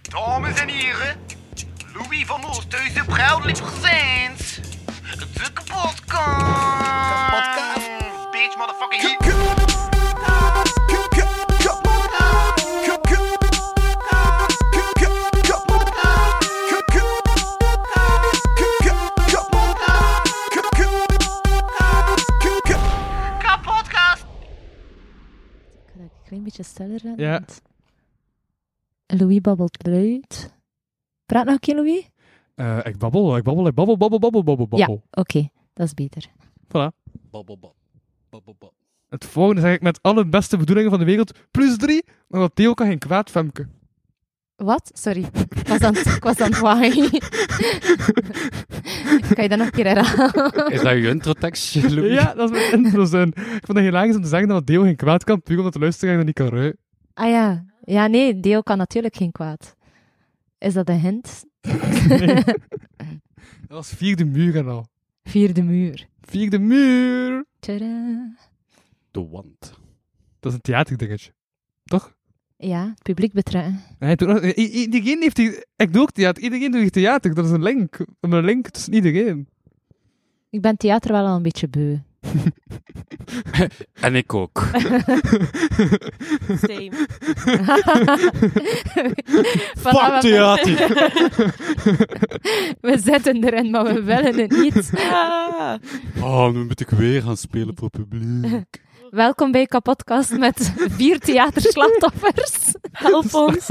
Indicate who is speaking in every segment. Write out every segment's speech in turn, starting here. Speaker 1: Dames en heren, Louis van Oosthuizen, Bruidelijk Gezins. De kapotkast.
Speaker 2: Kapotkast.
Speaker 1: Bitch, motherfucking heat. Kapotkast.
Speaker 3: Ik ga dat een klein beetje stiller doen.
Speaker 4: Ja.
Speaker 3: want Louis babbelt luid. Praat nog een keer, Louis?
Speaker 4: Eh, ik babbel, ik babbel, ik babbel, babbel, babbel, babbel, babbel.
Speaker 3: Oké, dat is beter.
Speaker 4: Voilà. Het volgende zeg ik met alle beste bedoelingen van de wereld. Plus drie, maar wat Theo kan geen kwaad, Femke.
Speaker 3: Wat? Sorry. Ik was aan het- ik was aan het waaien. kan je dat nog een keer herhalen?
Speaker 5: Is dat je introtekstje, Louis?
Speaker 4: Ja, dat is mijn intro zin. Ik vond het hilarisch om te zeggen dat Theo geen kwaad kan, puur omdat de luisteraar dat niet kan ruiken.
Speaker 3: Ah ja. Ja, nee, Deo kan natuurlijk geen kwaad. Is dat een hint?
Speaker 4: Dat was vierde muur en al.
Speaker 3: Vierde muur.
Speaker 4: Vierde muur!
Speaker 3: Tada.
Speaker 5: De wand.
Speaker 4: Dat is een theaterdingetje. Toch?
Speaker 3: Ja, het publiek betrekken.
Speaker 4: Nee, toen, i- i- iedereen heeft die... Ik doe ook theater. Iedereen doet hier theater. Dat is een link. Een link tussen iedereen.
Speaker 3: Ik ben theater wel al een beetje beu.
Speaker 5: En ik ook.
Speaker 3: Same.
Speaker 5: Fuck theater!
Speaker 3: We zitten erin, maar we willen het niet.
Speaker 5: Oh, nu moet ik weer gaan spelen voor publiek.
Speaker 3: Welkom bij Kapodcast met vier theaterslachtoffers. Help ons.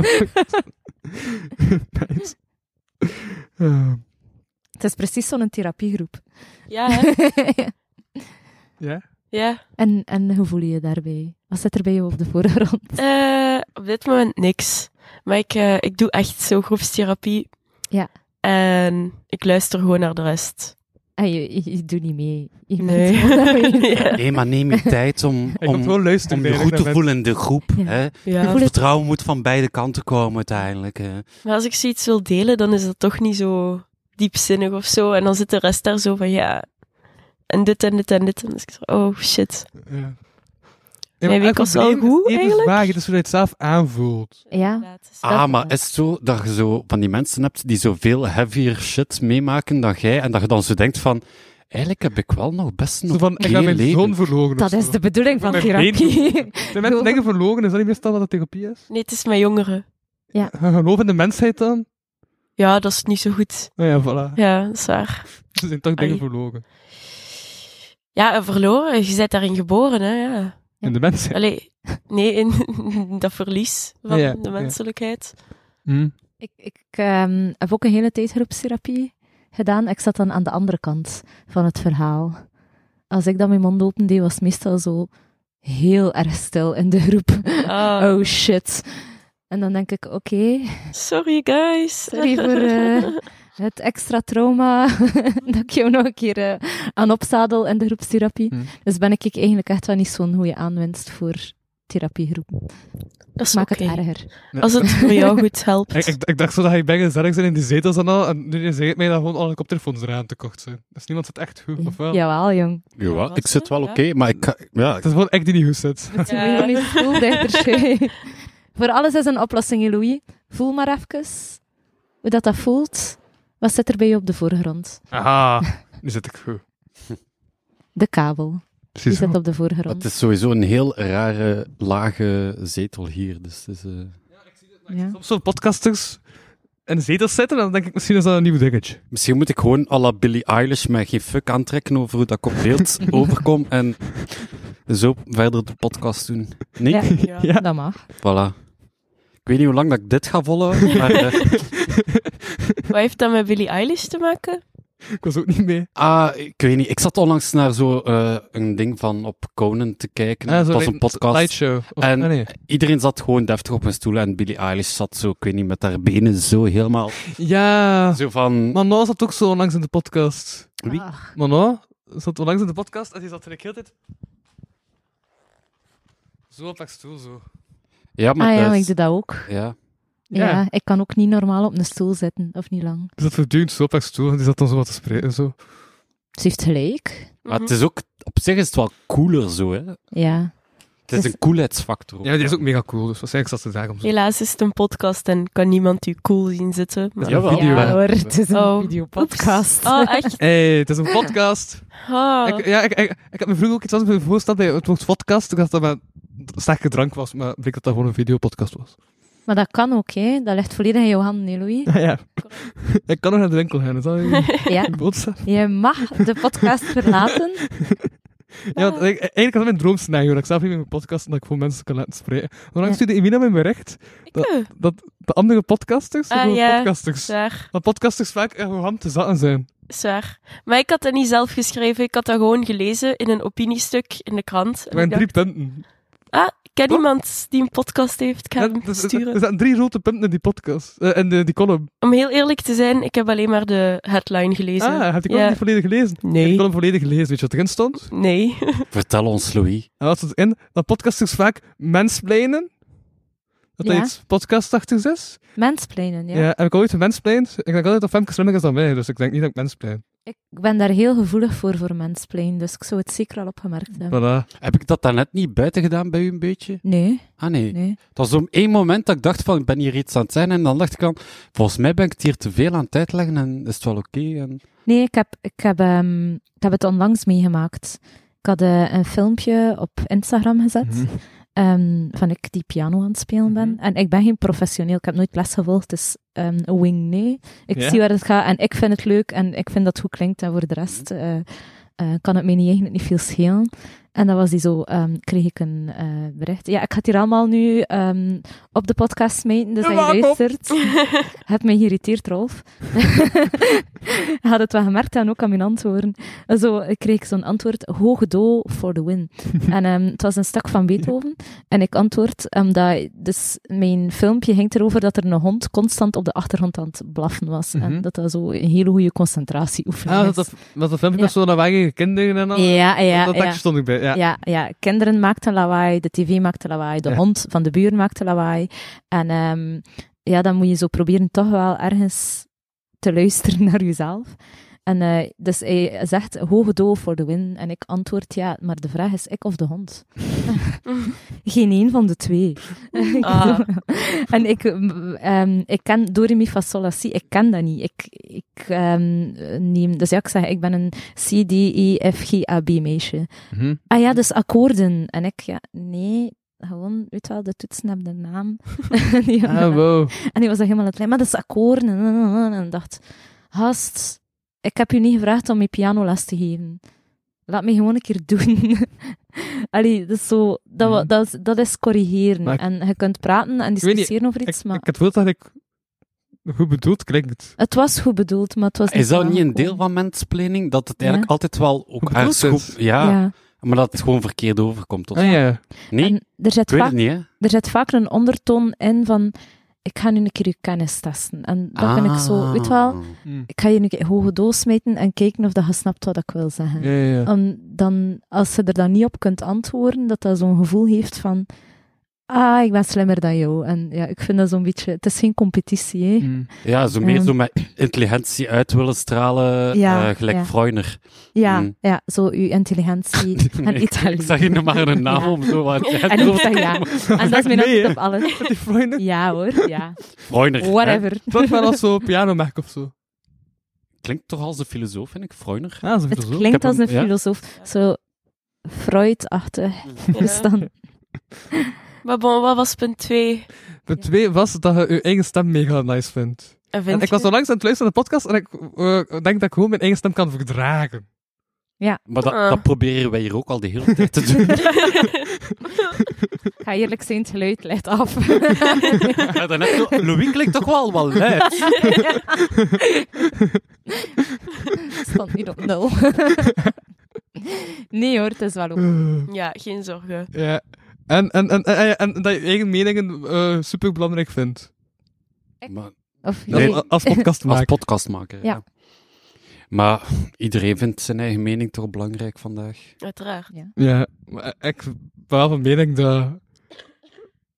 Speaker 4: Nice. Eh,
Speaker 3: Het is precies zo'n therapiegroep.
Speaker 6: Ja, hè?
Speaker 4: Ja?
Speaker 6: ja.
Speaker 3: En, en hoe voel je je daarbij? Wat zit er bij jou op de voorgrond?
Speaker 6: Eh, op dit moment niks. Maar ik, eh, ik doe echt zo groepstherapie.
Speaker 3: Ja.
Speaker 6: En ik luister gewoon naar de rest.
Speaker 3: En je, je, je doet niet mee. Je bent
Speaker 6: Nee.
Speaker 3: gewoon daarmee.
Speaker 6: ja.
Speaker 5: Nee, maar neem je tijd om,
Speaker 4: Ik moet
Speaker 5: om,
Speaker 4: gewoon luisteren.
Speaker 5: om je
Speaker 4: eigenlijk
Speaker 5: goed te
Speaker 4: naar
Speaker 5: voelen in de groep.
Speaker 3: Ja.
Speaker 5: Hè?
Speaker 3: voel
Speaker 6: ja.
Speaker 3: het-
Speaker 5: Vertrouwen moet van beide kanten komen uiteindelijk. Hè?
Speaker 6: Maar als ik zoiets wil delen, dan is dat toch niet zo diepzinnig of zo. En dan zit de rest daar zo van, ja... En dit en dit en dit. En dan is ik zo, oh shit.
Speaker 4: mensen. Ja.
Speaker 6: Mijn
Speaker 4: maar
Speaker 6: winkel
Speaker 4: elk
Speaker 6: is wel
Speaker 4: probleem
Speaker 6: goed,
Speaker 4: even
Speaker 6: eigenlijk.
Speaker 4: zwaar, Het is hoe je het zelf aanvoelt.
Speaker 3: Ja.
Speaker 5: Ah, maar is het zo dat je zo van die mensen hebt die zoveel heavier shit meemaken dan jij en dat je dan zo denkt van, eigenlijk heb ik wel nog best
Speaker 4: Zo
Speaker 5: nog
Speaker 4: van, ik heb mijn
Speaker 5: leven.
Speaker 4: zoon verloren.
Speaker 3: Dat
Speaker 4: of
Speaker 3: is
Speaker 4: zo.
Speaker 3: de bedoeling van
Speaker 4: Met benen.
Speaker 3: therapie.
Speaker 4: Zijn mensen denken verloren, is dat niet meestal wat dat therapie is?
Speaker 6: Nee, het is mijn jongeren.
Speaker 4: Geloof in de mensheid dan?
Speaker 6: Ja, dat is niet zo goed.
Speaker 4: Nou ja, voilà.
Speaker 6: Ja, dat is waar.
Speaker 4: Ze zijn toch dingen
Speaker 6: Ai.
Speaker 4: verloren.
Speaker 6: Ja, en verloren. Je bent daarin geboren, hè. Ja.
Speaker 3: Ja.
Speaker 4: In de mensheid.
Speaker 6: Allee, nee, in dat verlies van
Speaker 4: Ja,
Speaker 6: de
Speaker 4: ja.
Speaker 6: menselijkheid.
Speaker 4: Hm.
Speaker 5: Hmm.
Speaker 3: Ik, ik ehm, heb ook een hele tijd groepstherapie gedaan. Ik zat dan aan de andere kant van het verhaal. Als ik dan mijn mond opende, was het meestal zo heel erg stil in de groep.
Speaker 6: Ah,
Speaker 3: Oh shit. En dan denk ik, oké,
Speaker 6: Sorry, guys.
Speaker 3: sorry voor eh, het extra trauma dat ik jou nog een keer eh, aan opzadel in de groepstherapie.
Speaker 4: Hm.
Speaker 3: Dus ben ik eigenlijk echt wel niet zo'n goede aanwinst voor therapiegroepen.
Speaker 6: dat is
Speaker 3: Maak
Speaker 6: oké.
Speaker 3: het erger.
Speaker 6: Als het voor jou goed helpt.
Speaker 4: Ik, ik, ik dacht zo dat je bijna sterk zijn in die zetels en al. En nu zeg ik mij dat gewoon alle koptelefoons eraan te kort zijn. Dus niemand zit echt goed, of wel?
Speaker 3: Jawel, jong.
Speaker 5: Ja, ik zit wel oké, maar ik ga- ja,
Speaker 4: Het is gewoon echt die niet goed zit.
Speaker 3: Moet je
Speaker 6: Ja.
Speaker 3: weer nu stoel dichter schuiven. Voor alles is een oplossing, hè, Louis. Voel maar even hoe dat, dat voelt. Wat zit er bij je op de voorgrond?
Speaker 4: Aha, nu zit ik goed.
Speaker 3: De kabel. Die
Speaker 4: Precies.
Speaker 3: zit op de
Speaker 5: Maar het
Speaker 3: voorgrond.
Speaker 5: is sowieso een heel rare, lage zetel hier. Dus het is, eh,
Speaker 3: Ja.
Speaker 4: Soms zo podcasters in zetels zitten en dan denk ik misschien is dat een nieuw dingetje.
Speaker 5: Misschien moet ik gewoon à la Billie Eilish mij geen fuck aantrekken over hoe dat ik op beeld overkom en zo verder de podcast doen. Nee?
Speaker 3: Ja.
Speaker 6: Ja.
Speaker 4: Ja.
Speaker 3: Dat mag.
Speaker 5: Voilà. Ik weet niet hoe lang dat ik dit ga volhouden, maar... eh,
Speaker 6: Wat heeft dat met Billie Eilish te maken?
Speaker 4: Ik was ook niet mee.
Speaker 5: ah, ik weet niet. Ik zat onlangs naar zo eh, een ding van op Conan te kijken.
Speaker 4: Ah,
Speaker 5: Het
Speaker 4: zo
Speaker 5: was
Speaker 4: li-
Speaker 5: een podcast.
Speaker 4: Lightshow. Of-
Speaker 5: En-
Speaker 4: ah, nee.
Speaker 5: Iedereen zat gewoon deftig op een stoel en Billie Eilish zat zo, ik weet niet, met haar benen zo helemaal...
Speaker 4: Ja,
Speaker 5: Zo van...
Speaker 4: maar nou zat ook zo onlangs in de podcast.
Speaker 5: Wie?
Speaker 3: Ach,
Speaker 4: Manon zat onlangs in de podcast en die zat er de hele tijd... Zo op haar stoel, zo.
Speaker 5: Ja, maar...
Speaker 3: ah ja,
Speaker 5: dat
Speaker 3: maar
Speaker 5: is-
Speaker 3: ik doe dat ook.
Speaker 5: ja.
Speaker 3: Ja. ik kan ook niet normaal op een stoel zitten, of niet lang.
Speaker 4: Die zat voortdurend zo op haar stoel en die zat dan zo wat te spreken, zo.
Speaker 3: Ze heeft gelijk.
Speaker 4: Mhm.
Speaker 5: Maar het is ook... Op zich is het wel cooler zo, hè.
Speaker 3: Ja.
Speaker 5: Het is een coolheidsfactor. ook.
Speaker 4: Ja, die is ook mega cool, dus waarschijnlijk zat ze daarom zo.
Speaker 6: Helaas is het een podcast en kan niemand u cool zien zitten. Maar...
Speaker 5: Ja. Jawel.
Speaker 4: Video.
Speaker 3: Ja hoor, het is een
Speaker 6: Oh.
Speaker 3: videopodcast.
Speaker 6: Oh, echt?
Speaker 4: hey, het is een podcast.
Speaker 6: Oh.
Speaker 4: Ik, ja, ik, ik, ik had me vroeger ook iets anders bij voorgesteld bij het woord podcast. Ik dacht dat dat maar sterke drank was, maar bleek dat dat gewoon een videopodcast was.
Speaker 3: Maar dat kan ook, hè. Dat ligt volledig in jouw handen, hè, Louis.
Speaker 4: ja. ik kan nog naar de winkel gaan, is dat je
Speaker 3: Ja.
Speaker 4: je boodschap?
Speaker 3: Je mag de podcast verlaten.
Speaker 4: Ja, want ik- eigenlijk had ik mijn droomscenario, dat ik zelf niet meer mijn podcast en dat ik gewoon mensen kan laten spreken. Maar dan
Speaker 3: Ja.
Speaker 4: stuurde Emina mij een bericht
Speaker 6: Eh,
Speaker 4: dat de andere podcasters,
Speaker 6: Ah,
Speaker 4: gewoon
Speaker 6: ja.
Speaker 4: podcasters,
Speaker 6: Zwaar,
Speaker 4: dat podcasters vaak in hun hand te zatten zijn.
Speaker 6: zwaar. Maar ik had dat niet zelf geschreven. Ik had dat gewoon gelezen in een opiniestuk in de krant.
Speaker 4: Er
Speaker 6: En
Speaker 4: waren
Speaker 6: ik dacht,
Speaker 4: drie punten.
Speaker 6: ah, ik ken iemand die een podcast heeft. Ik ga
Speaker 4: Ja,
Speaker 6: hem
Speaker 4: er- Er
Speaker 6: sturen.
Speaker 4: dus, er zaten drie rode punten in die podcast, en in de- die column.
Speaker 6: Om heel eerlijk te zijn, ik heb alleen maar de headline gelezen.
Speaker 4: Ah, heb je column
Speaker 6: Ja.
Speaker 4: niet volledig gelezen? Ik heb
Speaker 6: Nee.
Speaker 4: die column volledig gelezen, weet je wat erin stond?
Speaker 6: Nee.
Speaker 5: Vertel ons, Louis.
Speaker 4: En wat stond erin? Dat podcasters vaak mensplainen. Dat dat
Speaker 3: Ja.
Speaker 4: iets podcastachtigs is.
Speaker 3: Mensplainen,
Speaker 4: Ja.
Speaker 3: ja.
Speaker 4: heb ik ooit mensplained? Ik denk altijd dat Femke slimmer is dan mij, dus ik denk niet dat ik mensplein.
Speaker 3: Ik ben daar heel gevoelig voor, voor mensplainen. Dus ik zou het zeker al opgemerkt hebben.
Speaker 4: Voilà.
Speaker 5: Heb ik dat daarnet niet buiten gedaan bij u een beetje?
Speaker 3: Nee,
Speaker 5: Ah nee.
Speaker 3: nee.
Speaker 5: Dat was om één moment dat ik dacht van, ik ben hier iets aan het zeggen. En dan dacht ik aan, volgens mij ben ik het hier te veel aan het uitleggen en is het wel oké. En...
Speaker 3: Nee, ik heb, ik heb, ehm, ik heb het onlangs meegemaakt. Ik had eh, een filmpje op Instagram gezet
Speaker 4: Mhm.
Speaker 3: ehm, van ik die piano aan het spelen ben. En ik ben geen professioneel, ik heb nooit les gevolgd, dus ehm, wing nee. Ik
Speaker 4: Ja.
Speaker 3: zie waar het gaat en ik vind het leuk en ik vind dat het goed klinkt. En voor de rest eh, eh, kan het mij niet, eigenlijk niet veel schelen. En dat was die zo, ehm, kreeg ik een eh, bericht. Ja, ik ga het hier allemaal nu ehm, op de podcast smijten, dus
Speaker 4: Maak
Speaker 3: hij
Speaker 4: op.
Speaker 3: luistert. Het me geïrriteerd, Rolf. Hij had het wel gemerkt en ook aan mijn antwoorden. En Zo kreeg ik zo'n antwoord, hoog do for the win. en ehm, het was een stuk van Beethoven. En ik antwoord, omdat dus mijn filmpje ging erover dat er een hond constant op de achtergrond aan het blaffen was.
Speaker 4: Mhm.
Speaker 3: En dat dat zo een hele goede concentratieoefening
Speaker 4: Ah,
Speaker 3: is.
Speaker 4: dat, dat, dat, dat filmpje
Speaker 3: Ja.
Speaker 4: met zo'n lawaaie kinderen en al.
Speaker 3: ja, ja,
Speaker 4: dat
Speaker 3: ja.
Speaker 4: tekstje stond ik bij, ja.
Speaker 3: Ja, ja, kinderen maakten lawaai, de tv maakte lawaai, de
Speaker 4: Ja.
Speaker 3: hond van de buur maakte lawaai. En ehm, ja, dan moet je zo proberen toch wel ergens te luisteren naar jezelf. En eh, dus hij zegt hoge doof voor de win. En ik antwoord ja, maar de vraag is ik of de hond? Geen een van de twee.
Speaker 6: Ah.
Speaker 3: en ik, mm, ehm, ik ken Doremi Fasolasi, ik ken dat niet. Ik, ik ehm, neem, dus ja, ik zeg, ik ben een C, D, E, F, G, A, B meisje.
Speaker 4: Mhm.
Speaker 3: Ah ja, dus akkoorden. En ik, ja, nee, gewoon, weet wel, de toetsen hebben de naam. En die-
Speaker 4: Ah, wow.
Speaker 3: En die was dan helemaal aan het lijm, maar dat is akkoorden. En ik dacht, gast, ik heb je niet gevraagd om je pianoles te geven. Laat me gewoon een keer doen. Allee, dat is zo, dat, wa-
Speaker 4: Mhm.
Speaker 3: dat, is, dat is corrigeren.
Speaker 4: Maar ik-
Speaker 3: en je kunt praten en
Speaker 4: weet niet,
Speaker 3: discussiëren over
Speaker 4: Ik,
Speaker 3: iets,
Speaker 4: ik
Speaker 3: maar
Speaker 4: had het gevoel dat ik goed bedoeld klinkt.
Speaker 3: het was goed bedoeld, maar het was niet
Speaker 5: Is dat niet een deel
Speaker 3: aangekomen.
Speaker 5: van mensplanning? Dat het
Speaker 3: Ja.
Speaker 5: eigenlijk altijd wel ook
Speaker 4: Hoe bedoelt
Speaker 5: herschoep-
Speaker 4: het?
Speaker 5: Ja,
Speaker 3: Ja.
Speaker 5: maar dat het gewoon verkeerd overkomt. Of...
Speaker 4: Ah, ja.
Speaker 5: Nee,
Speaker 3: En er zit
Speaker 5: ik weet
Speaker 3: vaak
Speaker 5: het niet, hè.
Speaker 3: er zit vaak een ondertoon in van ik ga nu een keer je kennis testen. En dat vind ik zo,
Speaker 5: Ah.
Speaker 3: weet je wel, ik ga je nu een keer hoge doos smijten en kijken of dat je snapt wat ik eh, oh. wil zeggen.
Speaker 4: Ja, ja, ja.
Speaker 3: Om dan, als je er dan niet op kunt antwoorden, dat dat zo'n gevoel heeft van ah, ik ben slimmer dan jou. En ja, ik vind dat zo'n beetje, het is geen competitie, hè.
Speaker 4: Mm.
Speaker 5: Ja, zo meer
Speaker 3: Ehm.
Speaker 5: zo met intelligentie uit willen stralen,
Speaker 3: Ja,
Speaker 5: eh, gelijk
Speaker 3: ja.
Speaker 5: Freuner.
Speaker 3: Ja,
Speaker 5: Mm.
Speaker 3: ja, zo uw intelligentie
Speaker 5: Nee,
Speaker 3: en
Speaker 5: ik, ik
Speaker 3: Italië.
Speaker 5: zag hier nog maar een naam
Speaker 3: Ja.
Speaker 5: om zo wat
Speaker 3: En Italiaan. En dat is mijn
Speaker 4: Mee,
Speaker 3: antwoord
Speaker 4: hè?
Speaker 3: op alles.
Speaker 4: Die Freunde.
Speaker 3: Ja hoor, ja.
Speaker 5: Freuner. hè.
Speaker 3: Whatever.
Speaker 4: Het was wel als zo'n pianomerk of zo.
Speaker 5: Klinkt toch als een filosoof, vind ik, Freuner.
Speaker 4: Ah, zo
Speaker 3: Het
Speaker 4: zo.
Speaker 5: heb
Speaker 3: klinkt als
Speaker 5: hem-
Speaker 3: een
Speaker 5: ja.
Speaker 3: filosoof. Zo Freud-achtig. Dus
Speaker 6: Ja.
Speaker 3: dan...
Speaker 6: Maar bon, wat was punt 2?
Speaker 4: De twee was dat je je eigen stem mega nice vindt.
Speaker 6: En
Speaker 4: En
Speaker 6: vind
Speaker 4: ik was
Speaker 6: je?
Speaker 4: onlangs aan het luisteren naar de podcast en ik eh, denk dat ik gewoon mijn eigen stem kan verdragen.
Speaker 5: Maar dat,
Speaker 6: Ah.
Speaker 5: dat proberen wij hier ook al de hele tijd te doen.
Speaker 3: Ik ga eerlijk zijn, het geluid lijkt af.
Speaker 5: Ja, daarnet zo, Louis klinkt toch wel wel luid.
Speaker 3: Stond niet op nul. Nee hoor, het is wel ook.
Speaker 4: Eh,
Speaker 6: Ja, geen zorgen.
Speaker 4: Ja. En, en, en, en, en- en dat je eigen meningen eh super belangrijk vindt.
Speaker 5: Maar
Speaker 3: Of
Speaker 5: Nee.
Speaker 4: Als, als
Speaker 5: als
Speaker 4: podcastmaker.
Speaker 5: podcastmaker.
Speaker 3: Ja.
Speaker 5: Maar iedereen vindt zijn eigen mening toch belangrijk vandaag.
Speaker 6: Uiteraard.
Speaker 4: Ja, maar ik ben wel van mening dat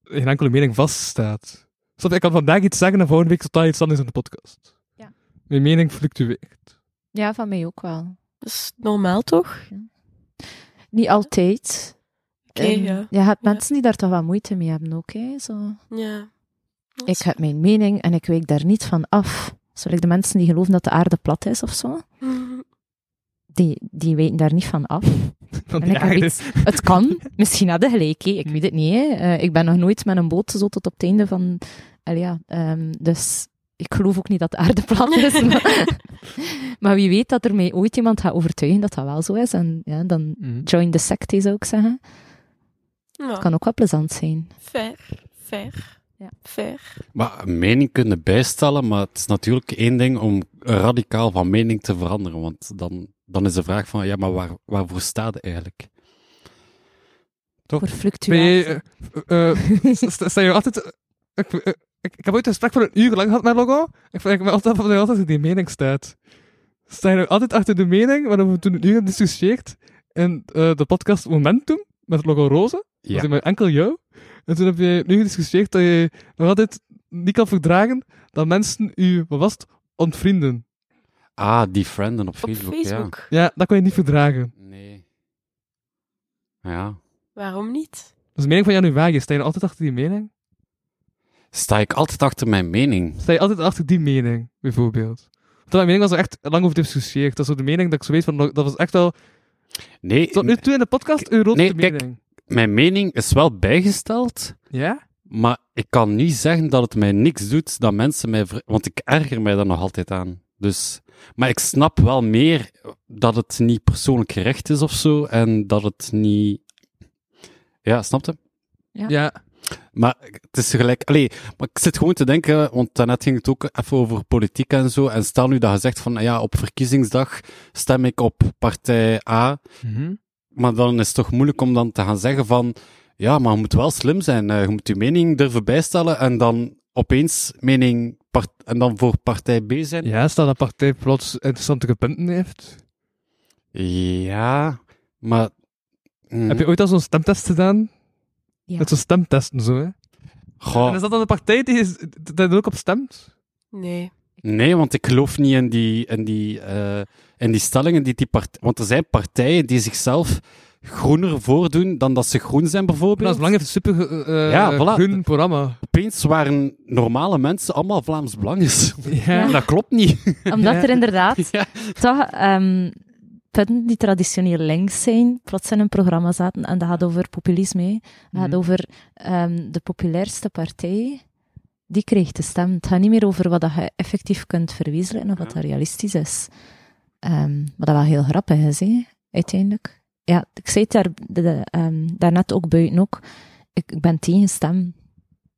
Speaker 4: geen enkele mening vaststaat. Snap je, ik kan vandaag iets zeggen en volgende week totaal iets anders in de podcast.
Speaker 3: Ja.
Speaker 4: Mijn mening fluctueert.
Speaker 3: Ja,
Speaker 6: Dus
Speaker 3: van mij ook wel.
Speaker 6: Dat is normaal toch?
Speaker 3: Niet altijd. En
Speaker 6: ja.
Speaker 3: Je hebt
Speaker 6: Ja.
Speaker 3: mensen die daar toch wel moeite mee hebben ook. Hè? Zo.
Speaker 6: Ja. Dat
Speaker 3: Ik
Speaker 6: is-
Speaker 3: heb mijn mening en ik wijk daar niet van af. Zo, like de mensen die geloven dat de aarde plat is of zo, die, die weten daar niet van af.
Speaker 4: Want
Speaker 3: En
Speaker 4: die
Speaker 3: ik heb
Speaker 4: aarde-
Speaker 3: iets, het kan, misschien hadden gelijk, hè. ik weet het niet. Hè. Eh, ik ben nog nooit met een boot zo tot op het einde van... Allee, ja, ehm, dus ik geloof ook niet dat de aarde plat is. Maar, maar wie weet dat er mij ooit iemand gaat overtuigen dat dat wel zo is. En ja, dan
Speaker 4: Mm.
Speaker 3: join the sect, hè, zou ik zeggen.
Speaker 6: Ja, Ah.
Speaker 3: Het kan ook wel plezant zijn.
Speaker 6: fair. Fair.
Speaker 3: Ja.
Speaker 6: Fair.
Speaker 5: Maar een mening kunnen bijstellen, maar het is natuurlijk één ding om radicaal van mening te veranderen. Want dan, dan is de vraag van, ja, maar waar, waarvoor staat het eigenlijk?
Speaker 3: Voor
Speaker 4: Ben
Speaker 3: fluctuatie.
Speaker 4: je, eh, eh, sta- sta je altijd... Ik, eh, ik, ik heb ooit een gesprek voor een uur lang gehad met Logo. Ik vraag me altijd af of hij altijd in die mening staat. Sta je nou altijd achter de mening waarom we toen een uur hebben gediscussieerd in eh, de podcast Momentum met Logo Roze?
Speaker 5: Ja.
Speaker 4: Dat is maar enkel jou. En toen heb je nu gediscussieerd dat je nog altijd niet kan verdragen dat mensen u, wat was het, ontvrienden.
Speaker 5: Ah, die frienden op
Speaker 6: Op
Speaker 5: Facebook,
Speaker 6: Facebook.
Speaker 4: Ja, dat kan je niet verdragen.
Speaker 5: ja. Nee. Ja.
Speaker 6: Waarom niet?
Speaker 4: Dat is de mening van januari. Sta je nou altijd achter die mening?
Speaker 5: Sta ik altijd achter mijn mening?
Speaker 4: sta je altijd achter die mening, bijvoorbeeld. Want mijn mening was er echt lang over discussieerd. Dat is zo de mening dat ik zo weet van, dat was echt wel...
Speaker 5: Nee,
Speaker 4: Tot nu toe in de podcast, uw rode
Speaker 5: Nee, kijk.
Speaker 4: mening.
Speaker 5: mijn mening is wel bijgesteld,
Speaker 4: Ja?
Speaker 5: maar ik kan niet zeggen dat het mij niks doet dat mensen mij... ver- Want ik erger mij daar nog altijd aan. Dus... Maar ik snap wel meer dat het niet persoonlijk gerecht is of zo, en dat het niet... Ja, snapte?
Speaker 3: Ja.
Speaker 4: Ja.
Speaker 5: Maar het is gelijk. Allee, maar ik zit gewoon te denken, want daarnet ging het ook even over politiek en zo. En stel nu dat je zegt van, ja, op verkiezingsdag stem ik op partij A. Mhm. Maar dan is het toch moeilijk om dan te gaan zeggen van, ja, maar je moet wel slim zijn. eh, Je moet je mening durven bijstellen en dan opeens mening part- en dan voor partij B zijn.
Speaker 4: Ja, stel dat partij plots interessantere punten heeft.
Speaker 5: Mhm. Ja, maar... mm,
Speaker 4: Heb je ooit al zo'n stemtest gedaan?
Speaker 3: Ja.
Speaker 4: Met zo'n stemtesten zo, hè?
Speaker 5: goh,
Speaker 4: En is dat dan de partij die, is, die er ook op stemt?
Speaker 6: Nee.
Speaker 5: Nee, want ik geloof niet in die, in die, eh, in die stellingen die die partij. Want er zijn partijen die zichzelf groener voordoen dan dat ze groen zijn,
Speaker 4: Dat is
Speaker 5: bijvoorbeeld.
Speaker 4: belangrijk, een super eh, eh,
Speaker 5: Ja, voilà.
Speaker 4: groen programma.
Speaker 5: Opeens waren normale mensen allemaal Vlaams Belangers.
Speaker 4: Ja.
Speaker 5: Dat klopt niet.
Speaker 3: Omdat er inderdaad
Speaker 5: Ja.
Speaker 3: toch ehm, punten die traditioneel links zijn, plots in een programma zaten. En dat gaat over populisme. hè. Dat gaat
Speaker 4: Mhm.
Speaker 3: over ehm, de populairste partij. Die kreeg de stem. Het gaat niet meer over wat dat je effectief kunt verwezenlijken of wat
Speaker 5: Ja.
Speaker 3: dat realistisch is. Ehm, wat dat wel heel grappig is, hè, uiteindelijk. Ja, ik zei het daar, de, de, ehm, daarnet ook buiten ook. Ik, ik ben tegen stem.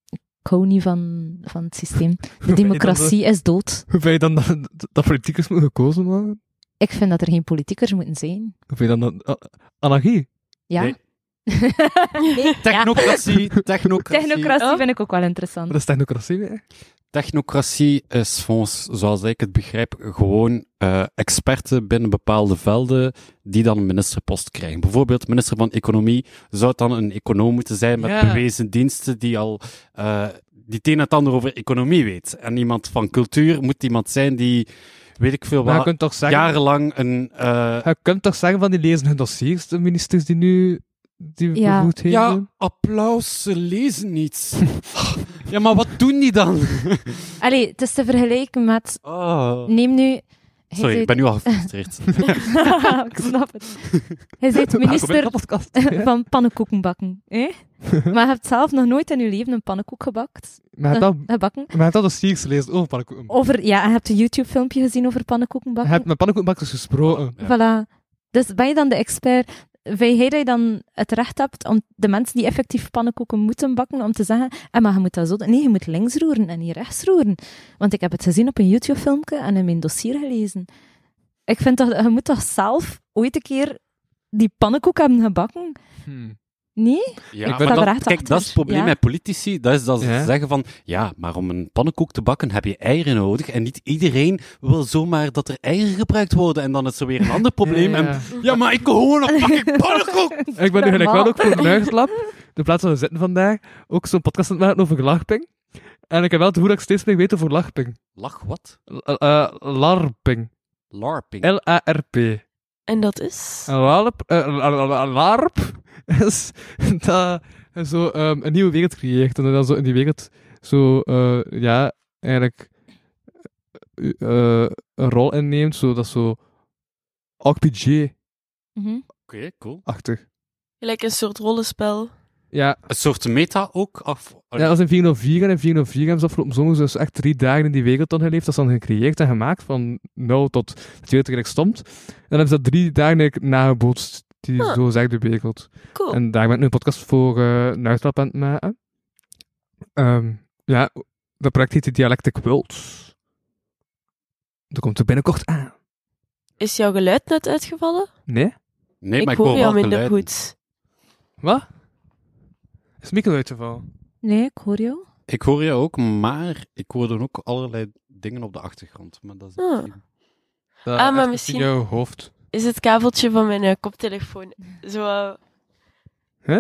Speaker 3: Ik hou niet van, van het systeem. De democratie is dood.
Speaker 4: Hoe vind je dan dat, dat politiekers moeten gekozen worden?
Speaker 3: Ik vind dat er geen politiekers moeten zijn.
Speaker 4: Hoe vind je dan dat... ah, Anarchie?
Speaker 3: Ja.
Speaker 5: Nee.
Speaker 3: Nee, ja.
Speaker 5: Technocratie, technocratie.
Speaker 3: Technocratie
Speaker 6: Oh.
Speaker 3: vind ik ook wel
Speaker 4: Dat
Speaker 3: interessant.
Speaker 4: is technocratie, hè?
Speaker 5: Technocratie is volgens, zoals ik het begrijp, gewoon eh, experten binnen bepaalde velden die dan een ministerpost krijgen. Bijvoorbeeld, minister van Economie zou dan een econoom moeten zijn met
Speaker 4: Ja.
Speaker 5: bewezen diensten die al eh, die het een en het ander over economie weet. En iemand van cultuur moet iemand zijn die, weet ik veel
Speaker 4: Maar Nou, je
Speaker 5: wat,
Speaker 4: kunt toch zeggen...
Speaker 5: jarenlang een... eh,
Speaker 4: Je kunt toch zeggen van die lezen hun dossiers, de ministers die nu die
Speaker 3: Ja.
Speaker 4: bevoegd heen
Speaker 5: ja,
Speaker 4: doen?
Speaker 5: applaus, ze lezen niets. ja, maar wat doen die dan?
Speaker 3: Allee, het is te vergelijken met...
Speaker 5: Oh.
Speaker 3: Neem nu... hij
Speaker 5: Sorry, ik
Speaker 3: zei-
Speaker 5: ben nu al gefrustreerd.
Speaker 3: ik snap het. Hij is minister van pannenkoekenbakken. Hè? Maar je hebt zelf nog nooit in je leven een pannenkoek gebakt. eh,
Speaker 4: Maar je hebt al-
Speaker 3: Gebakken.
Speaker 4: maar je hebt al dossiers gelezen over pannenkoeken.
Speaker 3: Over, ja, en je hebt een YouTube-filmpje gezien over
Speaker 4: Je
Speaker 3: pannenkoekenbakken.
Speaker 4: hebt met pannenkoekenbakkers gesproken.
Speaker 3: Voilà. Dus ben je dan de expert? Vind jij dat je dan het recht hebt om de mensen die effectief pannenkoeken moeten bakken, om te zeggen, eh, maar je moet dat zo doen. Nee, je moet links roeren en niet rechts roeren. Want ik heb het gezien op een YouTube-filmpje en in mijn dossier gelezen. Ik vind toch, je moet toch zelf ooit een keer die pannenkoek hebben gebakken?
Speaker 4: Oh. Hm.
Speaker 3: Nee?
Speaker 5: Ja,
Speaker 3: Ik
Speaker 5: maar
Speaker 3: sta
Speaker 5: dat-
Speaker 3: er echt
Speaker 5: kijk,
Speaker 3: achter.
Speaker 5: dat is het probleem
Speaker 3: Ja.
Speaker 5: met politici. Dat is dat ze
Speaker 4: Ja.
Speaker 5: zeggen van, ja, maar om een pannenkoek te bakken heb je eieren nodig. En niet iedereen wil zomaar dat er eieren gebruikt worden. En dan is er weer een ander probleem.
Speaker 4: Ja,
Speaker 5: Ja,
Speaker 4: ja.
Speaker 5: En, ja maar ik wil gewoon een fucking pannenkoek.
Speaker 4: Ik ben nu gelijk
Speaker 3: Normaal.
Speaker 4: wel ook voor Nuigtlab, de plaats waar we zitten vandaag, ook zo'n podcast aan het maken over larping. En ik heb wel het gevoel dat ik steeds meer weet over larping.
Speaker 5: Lach wat?
Speaker 4: L- eh, larping.
Speaker 5: LARPing.
Speaker 4: L-A-R-P.
Speaker 6: En dat is...
Speaker 5: Oh.
Speaker 4: Een larp, eh, la- la- la- larp is dat je zo ehm, een nieuwe wereld creëert. En dat je dan zo in die wereld zo, eh, ja, eigenlijk eh, eh, een rol inneemt. Zo, dat zo RPG-achtig.
Speaker 3: Mhm.
Speaker 5: Oké, cool.
Speaker 6: Gelijk een soort rollenspel.
Speaker 4: Ja,
Speaker 5: Een soort meta ook? Of,
Speaker 4: ja, dat is in 404 en in 404 hebben ze afgelopen zomer dus echt drie dagen in die wereld dan geleefd. Dat is dan gecreëerd en gemaakt van nul tot dat die wereld eigenlijk stomt. En dan hebben ze dat drie dagen eigenlijk nagebootst, die
Speaker 6: Ah.
Speaker 4: zo zegt de wereld.
Speaker 6: Cool.
Speaker 4: Oh. En daar ben ik nu een podcast voor eh een uitstap aan het maken. Ehm, ja, dat project heet Dialectic Worlds. Dat komt er binnenkort aan.
Speaker 6: Is jouw geluid net uitgevallen?
Speaker 4: Nee?
Speaker 5: Nee, maar ik
Speaker 6: hoor
Speaker 5: hoor wel
Speaker 6: jou minder
Speaker 5: geluiden.
Speaker 6: goed.
Speaker 4: Wat? Is Mikkel uitgeval?
Speaker 3: Nee, ik hoor jou.
Speaker 5: Ik hoor jou ook, maar ik hoor dan ook allerlei dingen op de achtergrond. Maar dat is
Speaker 6: Ah.
Speaker 4: Dat
Speaker 6: maar
Speaker 4: echt iets
Speaker 6: misschien-
Speaker 4: In jouw hoofd.
Speaker 6: Is het kabeltje van mijn eh, koptelefoon. Zo, eh,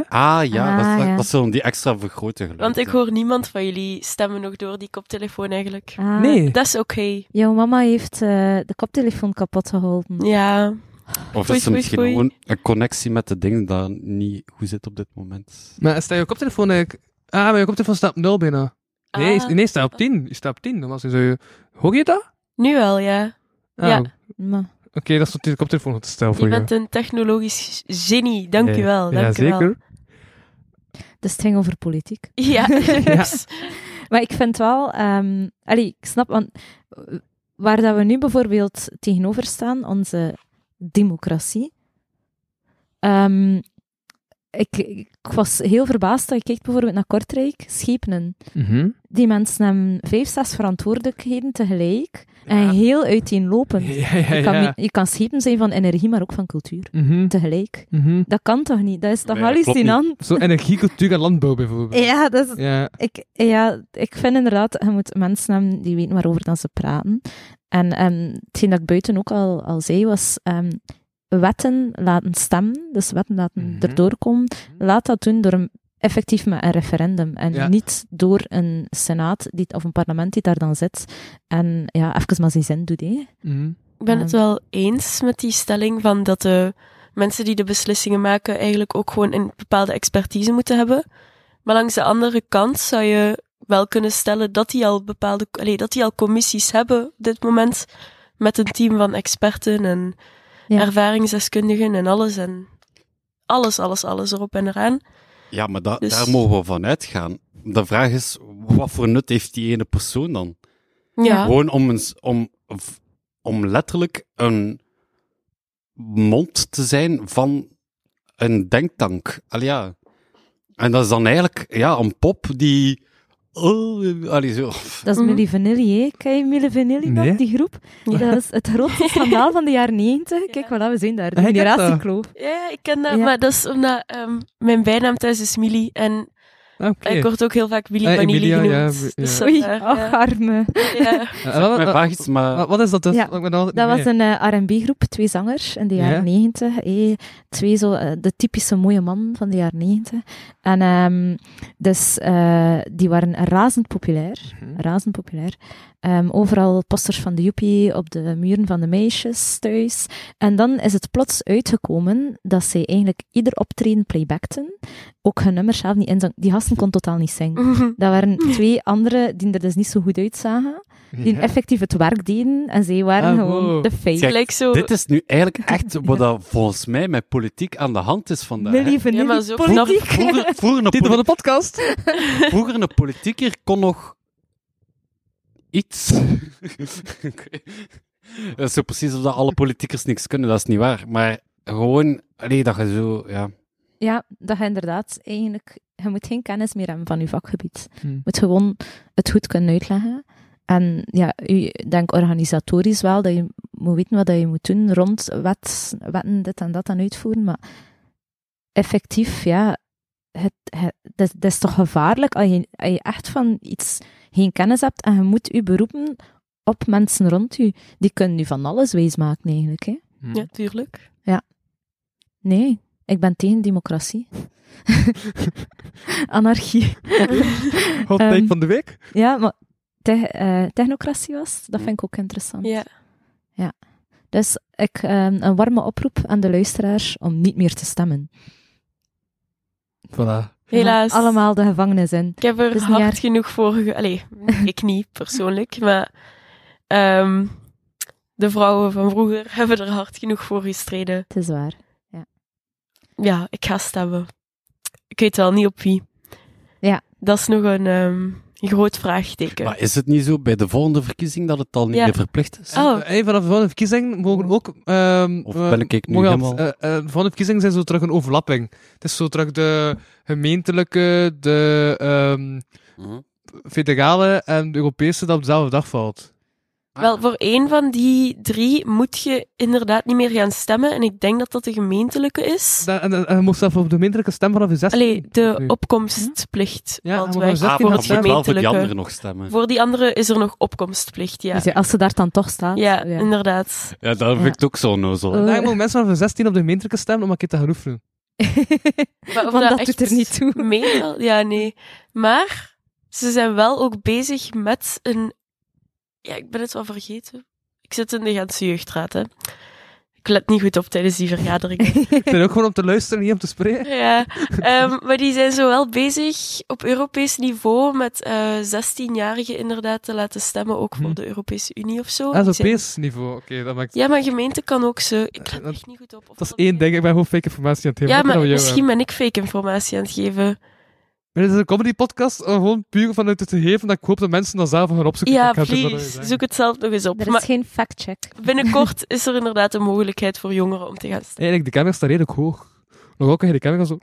Speaker 5: Ah,
Speaker 3: Ah,
Speaker 5: ja, dat, dat,
Speaker 3: ja.
Speaker 5: dat zullen die extra vergrote geluiden.
Speaker 6: want ik hoor niemand van jullie stemmen nog door die koptelefoon eigenlijk.
Speaker 3: Ah,
Speaker 4: Nee.
Speaker 6: Dat is oké.
Speaker 3: Jouw mama heeft eh, de koptelefoon kapot geholpen.
Speaker 6: Ja,
Speaker 5: Of
Speaker 6: Foei,
Speaker 5: is er
Speaker 6: foei,
Speaker 5: misschien
Speaker 6: foei.
Speaker 5: gewoon een connectie met de dingen dat niet goed zit op dit moment?
Speaker 4: Maar staat je koptelefoon eigenlijk... Ah, maar je koptelefoon staat op 0 binnen. Nee,
Speaker 6: Ah.
Speaker 4: nee, staat op 10. Je staat op 10. Normaal zou je... Hoor je dat?
Speaker 6: nu wel, ja.
Speaker 4: Ah,
Speaker 6: Ja.
Speaker 4: Oké,
Speaker 3: Maar,
Speaker 4: dat is tot de koptelefoon te stellen voor
Speaker 6: Je
Speaker 4: je.
Speaker 6: bent een technologisch genie. Dank
Speaker 4: Ja.
Speaker 6: u wel. Dank
Speaker 4: ja,
Speaker 6: u wel.
Speaker 4: zeker.
Speaker 3: dus het ging over politiek.
Speaker 6: Ja, juist.
Speaker 3: Maar ik vind wel, ehm allee, ik snap, want eh, waar dat we nu bijvoorbeeld tegenover staan, onze democratie. Ehm, ik, ik was heel verbaasd dat ik keek bijvoorbeeld naar Kortrijk, Schepenen.
Speaker 4: Mhm.
Speaker 3: Die mensen hebben vijf, zes verantwoordelijkheden tegelijk en
Speaker 4: Ja.
Speaker 3: heel uiteenlopend.
Speaker 4: Ja, ja,
Speaker 3: Je, kan,
Speaker 4: ja.
Speaker 3: mi- je kan schepen zijn van energie, maar ook van cultuur.
Speaker 4: Mhm.
Speaker 3: Tegelijk.
Speaker 4: Mhm.
Speaker 3: Dat kan toch niet? Dat is toch
Speaker 5: Nee, dat klopt niet.
Speaker 3: hallucinant?
Speaker 4: Zo energie, cultuur en landbouw bijvoorbeeld.
Speaker 3: Ja, dat is,
Speaker 4: Ja.
Speaker 3: ik, ja, ik vind inderdaad, je moet mensen hebben die weten waarover dan ze praten. En ehm hetgeen dat ik buiten ook al, al zei, was ehm, wetten laten stemmen, dus wetten laten
Speaker 4: Mhm.
Speaker 3: erdoor komen. Laat dat doen door een, effectief met een referendum en
Speaker 4: Ja.
Speaker 3: niet door een senaat die, of een parlement die daar dan zit en ja, even maar zijn zin doet. Hé.
Speaker 4: Mhm.
Speaker 6: Ik ben het
Speaker 3: Ehm.
Speaker 6: wel eens met die stelling van dat de mensen die de beslissingen maken eigenlijk ook gewoon een bepaalde expertise moeten hebben. Maar langs de andere kant zou je wel kunnen stellen dat die al bepaalde, allee, dat die al commissies hebben op dit moment met een team van experten en
Speaker 3: Ja.
Speaker 6: ervaringsdeskundigen en alles en alles, alles, alles erop en eraan.
Speaker 5: Ja, maar da-
Speaker 6: Dus-
Speaker 5: daar mogen we van uitgaan. De vraag is, wat voor nut heeft die ene persoon dan?
Speaker 6: Ah.
Speaker 3: Ja.
Speaker 5: Gewoon om, een, s- om, v- om letterlijk een mond te zijn van een denktank. Al ja. En dat is dan eigenlijk ja, een pop die... Oh, allee, zo.
Speaker 3: Dat is
Speaker 6: Mhm.
Speaker 3: Milli Vanilli, hè. Ken je Milli Vanilli nog,
Speaker 4: Nee.
Speaker 3: die groep?
Speaker 6: Ja.
Speaker 3: Dat is het grootste schandaal van de jaren 90. Kijk, voilà, we zijn daar. De
Speaker 4: Ah, ik heb dat.
Speaker 3: generatiekloof.
Speaker 6: Ja, ik ken dat,
Speaker 3: Ja.
Speaker 6: maar dat is omdat ehm, mijn bijnaam thuis is Millie en
Speaker 4: Ah, Oké.
Speaker 6: ik word ook heel vaak Millie
Speaker 4: Eh,
Speaker 6: Vanilli
Speaker 4: Emilia, ja,
Speaker 6: genoemd.
Speaker 4: ja.
Speaker 6: Dus
Speaker 3: Oei, Oh.
Speaker 6: vandaar,
Speaker 3: ach,
Speaker 6: ja.
Speaker 3: arme.
Speaker 6: Ja.
Speaker 4: Eh, wat-
Speaker 5: Mijn
Speaker 4: wat-
Speaker 5: vraag is, maar...
Speaker 4: wat- Wat is dat dus?
Speaker 3: Ja,
Speaker 4: Ik ben altijd
Speaker 3: Dat
Speaker 4: niet
Speaker 3: was
Speaker 4: mee.
Speaker 3: een eh, R&B-groep, twee zangers in de
Speaker 4: Ja.
Speaker 3: jaren 90. eh, twee zo, eh, de typische mooie man van de jaren 90. En ehm, dus eh, die waren razend populair.
Speaker 4: Mhm.
Speaker 3: Razend populair. Ehm, overal posters van de joepie op de muren van de meisjes thuis. En dan is het plots uitgekomen dat zij eigenlijk ieder optreden playbackten. Ook hun nummers zelf niet inzang. Die gasten kon totaal niet zingen. Dat waren twee anderen die er dus niet zo goed uitzagen. Die
Speaker 4: Ja.
Speaker 3: effectief het werk deden. En zij waren
Speaker 4: Ah,
Speaker 3: gewoon
Speaker 4: wow.
Speaker 3: de fake.
Speaker 5: Kijk,
Speaker 6: Gelijk zo.
Speaker 5: Dit is nu eigenlijk echt wat dat volgens mij met politiek aan de hand is vandaag. hè.
Speaker 3: Millie Vanilli,
Speaker 6: Ja, maar zo
Speaker 3: politiek.
Speaker 5: Vroeger, vroeger, een
Speaker 4: Titel van
Speaker 5: poli-
Speaker 4: de podcast.
Speaker 5: vroeger een politieker kon nog iets. Oké. dat is zo precies of dat alle politiekers niks kunnen, dat is niet waar. Maar gewoon, allee, dat je zo, ja.
Speaker 3: Ja, dat je inderdaad eigenlijk... Je moet geen kennis meer hebben van je vakgebied.
Speaker 4: Hmm.
Speaker 3: Je moet gewoon het goed kunnen uitleggen. En ja, ik denk organisatorisch wel dat je moet weten wat dat je moet doen rond wet, wetten, dit en dat en uitvoeren. Maar effectief, ja, het, het, dat, dat is toch gevaarlijk als je, als je echt van iets geen kennis hebt en je moet je beroepen op mensen rond je. Die kunnen je van alles wijsmaken eigenlijk, hè.
Speaker 6: Ja, tuurlijk.
Speaker 3: Nee, ik ben tegen democratie. Anarchie.
Speaker 4: Hot take
Speaker 3: Ehm,
Speaker 4: van de week.
Speaker 3: Ja, maar te- eh, technocratie was, dat vind ik ook interessant.
Speaker 6: Ja.
Speaker 3: Dus ik ehm, een warme oproep aan de luisteraars om niet meer te stemmen.
Speaker 4: Voilà.
Speaker 3: We gaan
Speaker 6: Helaas.
Speaker 3: Allemaal de gevangenis in.
Speaker 6: Ik heb
Speaker 3: Het
Speaker 6: er
Speaker 3: is niet
Speaker 6: hard
Speaker 3: erg.
Speaker 6: genoeg voor... Ge Allee, ik niet persoonlijk, maar... ehm, de vrouwen van vroeger hebben er hard genoeg voor gestreden.
Speaker 3: Het is waar.
Speaker 6: Ja, ik ga stemmen. Ik weet wel niet op wie.
Speaker 3: Ja.
Speaker 6: Dat is nog een ehm, groot vraagteken.
Speaker 5: Maar is het niet zo bij de volgende verkiezing dat het al niet
Speaker 6: Ja.
Speaker 5: meer verplicht is?
Speaker 6: Oh.
Speaker 4: En, eh, vanaf de volgende verkiezing mogen ook... ehm,
Speaker 5: Of
Speaker 4: eh,
Speaker 5: ben ik ik nu
Speaker 4: mogen al-
Speaker 5: helemaal-
Speaker 4: eh, eh, de volgende verkiezingen zijn zo terug een overlapping. Het is zo terug de gemeentelijke, de ehm,
Speaker 5: Mhm.
Speaker 4: federale en de Europese dat op dezelfde dag valt.
Speaker 6: Wel, voor één van die drie moet je inderdaad niet meer gaan stemmen. En ik denk dat dat de gemeentelijke is.
Speaker 4: Da- En, en, en je mocht zelf op de gemeentelijke stem vanaf je 16.
Speaker 6: Allee, de
Speaker 4: Nu.
Speaker 6: opkomstplicht.
Speaker 4: Ja,
Speaker 6: want
Speaker 4: maar
Speaker 6: wij
Speaker 4: we
Speaker 5: Ah,
Speaker 4: zetten dat
Speaker 6: voor
Speaker 5: maar
Speaker 6: het
Speaker 5: dan moet wel voor die
Speaker 6: gemeentelijke.
Speaker 5: anderen nog stemmen.
Speaker 6: Voor die andere is er nog opkomstplicht, ja.
Speaker 3: Dus ja, als ze daar dan toch staat.
Speaker 6: Ja, Nou, inderdaad.
Speaker 5: Ja, dat vind ik het ook zo nozel.
Speaker 3: Eh.
Speaker 4: Vandaag mogen mensen vanaf hun 16 op de gemeentelijke stem om een keer te gaan oefenen.
Speaker 6: Maar of
Speaker 3: Want dat
Speaker 6: echt
Speaker 3: doet er niet toe.
Speaker 6: meevalt- ja, nee. Maar ze zijn wel ook bezig met een... Ja, ik ben het wel vergeten. Ik zit in de Gentse jeugdraad, hè. Ik let niet goed op tijdens die vergaderingen.
Speaker 4: Ik ben ook gewoon om te luisteren, niet om te spreken.
Speaker 6: Ja, ehm, maar die zijn zowel bezig op Europees niveau met eh 16-jarigen inderdaad te laten stemmen, ook voor
Speaker 4: Hm.
Speaker 6: de Europese Unie of zo.
Speaker 4: Ah,
Speaker 6: Die
Speaker 4: zo'n
Speaker 6: zijn-
Speaker 4: Europees niveau. Oké, dat maakt...
Speaker 6: Oh, Ja, maar gemeente kan ook zo. Ik
Speaker 4: Eh,
Speaker 6: let
Speaker 4: dat-
Speaker 6: echt niet goed op. Of
Speaker 4: Dat is
Speaker 6: dat
Speaker 4: één
Speaker 6: niet-
Speaker 4: ding, ik ben gewoon fake informatie aan het geven.
Speaker 6: Ja,
Speaker 4: Wat
Speaker 6: maar
Speaker 4: nou jou, eh?
Speaker 6: misschien ben ik fake informatie aan het geven.
Speaker 4: Maar dit is een comedy podcast, gewoon puur vanuit het gegeven dat ik hoop dat mensen dan zelf gaan opzoeken.
Speaker 6: Ja,
Speaker 4: Ik heb het wel
Speaker 6: please.
Speaker 4: gezegd.
Speaker 6: Zoek het zelf nog eens op.
Speaker 3: Er is
Speaker 6: maar
Speaker 3: geen factcheck.
Speaker 6: binnenkort is er inderdaad een mogelijkheid voor jongeren om te gaan stemmen.
Speaker 4: Eigenlijk, de camera staat redelijk hoog. Nog ook, de camera zo...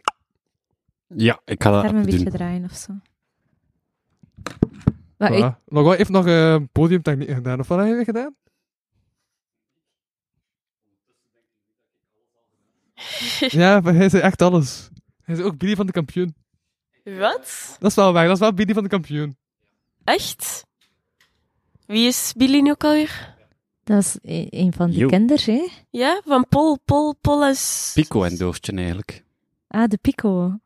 Speaker 5: Ja, ik ga dat
Speaker 3: Arm een
Speaker 5: even
Speaker 3: beetje
Speaker 5: Ah, doen.
Speaker 3: draaien of zo. Maar ik,
Speaker 4: Voilà. Nog wel heeft nog eh, podiumtechniek gedaan, of wat heb je gedaan? ja, maar hij zei echt alles. Hij zei ook Billy van de kampioen.
Speaker 6: Wat?
Speaker 4: Dat is wel waar, dat is wel Billy van de kampioen.
Speaker 6: Echt? Wie is Billy nu ook alweer?
Speaker 3: dat is e- een van die
Speaker 5: Yo.
Speaker 3: kinders, hè?
Speaker 6: Ja, van Pol, Pol, Pol is...
Speaker 5: Pico en Doortje eigenlijk.
Speaker 3: Ah, de Pico.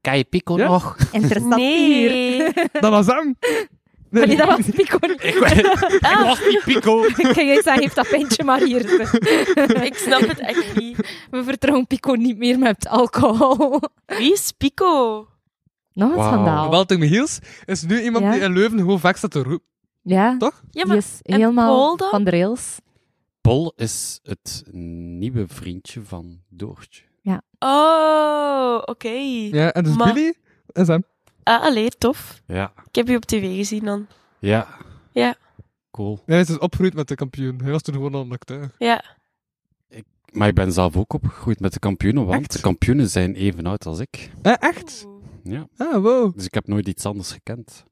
Speaker 5: Kan je Pico
Speaker 4: Ja?
Speaker 5: nog?
Speaker 3: Interessant
Speaker 6: Nee.
Speaker 3: hier.
Speaker 4: Dat was hem!
Speaker 3: Maar nee, dat was Pico.
Speaker 5: Ik, ik was niet Pico.
Speaker 3: Ik jij zeggen, heeft dat pintje maar hier.
Speaker 6: Ik snap het echt niet.
Speaker 3: We vertrouwen Pico niet meer met alcohol.
Speaker 6: Wie is Pico?
Speaker 3: Nog een
Speaker 5: Wauw.
Speaker 3: schandaal.
Speaker 4: Walter Michiels is nu iemand
Speaker 3: Ja.
Speaker 4: die in Leuven gewoon vaak staat te roepen.
Speaker 3: Ja,
Speaker 4: Toch?
Speaker 6: Ja,
Speaker 3: die
Speaker 6: maar
Speaker 3: is
Speaker 6: en
Speaker 3: helemaal
Speaker 6: Paul dan?
Speaker 3: van de rails.
Speaker 5: Pol is het nieuwe vriendje van Doortje.
Speaker 6: Oh, oké.
Speaker 4: Ja, en dus
Speaker 6: Maar-
Speaker 4: Billy is hem.
Speaker 6: Ah, allee, tof.
Speaker 5: Ja.
Speaker 6: Ik heb je op tv gezien dan.
Speaker 5: Ja.
Speaker 6: Ja.
Speaker 5: Cool.
Speaker 4: Hij is dus opgegroeid met de kampioen. Hij was toen gewoon al een acteur.
Speaker 6: Ja.
Speaker 5: Maar ik ben zelf ook opgegroeid met de kampioenen, want
Speaker 4: Echt?
Speaker 5: de kampioenen zijn even oud als ik.
Speaker 4: Eh, echt?
Speaker 5: Ja.
Speaker 4: Ah, wow. Oké.
Speaker 5: Dus ik heb nooit iets anders gekend.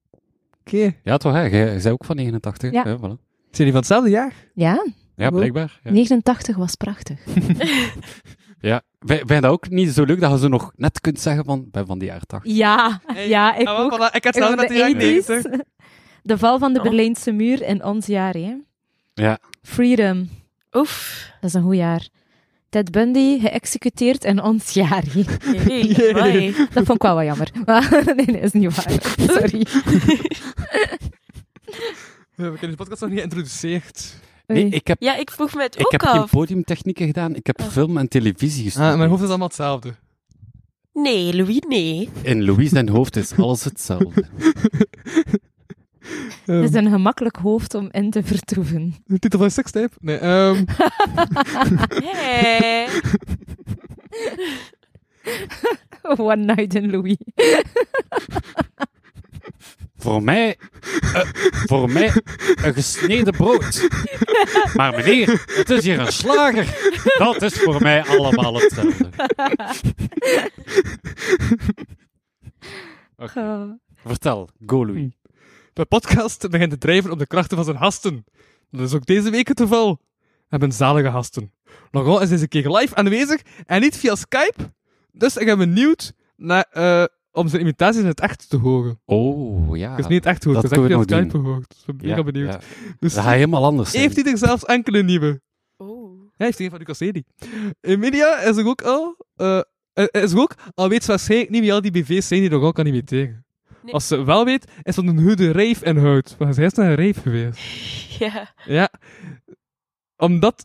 Speaker 5: Ja, toch hè? Jij jij bent ook van 89.
Speaker 3: Ja.
Speaker 5: hè, voilà.
Speaker 4: Zijn die van hetzelfde jaar?
Speaker 3: Ja,
Speaker 5: ja
Speaker 4: Wow.
Speaker 5: blijkbaar. Ja.
Speaker 3: 89 was prachtig.
Speaker 5: Ja, wij- vind je dat ook niet zo leuk dat je zo nog net kunt zeggen van, ik ben van die jaren 80.
Speaker 3: Ja, ja, ik ook.
Speaker 4: Ah, ik had
Speaker 3: Ik
Speaker 4: zelf
Speaker 3: was
Speaker 4: net
Speaker 3: de
Speaker 4: die jaren
Speaker 3: 80s.
Speaker 4: 90.
Speaker 3: De val van de
Speaker 6: Oh.
Speaker 3: Berlijnse muur in ons jaar, hè?
Speaker 5: Ja.
Speaker 3: Freedom,
Speaker 6: Oef.
Speaker 3: dat is een goed jaar. Ted Bundy geëxecuteerd in ons jaar. hè.
Speaker 6: Hey,
Speaker 4: Jee.
Speaker 6: amai.
Speaker 3: Dat vond ik wel wat jammer. Maar, nee, nee, is niet waar. Sorry.
Speaker 4: We hebben de podcast nog niet geïntroduceerd.
Speaker 5: Nee,
Speaker 3: Oei.
Speaker 5: ik heb,
Speaker 6: Ja, ik vroeg me het
Speaker 5: ik
Speaker 6: ook
Speaker 5: heb geen
Speaker 6: af.
Speaker 5: podiumtechnieken gedaan, ik heb
Speaker 6: Oh.
Speaker 5: film en televisie gestudeerd.
Speaker 4: Ah, mijn hoofd is allemaal hetzelfde.
Speaker 6: Nee, Louis, nee.
Speaker 5: In Louis zijn hoofd is alles hetzelfde.
Speaker 4: Ehm,
Speaker 3: Het is een gemakkelijk hoofd om in te vertoeven.
Speaker 4: de titel van de sextape? Nee, ehm,
Speaker 6: Hey.
Speaker 3: One night in Louis.
Speaker 5: voor mij, eh, voor mij een gesneden brood. Maar meneer, het is hier een slager. Dat is voor mij allemaal hetzelfde. Oké,
Speaker 3: Oh.
Speaker 5: Vertel, go Louis.
Speaker 4: de podcast begint te drijven op de krachten van zijn gasten. Dat is ook deze week het geval. We hebben zalige gasten. Nogal is deze keer live aanwezig en niet via Skype. Dus ik ben benieuwd naar, eh, om zijn imitaties in het echt te horen.
Speaker 5: Oh, ja.
Speaker 4: Ik is niet het echt gehoord,
Speaker 5: dat
Speaker 4: ik heb via
Speaker 5: kunnen we nog
Speaker 4: Skype gehoord. Dus ik ben mega benieuwd.
Speaker 5: ja.
Speaker 4: Dus
Speaker 5: Dat gaat helemaal anders zijn.
Speaker 4: heeft hij er zelfs enkele nieuwe?
Speaker 6: Oeh.
Speaker 3: Oh.
Speaker 4: Hij heeft een van Lucas Hedy. Emilia is er ook al. eh, eh, is er ook, al weet ze waarschijnlijk niet wie al die BV's zijn die er ook kan imiteren.
Speaker 6: Nee.
Speaker 4: Als ze wel weet, is dat een goede rave inhoudt. Want hij is naar een rave geweest.
Speaker 6: Ja.
Speaker 4: Ja. Omdat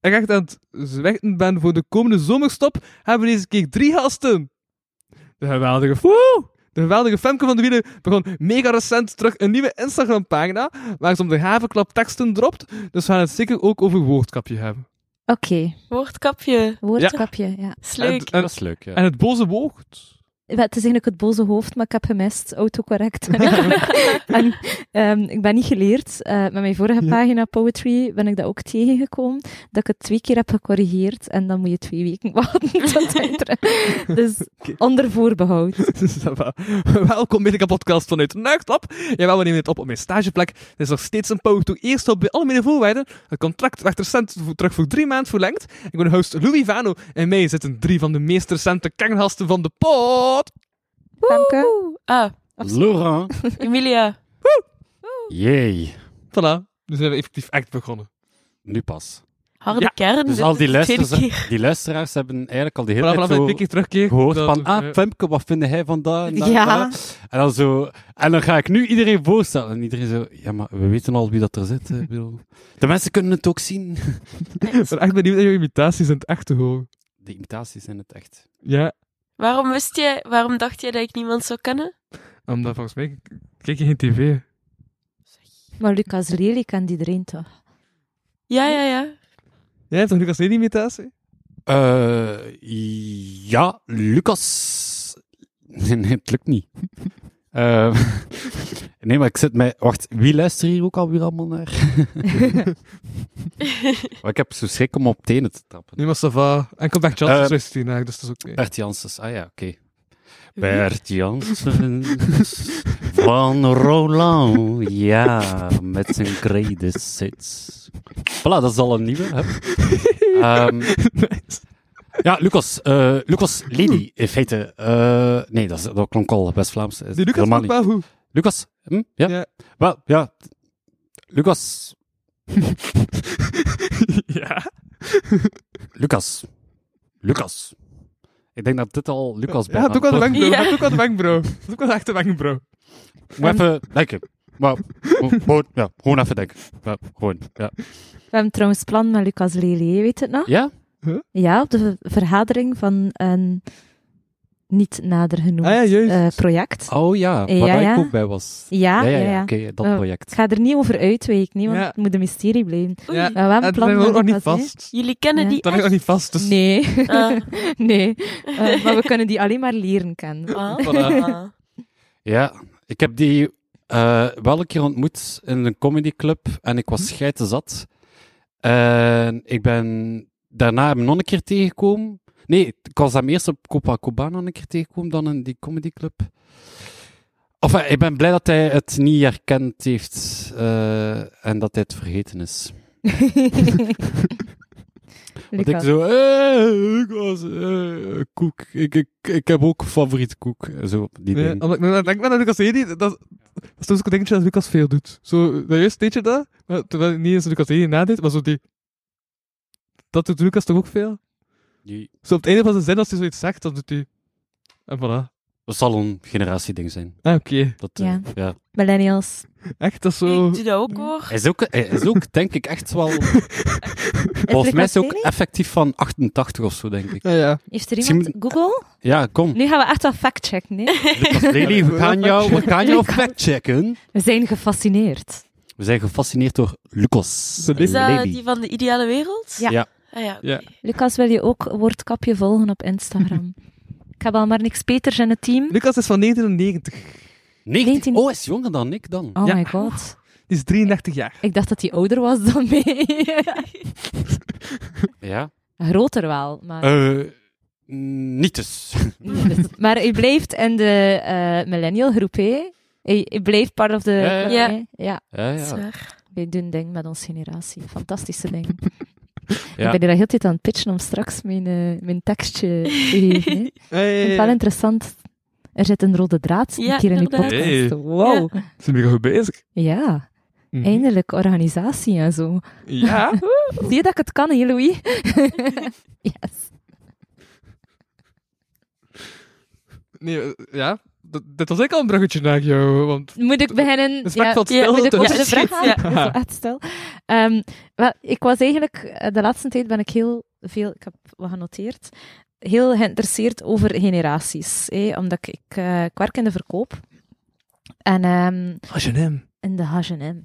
Speaker 4: ik echt aan het zwichten ben voor de komende zomerstop, hebben we deze keer drie gasten. De geweldige Foe! De geweldige Femke van de Wielen begon mega recent terug een nieuwe Instagram-pagina, waar ze om de havenklap teksten dropt, dus we gaan het zeker ook over woordkapje hebben.
Speaker 3: Oké,
Speaker 6: Woordkapje.
Speaker 3: woordkapje, ja.
Speaker 6: Is leuk.
Speaker 4: En,
Speaker 5: Dat is leuk, ja.
Speaker 4: en het boze woord.
Speaker 3: Wel, Het is eigenlijk het boze hoofd, maar ik heb gemist. Autocorrect. en, ehm, ik ben niet geleerd. Eh, met mijn vorige
Speaker 4: Ja.
Speaker 3: pagina Poetry ben ik dat ook tegengekomen. Dat ik het twee keer heb gecorrigeerd. En dan moet je twee weken wachten tot hij terug- Dus
Speaker 4: Oké.
Speaker 3: onder voorbehoud.
Speaker 4: Ça va. Welkom bij de podcast vanuit Nuiktop. Jawel, we nemen dit op op mijn stageplek. Het is nog steeds een power to eerst op bij alle mijn voorwaarden. Het contract werd recent voor- terug voor drie maanden verlengd. Ik ben host Louis Vano en mij zitten drie van de meest recente kerngasten van de pot.
Speaker 3: Femke?
Speaker 6: Woe. Ah,
Speaker 5: Laurent.
Speaker 6: Emilia.
Speaker 5: Jee.
Speaker 4: Voilà, dus zijn we effectief echt begonnen.
Speaker 5: Nu pas.
Speaker 6: Harde
Speaker 4: Ja.
Speaker 6: kern.
Speaker 5: Dus
Speaker 6: dit
Speaker 5: al
Speaker 6: is
Speaker 5: die
Speaker 6: de tweede keer.
Speaker 5: luisteraars, die luisteraars hebben eigenlijk al de hele
Speaker 4: Voilà, vanaf
Speaker 5: tijd
Speaker 4: dat ik
Speaker 5: zo
Speaker 4: een keer terugkeer.
Speaker 5: gehoord
Speaker 4: dat-
Speaker 5: van, ah,
Speaker 4: eh,
Speaker 5: Femke, wat vind jij van dat? En, dat en
Speaker 3: Ja.
Speaker 5: dat? en dan zo, en dan ga ik nu iedereen voorstellen. En iedereen zo, ja, maar we weten al wie dat er zit. hè. Ik bedoel, De mensen kunnen het ook zien.
Speaker 4: Ik ben echt benieuwd naar je imitaties in het echt te horen.
Speaker 5: De imitaties in het echt.
Speaker 4: Ja,
Speaker 6: Waarom wist jij, waarom dacht jij dat ik niemand zou kennen?
Speaker 4: omdat volgens mij kijk je geen tv.
Speaker 3: Maar Lucas Lely kent iedereen toch?
Speaker 6: Ja, ja, ja.
Speaker 4: Jij hebt toch Lucas Lely imitatie?
Speaker 5: Eh, ja, Lucas. Nee, nee, het lukt niet. Eh, nee, maar ik zit mij. Wacht, wie luistert hier ook alweer allemaal naar? Maar ik heb zo schrik om op tenen te trappen.
Speaker 4: Nee, maar ça va. En Comeback
Speaker 5: Eh,
Speaker 4: Chances luistert hiernaar, dus dat is oké.
Speaker 5: Bert Janssens, ah ja, oké. Bert Janssens van Roland, ja, met zijn grade sits. Voilà, dat is al een nieuwe. Hè? Ehm, Ja, Lucas, eh, Lucas Lely, in feite. eh, nee, dat, is, dat klonk al best Vlaams. Is
Speaker 4: Die Lucas
Speaker 5: helemaal
Speaker 4: doet
Speaker 5: niet.
Speaker 4: wel goed.
Speaker 5: Lucas, hm? ja?
Speaker 4: Ja.
Speaker 5: Wel, ja. Lucas,
Speaker 4: ja.
Speaker 5: Lucas, Lucas. Ik denk dat dit al Lucas
Speaker 4: Ja, doe ook wel de
Speaker 5: wel
Speaker 4: wenkbrauw.
Speaker 6: Ja.
Speaker 4: Ja. Doe ook wel de wenkbrauw. Doe ook wel echt de wenkbrauw.
Speaker 5: Moet even denken. Maar, gewoon- gewoon, ja, gewoon even denken. Ja, gewoon, ja.
Speaker 3: We hebben trouwens plan met Lucas Lely, weet het nog?
Speaker 5: Ja?
Speaker 3: Ja, op de ver- vergadering van een niet nader genoemd
Speaker 4: Ah ja, juist.
Speaker 3: eh, project.
Speaker 5: Oh ja,
Speaker 3: Ja,
Speaker 5: waar
Speaker 3: ja.
Speaker 5: ik ook bij was.
Speaker 4: Ah,
Speaker 3: Ja, ja, ja.
Speaker 5: Oké, dat
Speaker 3: Eh,
Speaker 5: project.
Speaker 3: Ik ga er niet over uitwijken, nee, want
Speaker 4: Ja.
Speaker 3: het moet een mysterie blijven.
Speaker 6: Oei.
Speaker 4: Ja.
Speaker 3: Maar we hebben
Speaker 4: En
Speaker 3: plan
Speaker 4: dat
Speaker 3: met
Speaker 4: ligt nog niet
Speaker 3: Lucas, hè?
Speaker 4: vast.
Speaker 6: Jullie kennen
Speaker 3: Ja.
Speaker 6: die
Speaker 4: Dat ligt nog
Speaker 6: echt?
Speaker 4: niet vast, dus...
Speaker 3: Nee,
Speaker 6: Ah,
Speaker 3: nee. Eh, maar we kunnen die alleen maar leren kennen.
Speaker 6: ah,
Speaker 4: Voilà.
Speaker 6: ah.
Speaker 5: Ja, ik heb die eh wel een keer ontmoet in een comedyclub en ik
Speaker 3: Mhm.
Speaker 5: was scheiten zat. En ik ben daarna hem nog een keer tegengekomen. Nee, ik was hem eerst op Copacabana een keer tegengekomen dan in die comedyclub. Of eh, ik ben blij dat hij het niet herkend heeft eh, en dat hij het vergeten is. Want ik
Speaker 3: Lucas.
Speaker 5: zo, eh, ik was, eh, koek. Ik, ik, ik heb ook favoriete koek. Zo, die
Speaker 4: Nee,
Speaker 5: ding.
Speaker 4: omdat ik nu naar- denk maar naar Lucas Hedy, dat, dat is dus ook een dingetje dat Lucas veel doet. Zo, dat juist deed je dat, maar terwijl het niet eens Lucas Hedy nadeed, maar zo die... Dat doet Lucas toch ook veel?
Speaker 5: Die,
Speaker 4: Zo op het einde van zijn zin, als hij zoiets zegt, dan doet hij... En voilà.
Speaker 5: dat zal een generatieding zijn.
Speaker 4: Ah, oké.
Speaker 5: Dat, eh,
Speaker 3: Ja.
Speaker 5: ja.
Speaker 3: Millennials.
Speaker 4: Echt, dat is zo...
Speaker 6: Ik doe dat ook hoor.
Speaker 5: Hij, is ook, hij is ook, denk ik, echt wel... Volgens mij is hij ook effectief van 88 of zo, denk ik.
Speaker 4: Ja, ja.
Speaker 3: Heeft er iemand
Speaker 5: Misschien-
Speaker 3: Google?
Speaker 5: Ja, kom.
Speaker 3: Nu gaan we echt wel factchecken. hè.
Speaker 5: Lucas Lely, we gaan jou, we gaan jou factchecken.
Speaker 3: We zijn gefascineerd.
Speaker 5: We zijn gefascineerd door Lucas
Speaker 4: Zo dit-
Speaker 6: Is dat
Speaker 5: Lely.
Speaker 6: die van de ideale wereld?
Speaker 3: Ja.
Speaker 5: Ja.
Speaker 6: Ah, ja, oké.
Speaker 4: Ja.
Speaker 3: Lucas, wil je ook woordkapje volgen op Instagram? ik heb al maar niks beters in het team.
Speaker 4: Lucas is van 1990.
Speaker 5: 19.
Speaker 3: 19.
Speaker 5: Oh, hij is jonger dan ik dan.
Speaker 3: Oh
Speaker 4: Ja.
Speaker 3: my god.
Speaker 4: Die is 33 jaar.
Speaker 3: Ik dacht dat hij ouder was dan mij.
Speaker 5: Ja.
Speaker 3: Groter wel, maar...
Speaker 5: Eh, niet dus.
Speaker 3: maar hij blijft in de eh, millennial groep, hè? Hij, hij blijft part of the...
Speaker 5: Ja, ja,
Speaker 6: ja.
Speaker 3: hè? ja.
Speaker 5: Ja,
Speaker 6: Dat is
Speaker 5: ja.
Speaker 6: waar.
Speaker 3: Wij doen ding met onze generatie. Fantastische ding.
Speaker 5: Ja.
Speaker 3: Ik ben hier al heel de tijd aan het pitchen om straks mijn, eh, mijn tekstje te geven. hè. Ik vind het wel interessant. Er zit een rode draad
Speaker 6: Ja,
Speaker 3: een keer in uw
Speaker 6: inderdaad.
Speaker 3: podcast.
Speaker 4: Hey.
Speaker 3: Wow. Ja.
Speaker 4: Zijn we goed bezig?
Speaker 5: Mhm.
Speaker 3: eindelijk organisatie en zo.
Speaker 4: Ja.
Speaker 3: Zie je dat ik het kan, hè, Louis? yes.
Speaker 4: Nee, eh, ja. dat- dit was ik al een bruggetje naar jou, want
Speaker 3: Moet ik beginnen?
Speaker 4: het sprak
Speaker 3: Ja.
Speaker 4: valt
Speaker 6: ja,
Speaker 4: stil.
Speaker 3: Moet ik
Speaker 4: dus-
Speaker 3: over
Speaker 6: Ja,
Speaker 3: de vraag
Speaker 6: precies,
Speaker 3: gaan? Dat
Speaker 6: ja.
Speaker 3: is wel echt stil. Ehm, wel, ik was eigenlijk, eh, de laatste tijd ben ik heel veel, ik heb wat genoteerd, heel geïnteresseerd over generaties. hè, omdat ik, ik, eh, ik werk in de verkoop. En ehm,
Speaker 4: H&M.
Speaker 3: in de H&M.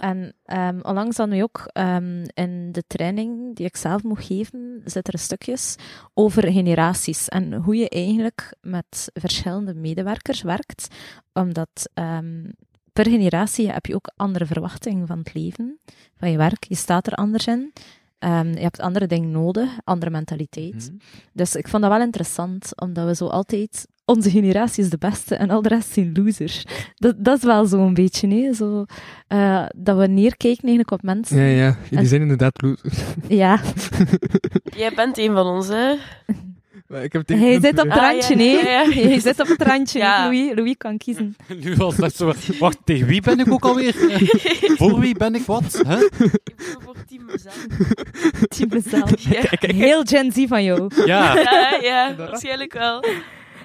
Speaker 3: En ehm, onlangs hadden we ook ehm, in de training die ik zelf mocht geven, zitten er stukjes over generaties en hoe je eigenlijk met verschillende medewerkers werkt. Omdat ehm, per generatie heb je ook andere verwachtingen van het leven, van je werk. Je staat er anders in. Ehm, je hebt andere dingen nodig, andere mentaliteit.
Speaker 5: Mhm.
Speaker 3: Dus ik vond dat wel interessant, omdat we zo altijd... Onze generatie is de beste en al de rest zijn losers. Dat, dat is wel zo'n beetje, nee? Zo, eh, dat we neerkijken eigenlijk op mensen.
Speaker 4: Ja, ja, die
Speaker 3: En-
Speaker 4: zijn inderdaad loose.
Speaker 3: Ja,
Speaker 6: Jij bent een van ons, hè?
Speaker 4: Maar ik heb tegen
Speaker 3: hij
Speaker 4: hun-
Speaker 3: zit op het
Speaker 6: Ah, ja,
Speaker 3: randje,
Speaker 6: ja,
Speaker 3: nee?
Speaker 6: ja, ja.
Speaker 3: Hij zit op het randje,
Speaker 6: Ja.
Speaker 3: Louis. Louis kan kiezen.
Speaker 5: Nu was dat zo. Wacht, tegen wie ben ik ook alweer? Voor wie ben ik wat? Hè?
Speaker 6: Ik voel voor team mezelf.
Speaker 3: Team mezelf.
Speaker 6: Ja,
Speaker 3: Heel Gen Z van jou.
Speaker 5: Ja.
Speaker 6: ja, ja, waarschijnlijk wel.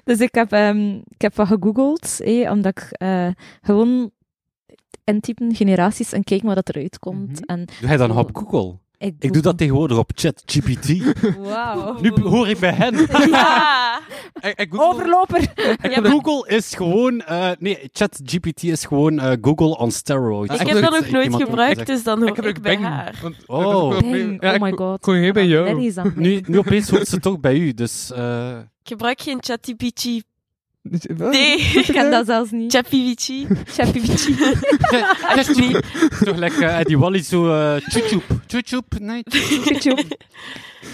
Speaker 3: Dus ik heb, ehm, ik heb wat gegoogeld, eh, omdat ik eh, gewoon intypen generaties en kijken wat dat eruit komt.
Speaker 4: Mhm.
Speaker 3: en
Speaker 5: Doe jij dan nog op Google? Ik doe dat tegenwoordig op ChatGPT.
Speaker 3: Wauw.
Speaker 5: Nu hoor ik bij hen.
Speaker 6: Ja.
Speaker 5: Ik, ik Google,
Speaker 3: Overloper.
Speaker 5: ik- Google is gewoon. eh nee, ChatGPT is gewoon eh, Google on steroids.
Speaker 4: Ah,
Speaker 6: Ik
Speaker 4: ik
Speaker 6: heb
Speaker 4: heb
Speaker 6: dat ook nooit
Speaker 5: iemand
Speaker 6: gebruikt,
Speaker 5: gezegd.
Speaker 6: dus dan hoor
Speaker 4: Ik
Speaker 6: ik,
Speaker 4: heb ook
Speaker 6: bij
Speaker 4: Bing.
Speaker 6: haar.
Speaker 4: want-
Speaker 5: Oh.
Speaker 4: ik heb ook Bing.
Speaker 3: Bang,
Speaker 4: Ja,
Speaker 3: oh
Speaker 4: ik
Speaker 3: my god.
Speaker 4: kon geen bij
Speaker 3: Ik ben
Speaker 4: jou.
Speaker 3: allergisch aan
Speaker 5: Nu, nu opeens hoort ze het ook bij u, dus. eh,
Speaker 6: Ik gebruik geen ChatGPT.
Speaker 4: Wat?
Speaker 6: Nee,
Speaker 3: Ik ken dat zelfs niet.
Speaker 6: ChatGPT.
Speaker 3: ChatGPT.
Speaker 5: ChatGPT. Toch lekker Eddie Wally zo. eh YouTube. YouTube? Nee.
Speaker 3: YouTube.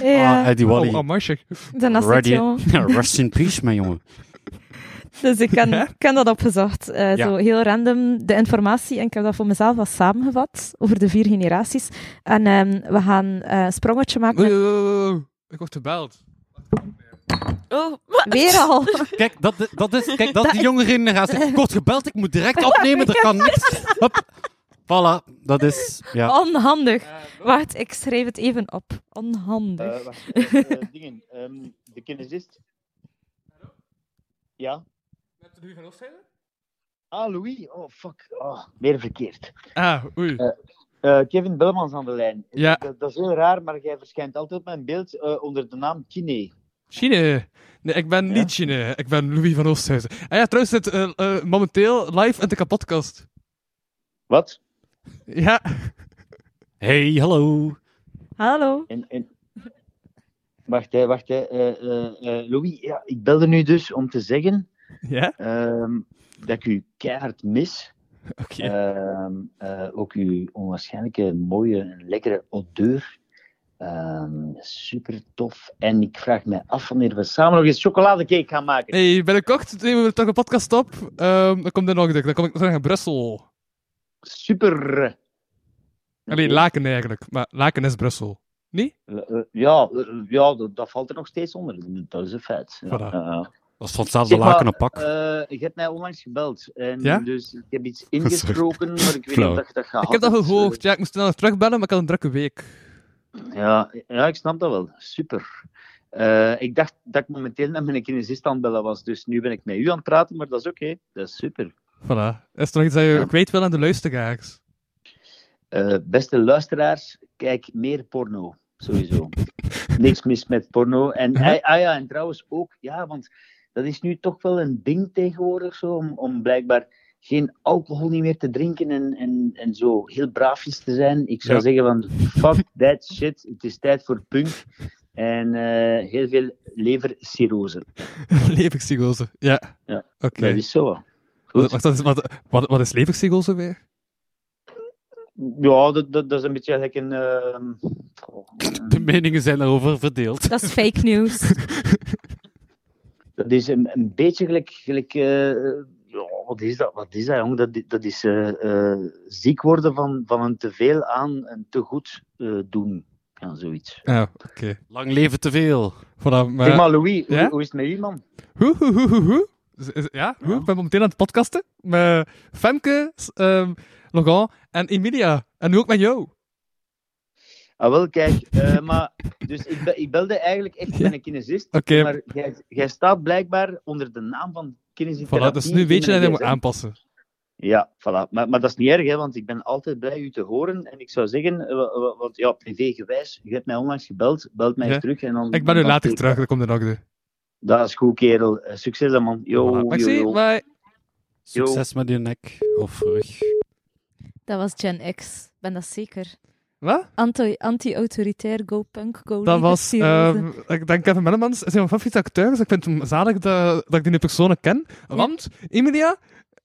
Speaker 5: Ah,
Speaker 3: Ja,
Speaker 5: Eddie
Speaker 4: Oh,
Speaker 5: Wally.
Speaker 4: oh, Marcia.
Speaker 3: dan is het
Speaker 5: Ready.
Speaker 3: jongen.
Speaker 5: Ja, Rest in peace, mijn jongen.
Speaker 3: Dus ik kan, ik kan dat opgezocht. Eh,
Speaker 5: Ja.
Speaker 3: Zo heel random de informatie. En ik heb dat voor mezelf wat samengevat over de vier generaties. En ehm, we gaan eh, een sprongetje maken.
Speaker 4: Oei,
Speaker 3: Met...
Speaker 4: oei, oei, oei. Ik word gebeld.
Speaker 6: Oh,
Speaker 3: Weer al.
Speaker 5: Kijk, dat, dat is, kijk, dat is
Speaker 3: Dat
Speaker 5: die
Speaker 3: is-
Speaker 5: jongere generatie. Ik word gebeld, ik moet direct opnemen, er kan niks. Hop. Voilà, dat is...
Speaker 3: Oh.
Speaker 5: Ja.
Speaker 3: Onhandig. Wacht, ik schrijf het even op. Onhandig.
Speaker 2: Eh, wacht, eh, eh, dingen. ehm, de kinesist. Ja? Ah, Louis. Oh, fuck. Oh, meer verkeerd.
Speaker 4: Ah, oei.
Speaker 2: Eh, Kevin Belmans aan de lijn.
Speaker 4: Ja.
Speaker 2: Dat, dat is heel raar, maar jij verschijnt altijd op mijn beeld eh, onder de naam Kine.
Speaker 4: Chine. Nee, ik ben
Speaker 2: Ja?
Speaker 4: niet Chine. Ik ben Louis van Oosthuizen. Ah ja, trouwens zit eh, eh, momenteel live in de kapotkast.
Speaker 2: Wat?
Speaker 4: Ja.
Speaker 5: Hey, hallo.
Speaker 3: Hallo.
Speaker 2: En, en... Wacht, hè, wacht. Hè. Eh, eh, eh, Louis, ja, ik belde nu dus om te zeggen
Speaker 4: Ja?
Speaker 2: ehm, dat ik u keihard mis.
Speaker 4: Oké.
Speaker 2: Ehm, eh, ook uw onwaarschijnlijke, mooie en lekkere odeur. Ehm, super tof. En ik vraag me af wanneer we samen nog eens chocoladecake gaan maken.
Speaker 4: Hey, binnenkort nemen we toch een podcast op. Ehm, dan komt er nog dik. Dan kom ik terug naar Brussel.
Speaker 2: Super. Eh,
Speaker 4: Alleen
Speaker 2: Oké.
Speaker 4: Laken eigenlijk. Maar Laken is Brussel. Nee?
Speaker 2: Eh, eh, ja, eh, eh, ja dat, dat valt er nog steeds onder. Dat is een feit. Ja,
Speaker 4: Voilà.
Speaker 2: ja, ja.
Speaker 5: Dat is van hetzelfde
Speaker 2: Zeg maar,
Speaker 5: laken op pak.
Speaker 2: Eh, je hebt mij onlangs gebeld. En
Speaker 4: Ja?
Speaker 2: Dus ik heb iets ingesproken, maar ik weet
Speaker 5: Flauw.
Speaker 2: niet of je dat gaat.
Speaker 4: ik heb dat gehoord.
Speaker 2: eh,
Speaker 4: Ja, ik moest snel terugbellen, maar ik had een drukke week.
Speaker 2: Ja, ja, ik snap dat wel. Super. Eh, ik dacht dat ik momenteel naar mijn kinesist aan het bellen was, dus nu ben ik met u aan het praten, maar dat is oké. Dat is super.
Speaker 4: Voilà. Is er nog iets dat je
Speaker 2: Ja.
Speaker 4: kwijt wil aan de luisteraars?
Speaker 2: Eh, beste luisteraars, kijk meer porno. Sowieso. Niks mis met porno. En, ah, ah ja, en trouwens ook, ja, want dat is nu toch wel een ding tegenwoordig zo, om, om blijkbaar geen alcohol niet meer te drinken en, en, en zo heel braafjes te zijn. Ik zou
Speaker 4: Ja.
Speaker 2: zeggen van, fuck that shit, het is tijd voor punk. En eh, heel veel levercirrose.
Speaker 4: Levercirrose. Ja.
Speaker 2: Ja.
Speaker 4: Oké.
Speaker 2: Dat is zo. wel.
Speaker 4: Wat,
Speaker 2: Goed.
Speaker 4: wacht, dat is- wat, wat, wat is levercirrose weer?
Speaker 2: Ja, dat, dat, dat is een beetje eigenlijk een... ehm, oh,
Speaker 5: De meningen zijn daarover verdeeld.
Speaker 3: Dat is fake news.
Speaker 2: Dat is een, een beetje gelijk. gelijk eh, ja, wat is dat, wat is dat jong? Dat, i- dat is eh, eh, ziek worden van, van een teveel aan en te goed eh, doen. Ja, zoiets.
Speaker 4: Ah, oké.
Speaker 5: Lang leven te veel.
Speaker 4: Voilà,
Speaker 2: zeg
Speaker 4: maar...
Speaker 2: maar, Louis,
Speaker 4: Eh, ja?
Speaker 2: hoe, hoe is het met u, man?
Speaker 4: Hoe, hoe, hoe, hoe, hoe? Is- is- Ja, hoe?
Speaker 2: Ja.
Speaker 4: ik ben momenteel aan het podcasten. Met Femke, s- ehm Logan en Emilia. En nu ook met jou.
Speaker 2: Ah, wel, kijk. eh, maar, dus ik, be- ik belde eigenlijk echt
Speaker 4: Ja.
Speaker 2: met een kinesist.
Speaker 4: Oké.
Speaker 2: Maar jij, jij staat blijkbaar onder de naam van kinesietherapie.
Speaker 4: Voilà, dus nu weet je dat je dat
Speaker 2: in mijn
Speaker 4: moet
Speaker 2: gsm.
Speaker 4: aanpassen.
Speaker 2: Ja, voilà. Maar, maar dat is niet erg, hè, want ik ben altijd blij u te horen. En ik zou zeggen, eh, wa- wa- want ja, privégewijs, je hebt mij onlangs gebeld, belt mij
Speaker 4: Ja.
Speaker 2: eens terug. En dan,
Speaker 4: Ik ben nu
Speaker 2: dan-
Speaker 4: later terug, dat komt er nog de.
Speaker 2: Dat is goed, kerel. Eh, Succes dan, man. Yo,
Speaker 4: Voilà.
Speaker 2: yo,
Speaker 4: Merci,
Speaker 2: yo.
Speaker 4: bye.
Speaker 2: Yo.
Speaker 5: Succes met je nek of rug.
Speaker 3: Dat was Gen X, ben dat zeker.
Speaker 4: Wat?
Speaker 3: Anti- Anti-autoritair, go punk, go
Speaker 4: Dat
Speaker 3: leader,
Speaker 4: was,
Speaker 3: serieuze.
Speaker 4: ehm, ik denk Kevin Mellemans, is een van mijn favoriete acteurs. Ik vind het zalig dat, dat ik die nu personen ken. Want, Emilia,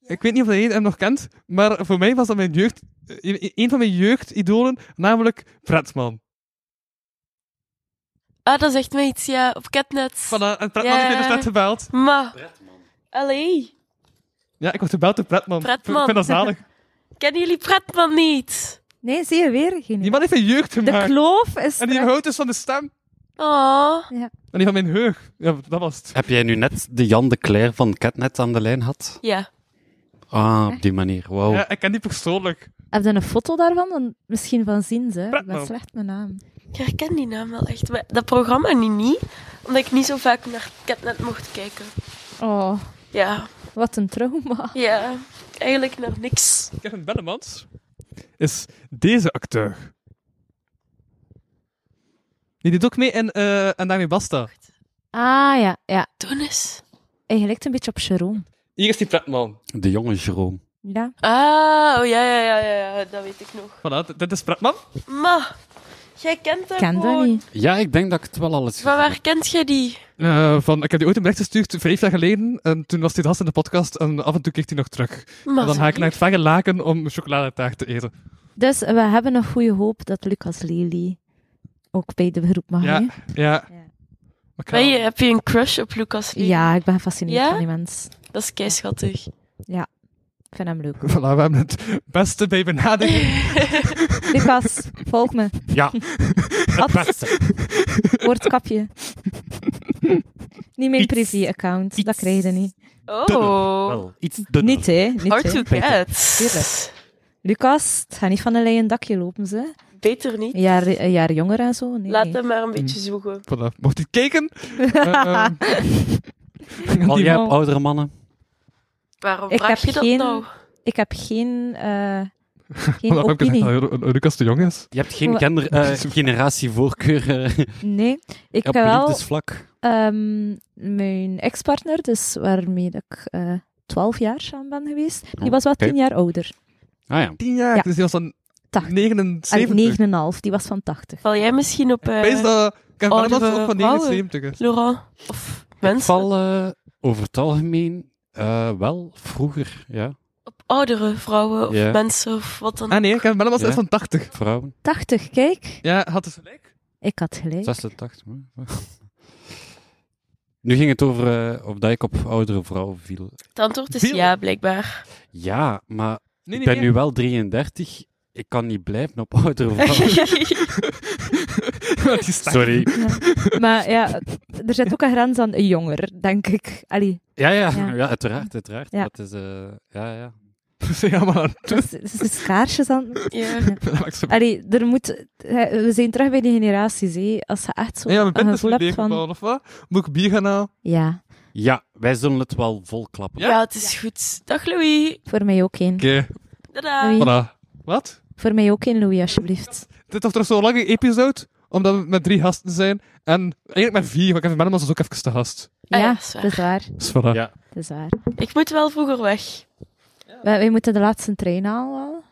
Speaker 4: ik weet niet of jij hem nog kent, maar voor mij was dat mijn jeugd, eh, een van mijn jeugdidolen, namelijk Pretman.
Speaker 6: Ah, dat zegt me iets, ja. Op Catnet.
Speaker 4: Voilà, en Pretman
Speaker 6: Ja.
Speaker 4: heeft mij dus net gebeld.
Speaker 6: Maar, allee.
Speaker 4: Ja, ik word gebeld door Pretman.
Speaker 6: Pretman.
Speaker 4: Ik vind dat zalig.
Speaker 6: Kennen jullie Pretman niet?
Speaker 3: Nee, zie je weer geen.
Speaker 4: Die man heeft een jeugd
Speaker 3: De
Speaker 4: gemaakt.
Speaker 3: kloof is.
Speaker 4: En die
Speaker 3: terug.
Speaker 4: houdt dus van de stem.
Speaker 6: Oh.
Speaker 4: En die van mijn heug. Ja, dat was het.
Speaker 5: Heb jij nu net de Jan de Cler van Catnet aan de lijn gehad?
Speaker 6: Ja.
Speaker 5: Ah, op die manier. Wauw.
Speaker 4: Ja, ik ken die persoonlijk.
Speaker 3: Heb je een foto daarvan? Dan misschien van zien ze. Ik
Speaker 4: Pretman.
Speaker 3: ben slecht mijn naam.
Speaker 6: Ik herken die naam wel echt. Maar Dat programma nu niet, omdat ik niet zo vaak naar Catnet mocht kijken.
Speaker 3: Oh,
Speaker 6: Ja.
Speaker 3: wat een trauma.
Speaker 6: Ja. Eigenlijk naar niks.
Speaker 4: Kevin Bellemans is deze acteur. Die doet ook mee in eh En daarmee basta.
Speaker 3: Ah ja, ja.
Speaker 6: Toen eens.
Speaker 3: Hij lijkt een beetje op Sharon.
Speaker 4: Hier is die Pretman.
Speaker 5: De jonge Jerome.
Speaker 3: Ja.
Speaker 6: Ah, oh ja, ja, ja, ja, ja, dat weet ik nog.
Speaker 4: Voilà, d- dit is Pretman.
Speaker 6: Maar, jij kent dat
Speaker 3: Ik ken dat
Speaker 6: gewoon.
Speaker 3: niet.
Speaker 5: Ja, ik denk dat ik het wel alles.
Speaker 6: Van waar kent jij die?
Speaker 4: Eh, van, ik heb die ooit een bericht gestuurd, vijf jaar geleden. En toen was hij de gast in de podcast en af en toe keek hij nog terug.
Speaker 6: Maar,
Speaker 4: en dan ga ik naar het verre laken om chocoladetaart te eten.
Speaker 3: Dus we hebben nog goede hoop dat Lucas Lely ook bij de groep mag.
Speaker 4: Ja,
Speaker 3: hè?
Speaker 4: ja.
Speaker 3: Ja.
Speaker 4: Maar ik ga-
Speaker 6: Ben je, heb je een crush op Lucas Lee?
Speaker 3: ja ik ben gefascineerd
Speaker 6: Ja?
Speaker 3: van die mens.
Speaker 6: Dat is keischattig.
Speaker 3: Ik vind hem leuk.
Speaker 4: Voilà, we hebben het beste bij benadering.
Speaker 3: Lucas, volg me.
Speaker 5: Ja.
Speaker 3: Ad,
Speaker 5: Beste.
Speaker 3: word kapje. Niet mijn
Speaker 5: Iets.
Speaker 3: privé-account, dat
Speaker 5: Iets.
Speaker 3: krijg je niet.
Speaker 6: Oh,
Speaker 5: Wel, iets dunner.
Speaker 3: Niet hè, niet
Speaker 6: hard
Speaker 3: hè.
Speaker 6: to get.
Speaker 3: Tuurlijk. Lucas, het gaat niet van een leien dakje lopen, ze.
Speaker 6: Beter niet.
Speaker 3: Een jaar, een jaar eh, jonger en zo. Nee.
Speaker 6: Laat hem maar
Speaker 4: Hmm.
Speaker 6: een beetje zoeken.
Speaker 4: Voilà, mocht je kijken. Eh, ehm,
Speaker 5: Al
Speaker 4: die
Speaker 5: jij
Speaker 4: man-
Speaker 5: op oudere mannen?
Speaker 6: Waarom
Speaker 3: Ik
Speaker 6: vraag
Speaker 3: heb
Speaker 6: je dat
Speaker 3: geen-
Speaker 6: nou?
Speaker 3: Ik heb geen, eh geen
Speaker 4: Waarom heb ik
Speaker 3: opinie.
Speaker 4: gezegd dat Lucas de Jong is?
Speaker 5: Je hebt geen
Speaker 3: Wa-
Speaker 5: gender, eh, generatievoorkeur eh,
Speaker 3: Nee, ik
Speaker 5: op
Speaker 3: heb wel
Speaker 5: liefdesvlak.
Speaker 3: ehm, mijn ex-partner, dus waarmee dat ik eh 12 jaar samen ben geweest, die
Speaker 5: Oh,
Speaker 3: was wel
Speaker 5: oké.
Speaker 3: 10 jaar ouder.
Speaker 5: Ah ja.
Speaker 4: Tien jaar,
Speaker 3: Ja.
Speaker 4: dus die was dan
Speaker 3: Tachtig.
Speaker 4: 79.
Speaker 3: Allee, 9,5, die was van 80.
Speaker 6: Val jij misschien op eh,
Speaker 4: Ik weet dat Kevin
Speaker 3: oh,
Speaker 6: oudere
Speaker 3: dus,
Speaker 4: Bellemans
Speaker 3: eh,
Speaker 4: ook van
Speaker 6: vrouwen.
Speaker 4: 79 is.
Speaker 6: Laurent? Of
Speaker 5: Ik
Speaker 6: mensen?
Speaker 5: val eh, over het algemeen eh, wel vroeger, ja.
Speaker 6: Op oudere vrouwen of
Speaker 5: Ja.
Speaker 6: mensen of wat dan
Speaker 4: Ah nee, Kevin Bellemans
Speaker 5: Ja.
Speaker 4: is van 80.
Speaker 5: Vrouwen,
Speaker 3: 80, kijk.
Speaker 4: Ja, had het gelijk.
Speaker 3: Ik had gelijk.
Speaker 5: 86. hè. Nu ging het over eh, of dat ik op oudere vrouwen viel.
Speaker 6: Het antwoord is
Speaker 4: Veel.
Speaker 6: ja, blijkbaar.
Speaker 5: Ja, maar
Speaker 4: Nee,
Speaker 5: ik
Speaker 4: nee,
Speaker 5: ben
Speaker 4: nee.
Speaker 5: nu wel 33. Ik kan niet blijven op oudere vrouwen.
Speaker 4: Want die staat-
Speaker 5: Sorry.
Speaker 3: Maar ja, er zit ook een grens aan jonger, denk ik. Allee,
Speaker 5: Ja, ja, ja.
Speaker 3: Ja.
Speaker 5: uiteraard, uiteraard.
Speaker 3: Ja.
Speaker 5: Dat is, eh, ja, ja.
Speaker 4: Ze zijn allemaal aan het doen.
Speaker 3: dus, dus, dus kaarsjes aan...
Speaker 6: Ja.
Speaker 4: Dat maakt ze-
Speaker 3: Allee, er moet... We zijn terug bij die generaties, hè. Als je echt zo
Speaker 4: Ja, mijn
Speaker 3: een
Speaker 4: band is
Speaker 3: gevoel
Speaker 4: niet
Speaker 3: hebt van...
Speaker 4: leeggebouwd, of wat? Moet ik bier gaan halen?
Speaker 3: Ja,
Speaker 5: Ja, wij zullen het wel volklappen.
Speaker 4: Ja.
Speaker 6: Ja, het is goed. Dag Louis.
Speaker 3: voor mij ook één.
Speaker 4: Oké,
Speaker 6: Tada.
Speaker 3: Louis.
Speaker 4: voilà. Wat?
Speaker 3: Voor mij ook één, Louis, alsjeblieft.
Speaker 4: Dit was toch zo'n lange episode? Omdat we met drie gasten zijn. En eigenlijk met vier, want Kevin Bellemans was dus ook even de gast.
Speaker 6: Ah ja,
Speaker 3: Ja,
Speaker 6: dat is
Speaker 3: dat is waar.
Speaker 4: Dus voilà.
Speaker 5: Ja.
Speaker 3: Dat is waar.
Speaker 6: Ik moet wel vroeger weg.
Speaker 3: Wij, wij moeten de laatste trein halen al.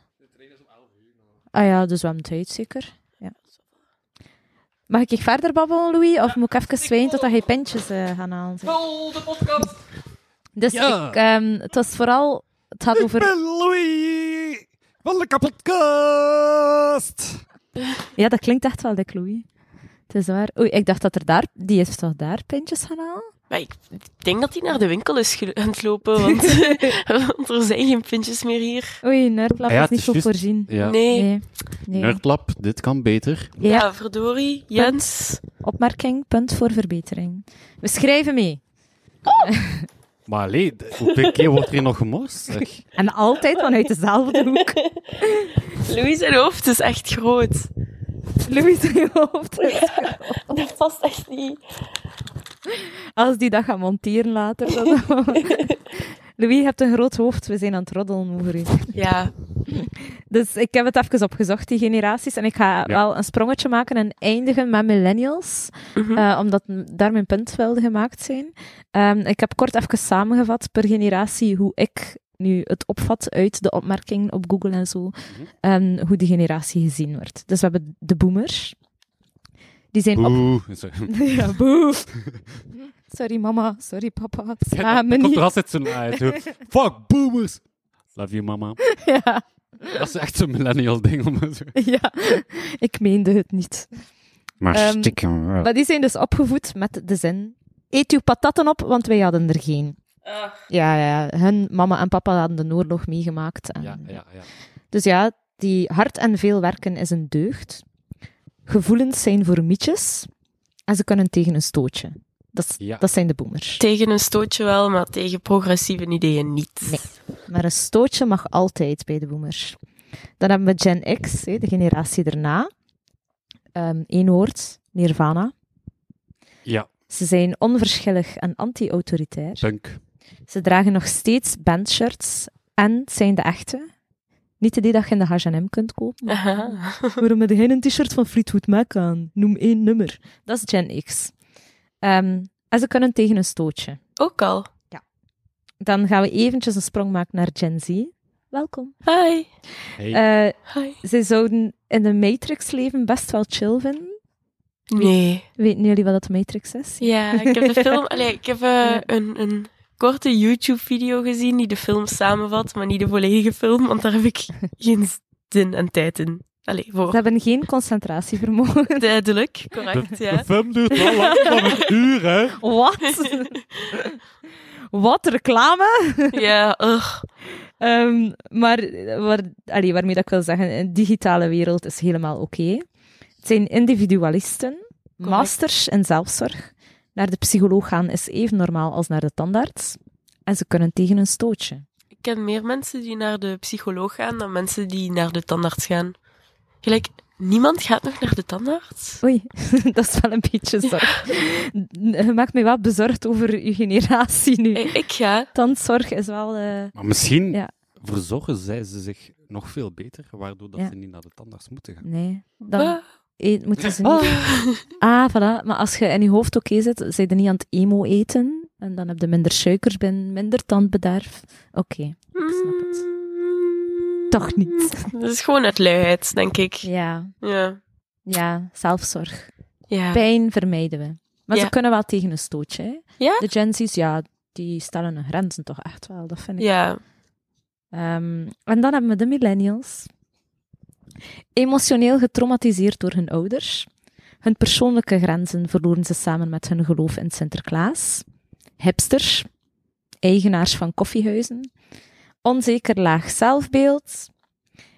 Speaker 3: Ah ja, dus we hebben tijd zeker. Ja. Mag ik verder babbelen, Louis? Of moet ik even zwijgen totdat je pintjes eh gaan halen? Vol de podcast! Dus
Speaker 5: Ja.
Speaker 3: ik, ehm, het was vooral... Het gaat over...
Speaker 5: Louis van de podcast.
Speaker 3: Ja, dat klinkt echt wel dik, Louis. Het is waar. Oei, ik dacht dat er daar... Die is toch daar pintjes gaan halen?
Speaker 6: Maar ik denk dat hij naar de winkel is ge- aan het lopen, want, want er zijn geen pintjes meer hier.
Speaker 3: Oei, Nerdlab
Speaker 5: Ah ja,
Speaker 3: is
Speaker 5: het
Speaker 3: niet
Speaker 5: is
Speaker 3: goed
Speaker 5: juist-
Speaker 3: voorzien.
Speaker 5: Ja.
Speaker 6: Nee.
Speaker 3: Nee. nee.
Speaker 5: Nerdlab, dit kan beter.
Speaker 6: Ja.
Speaker 3: Ja,
Speaker 6: verdorie. Jens.
Speaker 3: opmerking, punt voor verbetering. We schrijven mee.
Speaker 5: Maar allee, d- hoeveel keer wordt hier nog gemorst? zeg?
Speaker 3: En altijd vanuit dezelfde hoek.
Speaker 6: Louis zijn hoofd is echt groot.
Speaker 3: Louis in je hoofd.
Speaker 6: Dat past echt niet.
Speaker 3: Als die dat gaat monteren later. Dan Louis, je hebt een groot hoofd. We zijn aan het roddelen over u.
Speaker 6: Ja,
Speaker 3: Dus ik heb het even opgezocht, die generaties. En ik ga wel een sprongetje maken en eindigen met millennials.
Speaker 6: Mhm.
Speaker 3: eh, omdat m- daar mijn punt wilde gemaakt zijn. Ehm, ik heb kort even samengevat per generatie hoe ik nu het opvat uit de opmerking op Google en zo. En hoe die generatie gezien wordt. Dus we hebben de boomers. Die zijn op...
Speaker 5: Oeh. Zo.
Speaker 3: Ja, boe. Sorry mama, sorry papa. Sla me
Speaker 5: Er komt er
Speaker 3: niet.
Speaker 5: altijd zo'n uit. zo, Fuck, boomers. Love you, mama.
Speaker 3: Ja.
Speaker 5: Dat is echt zo'n millennial ding. Om zo.
Speaker 3: ja, ik meende het niet.
Speaker 5: Maar
Speaker 3: Ehm,
Speaker 5: stiekem wel.
Speaker 3: Maar die zijn dus opgevoed met de zin: eet uw patatten op, want wij hadden er geen. Ja, ja, ja. hun mama en papa hadden de oorlog meegemaakt. En...
Speaker 5: Ja, ja, ja.
Speaker 3: Dus ja, die hard en veel werken is een deugd. Gevoelens zijn voor mietjes en ze kunnen tegen een stootje. Dat, is-
Speaker 5: Ja.
Speaker 3: dat zijn de boomers.
Speaker 6: tegen een stootje wel, maar tegen progressieve ideeën niet.
Speaker 3: Nee. Maar een stootje mag altijd bij de boomers. Dan hebben we Gen X, hè, de generatie daarna. Eén woord, Nirvana.
Speaker 5: Ja,
Speaker 3: Ze zijn onverschillig en anti-autoritair.
Speaker 5: punk.
Speaker 3: Ze dragen nog steeds bandshirts en zijn de echte. Niet die dat je in de H&M kunt kopen.
Speaker 6: Aha.
Speaker 3: Waarom heb jij een t-shirt van Fleetwood Mac aan? Noem één nummer. Dat is Gen X. Ehm, en ze kunnen tegen een stootje.
Speaker 6: Ook al.
Speaker 3: Dan gaan we eventjes een sprong maken naar Gen Z. Welkom.
Speaker 6: Hi.
Speaker 5: Hey.
Speaker 3: Eh,
Speaker 6: Hi.
Speaker 3: ze zouden in de Matrix leven best wel chill vinden.
Speaker 6: Nee.
Speaker 3: Weten jullie wat dat de Matrix is?
Speaker 6: Ja, ik heb de film. Allee, ik heb eh,
Speaker 3: Ja.
Speaker 6: een, een korte YouTube-video gezien die de film samenvat, maar niet de volledige film, want daar heb ik geen zin en tijd in. Allee,
Speaker 3: Ze
Speaker 6: voor.
Speaker 3: hebben geen concentratievermogen.
Speaker 6: Duidelijk, correct, ja.
Speaker 5: film duurt wel lang van een uur, hè.
Speaker 3: Wat? Wat reclame?
Speaker 6: Ja, ugh.
Speaker 3: Ehm, maar waar, allee, waarmee dat ik wil zeggen, een digitale wereld is helemaal oké. Het zijn individualisten, masters in zelfzorg. Naar de psycholoog gaan is even normaal als naar de tandarts. En ze kunnen tegen een stootje.
Speaker 6: Ik ken meer mensen die naar de psycholoog gaan dan mensen die naar de tandarts gaan. Gelijk, niemand gaat nog naar de tandarts.
Speaker 3: Oei, dat is wel een beetje zorg. Je maakt mij wel bezorgd over je generatie nu.
Speaker 6: Eh, Ik, ik ga.
Speaker 3: Tandzorg is wel... eh,
Speaker 5: Maar misschien
Speaker 3: Ja.
Speaker 5: verzorgen zij ze zich nog veel beter, waardoor dat
Speaker 3: Ja.
Speaker 5: ze niet naar de tandarts moeten gaan.
Speaker 3: nee, dan Oh,
Speaker 6: Dan.
Speaker 3: eet, moeten ze niet...
Speaker 6: Oh.
Speaker 3: Ah, voilà. Maar als je in je hoofd oké zit, zijn je niet aan het emo eten. En dan heb je minder suikers binnen, minder tandbederf. Oké, snap het. toch niet.
Speaker 6: Mm. Dat is gewoon uit luiheid, denk ik.
Speaker 3: Ja,
Speaker 6: Ja.
Speaker 3: ja, zelfzorg.
Speaker 6: Ja.
Speaker 3: Pijn vermijden we. Maar ze
Speaker 6: Ja.
Speaker 3: kunnen wel tegen een stootje. hè.
Speaker 6: Ja?
Speaker 3: De Gen Z's, ja, die stellen hun grenzen toch echt wel. Dat vind ik.
Speaker 6: Ja.
Speaker 3: Ehm, en dan hebben we de millennials. Emotioneel getraumatiseerd door hun ouders. Hun persoonlijke grenzen verloren ze samen met hun geloof in Sinterklaas. Hipsters, eigenaars van koffiehuizen. Onzeker laag zelfbeeld.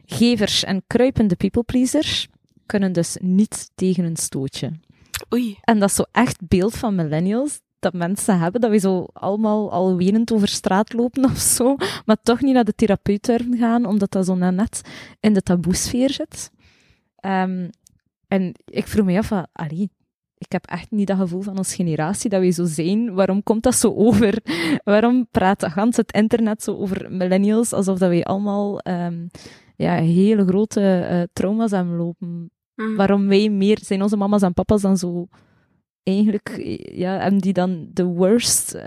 Speaker 3: Gevers en kruipende peoplepleasers kunnen dus niet tegen een stootje.
Speaker 6: Oei.
Speaker 3: En dat is zo echt beeld van millennials dat mensen hebben, dat we zo allemaal al wenend over straat lopen of zo, maar toch niet naar de therapeut durven gaan, omdat dat zo net- net in de taboesfeer zit. Ehm, en ik vroeg me af, van, allee, ik heb echt niet dat gevoel van ons generatie dat we zo zijn. Waarom komt dat zo over? Waarom praat gans het internet zo over millennials, alsof dat wij allemaal ehm, ja, hele grote eh, trauma's aan lopen?
Speaker 6: Mm.
Speaker 3: waarom wij meer zijn onze mama's en papa's dan zo eigenlijk ja hebben die dan de worst eh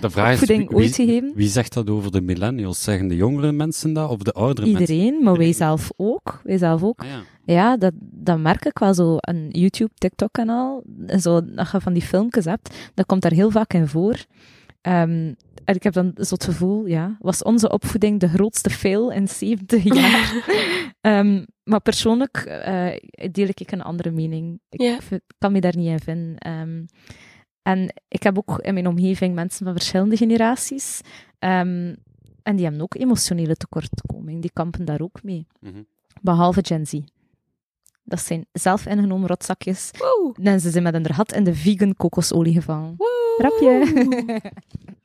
Speaker 5: De vraag is,
Speaker 3: opvoeding
Speaker 5: wie,
Speaker 3: ooit
Speaker 5: wie,
Speaker 3: gegeven
Speaker 5: wie zegt dat over de millennials? Zeggen de jongere mensen dat of de oudere
Speaker 3: iedereen maar wij
Speaker 5: Iedereen.
Speaker 3: zelf ook wij zelf ook
Speaker 5: mensen? Ah, ja.
Speaker 3: ja dat, dat merk ik wel zo een YouTube TikTok kanaal en zo als je van die filmpjes hebt dat komt daar heel vaak in voor Ehm, en ik heb dan zo het gevoel ja was onze opvoeding de grootste fail in 70 jaar Ehm, maar persoonlijk eh, deel ik een andere mening. Ik
Speaker 6: Ja.
Speaker 3: vind- kan me daar niet in vinden. Ehm, en ik heb ook in mijn omgeving mensen van verschillende generaties. Ehm, en die hebben ook emotionele tekortkoming. Die kampen daar ook mee.
Speaker 5: Mhm.
Speaker 3: Behalve Gen Z. Dat zijn zelf ingenomen rotzakjes.
Speaker 6: Wow.
Speaker 3: En ze zijn met een rat in de vegan kokosolie gevangen.
Speaker 6: Woe.
Speaker 3: Grapje.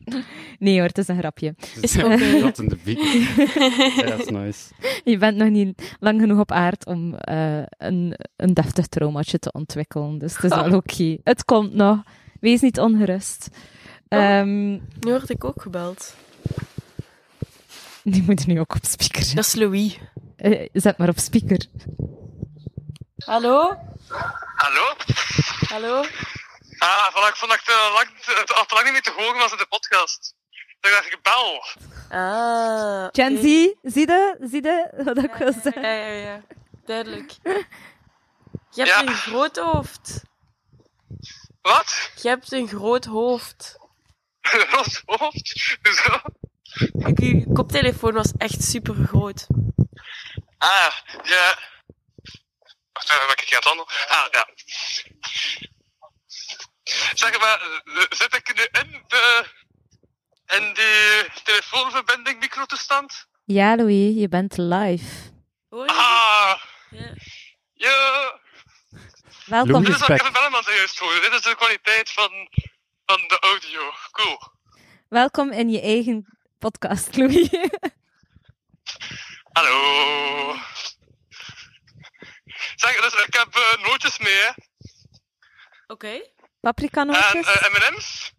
Speaker 3: nee hoor, het is een grapje.
Speaker 6: Is
Speaker 5: Ze
Speaker 6: ook, eh,
Speaker 5: dat in de vie. Ja, dat is nice.
Speaker 3: Je bent nog niet lang genoeg op aard om Ah. eh, een, een deftig traumaatje te ontwikkelen. Dus het is wel oké. Het komt nog. Wees niet ongerust. Ehm,
Speaker 6: Nu word ik ook gebeld.
Speaker 3: die moet nu ook op speaker.
Speaker 6: Dat is Louis.
Speaker 3: Eh, zet maar op speaker.
Speaker 6: Hallo?
Speaker 7: Hallo?
Speaker 6: Hallo?
Speaker 7: Ah, voilà, ik vond dat ik te lang, te, te- al te lang niet meer te horen was in de podcast. Dat ik dacht, ik bel.
Speaker 6: Ah. oké.
Speaker 3: Gen Z, zie je? Zie je wat ik wil zeggen?
Speaker 6: Ja, ja, ja. Duidelijk. Je hebt
Speaker 7: Ja.
Speaker 6: een groot hoofd.
Speaker 7: Wat?
Speaker 6: Je hebt een groot hoofd.
Speaker 7: Rot hoofd? Hoezo?
Speaker 6: Ik, uw koptelefoon was echt super groot.
Speaker 7: Ah, ja. Wacht even, maak ik aan het handel? Ah, ja. Zeg maar, eh, zit ik nu in de... in die telefoonverbinding microtoestand?
Speaker 3: Ja, Louis, je bent live.
Speaker 6: Hoor je?
Speaker 7: Ah,
Speaker 6: Ja.
Speaker 7: ja.
Speaker 3: Welkom.
Speaker 7: Dit is wat
Speaker 5: Respect.
Speaker 7: Kevin Belleman zojuist hoorde. Dit is de kwaliteit van, van de audio. Cool.
Speaker 3: Welkom in je eigen podcast, Louis.
Speaker 7: Hallo. Zeg, dus ik heb eh, nootjes mee, hè.
Speaker 6: Oké.
Speaker 3: Paprika
Speaker 7: En
Speaker 3: nootjes.
Speaker 7: eh, M&M's.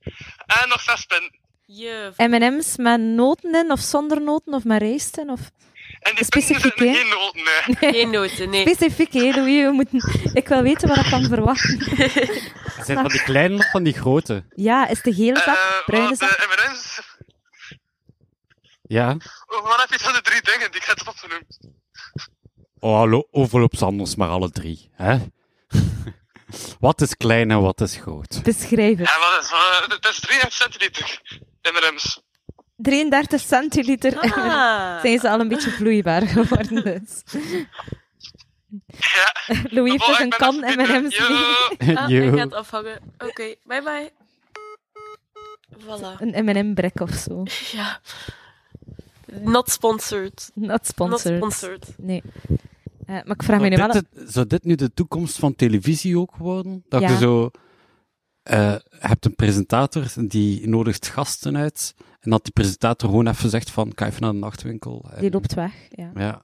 Speaker 7: En nog zes pin.
Speaker 6: Je.
Speaker 3: M&M's met noten in of zonder noten of met rijst in? Of...
Speaker 7: En die pinnen
Speaker 3: Specifiek,
Speaker 7: zitten
Speaker 3: hè?
Speaker 7: geen noten, hè.
Speaker 6: Geen noten, nee.
Speaker 3: Specifiek, hè, Louis. We moeten... Ik wil weten wat ik kan verwachten.
Speaker 5: Zijn het van die kleine of van die grote?
Speaker 3: Ja, is de gele zak,
Speaker 7: Eh,
Speaker 3: bruine
Speaker 7: want,
Speaker 3: zak?
Speaker 7: eh, M&M's...
Speaker 5: Ja.
Speaker 7: Oh, Waar heb je het van de drie dingen die ik net heb opgenoemd?
Speaker 5: Oh, hallo, overloops anders maar alle drie. Hè? wat is klein en wat is groot?
Speaker 3: Beschrijf het.
Speaker 7: Ja, wat is... eh, Het is 33 centiliter. M&M's.
Speaker 3: 33 centiliter.
Speaker 6: Ah.
Speaker 3: Zijn ze al een beetje vloeibaar geworden, dus.
Speaker 7: Ja.
Speaker 3: Louis heeft
Speaker 7: Oh,
Speaker 3: dus
Speaker 7: ik
Speaker 3: een
Speaker 7: ben
Speaker 3: kan
Speaker 7: even binnen.
Speaker 3: M&M's mee.
Speaker 7: Ja.
Speaker 6: Ah,
Speaker 5: Yo.
Speaker 6: ik ga het afhangen. Oké, bye bye. Voilà.
Speaker 3: Een M&M-brek of zo.
Speaker 6: Ja. Not sponsored.
Speaker 3: Not sponsored.
Speaker 6: Not sponsored.
Speaker 3: Nee. Eh, maar ik vraag me
Speaker 5: Zou
Speaker 3: nu wel...
Speaker 5: dit, de- zou dit nu de toekomst van televisie ook worden? Dat
Speaker 3: Ja.
Speaker 5: je zo eh, hebt een presentator die nodigt gasten uit en dat die presentator gewoon even zegt van ga even naar de nachtwinkel. En-
Speaker 3: Die loopt weg, ja.
Speaker 5: Ja.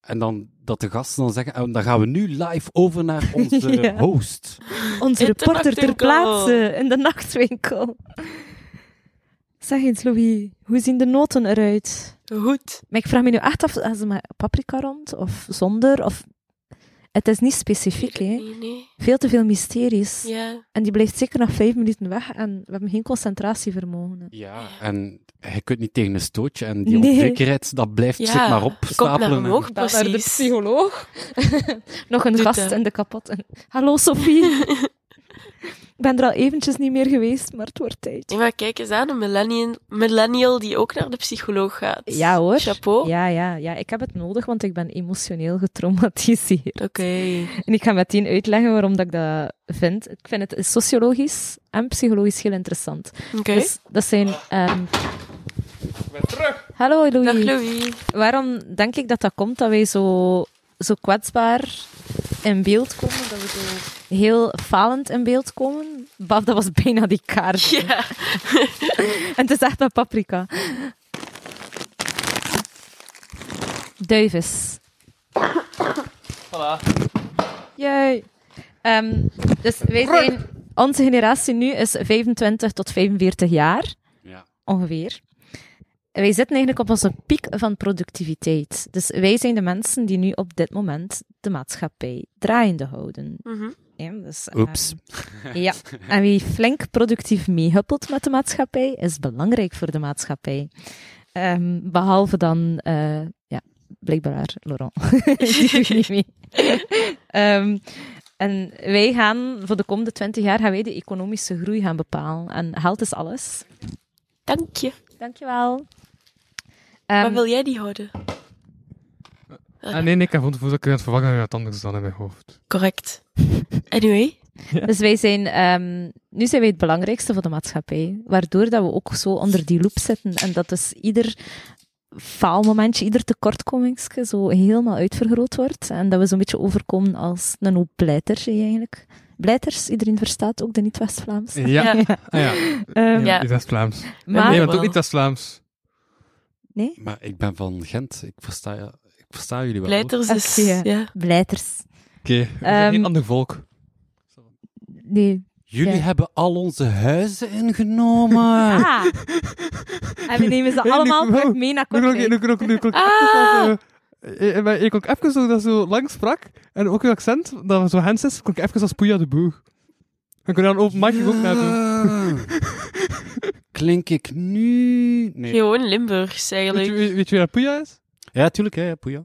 Speaker 5: En dan dat de gasten dan zeggen, en dan gaan we nu live over naar onze
Speaker 3: Ja.
Speaker 5: host.
Speaker 3: Onze
Speaker 6: In de
Speaker 3: reporter ter
Speaker 6: nachtwinkel.
Speaker 3: plaatse in de nachtwinkel. Zeg eens, Louis, hoe zien de noten eruit?
Speaker 6: Goed.
Speaker 3: Maar ik vraag me nu echt af, als ze met paprika rond of zonder? Of... Het is niet specifiek, hè?
Speaker 6: Nee, nee.
Speaker 3: Veel te veel mysteries.
Speaker 6: Ja.
Speaker 3: En die blijft zeker nog vijf minuten weg en we hebben geen concentratievermogen.
Speaker 5: Ja, en je kunt niet tegen een stootje en die
Speaker 3: Nee.
Speaker 5: onzekerheid, dat blijft zich maar
Speaker 6: Komt naar
Speaker 5: opstapelen.
Speaker 6: omhoog,
Speaker 3: Bel naar de
Speaker 6: precies.
Speaker 3: psycholoog. nog een
Speaker 6: Doet eh.
Speaker 3: gast
Speaker 6: dat.
Speaker 3: in de kapot. Hallo, Sophie. ik ben er al eventjes niet meer geweest, maar het wordt tijd.
Speaker 6: Nee, maar kijk eens aan, een millennial, millennial die ook naar de psycholoog gaat.
Speaker 3: Ja hoor.
Speaker 6: Chapeau.
Speaker 3: Ja, ja, ja, ik heb het nodig, want ik ben emotioneel getraumatiseerd.
Speaker 6: Oké.
Speaker 3: En ik ga meteen uitleggen waarom dat ik dat vind. Ik vind het sociologisch en psychologisch heel interessant.
Speaker 6: Oké.
Speaker 3: Dus dat zijn... ehm,
Speaker 4: ben terug.
Speaker 3: Hallo Louis.
Speaker 6: Dag Louis.
Speaker 3: Waarom denk ik dat dat komt, dat wij zo, zo kwetsbaar in beeld komen? Dat we zo heel falend in beeld komen? Baf, dat was bijna die kaart.
Speaker 6: Ja.
Speaker 3: En het is echt met paprika. Duivis.
Speaker 4: Voilà.
Speaker 3: Jee. Ehm, dus wij zijn, onze generatie nu is 25 tot 45 jaar,
Speaker 5: Ja.
Speaker 3: ongeveer. En Wij zitten eigenlijk op onze piek van productiviteit. Dus wij zijn de mensen die nu op dit moment de maatschappij draaiende houden.
Speaker 6: Mhm.
Speaker 3: Ja, dus, ehm,
Speaker 5: Oeps.
Speaker 3: ja, en wie flink productief meehuppelt met de maatschappij, is belangrijk voor de maatschappij. Ehm, behalve dan, eh, ja, blijkbaar Laurent. Die doet niet mee. Ehm, en wij gaan, voor de komende 20 jaar, gaan wij de economische groei gaan bepalen. En geld is alles.
Speaker 6: Dank je.
Speaker 3: Dankjewel.
Speaker 6: Waar
Speaker 3: Ehm
Speaker 6: wil jij die houden?
Speaker 4: Ah, nee, nee, ik heb gewoon het gevoel dat ik het vervangen uit anders dan in mijn hoofd.
Speaker 6: Correct. Anyway.
Speaker 3: Dus wij zijn, ehm, nu zijn wij het belangrijkste voor de maatschappij. Waardoor dat we ook zo onder die loep zitten. En dat dus ieder faalmomentje, ieder tekortkomingsje zo helemaal uitvergroot wordt. En dat we zo'n beetje overkomen als een hoop blijters hè, eigenlijk. Blijters, iedereen verstaat, ook de niet-West-Vlaams.
Speaker 4: Ja.
Speaker 6: Ja.
Speaker 4: Ah, ja.
Speaker 3: Ehm,
Speaker 6: Ja.
Speaker 4: Niet West-Vlaams.
Speaker 3: Maar,
Speaker 4: Nee,
Speaker 6: Nee,
Speaker 4: maar ook
Speaker 6: wel.
Speaker 4: niet West-Vlaams.
Speaker 3: nee,
Speaker 5: Maar ik ben van Gent, ik versta, ik versta jullie wel. hoor.
Speaker 6: Leiders is...
Speaker 3: Oké.
Speaker 6: Ja.
Speaker 3: blijters.
Speaker 4: Oké, we zijn
Speaker 3: Ehm,
Speaker 4: geen ander volk.
Speaker 3: Nee,
Speaker 5: Jullie
Speaker 3: Ja.
Speaker 5: hebben al onze huizen ingenomen.
Speaker 3: Ah. En we nemen ze
Speaker 4: Hey,
Speaker 3: allemaal
Speaker 4: Nico,
Speaker 3: terug mee naar
Speaker 4: Nu klonk, nu
Speaker 3: Kortrijk.
Speaker 4: klonk, nu klonk.
Speaker 6: Ah.
Speaker 4: Ik eh, maar ik klonk even zo dat zo lang sprak. En ook uw accent, dat zo Hens is, klonk even als Poeja de Boer. En kon je dan open mic ook naar doen.
Speaker 5: Klink ik nu? Nee.
Speaker 6: Gewoon
Speaker 4: Weet
Speaker 6: Limburgs,
Speaker 4: je,
Speaker 6: eigenlijk.
Speaker 4: weet je wie dat Poeja is?
Speaker 5: Ja, tuurlijk, hè, Poeja.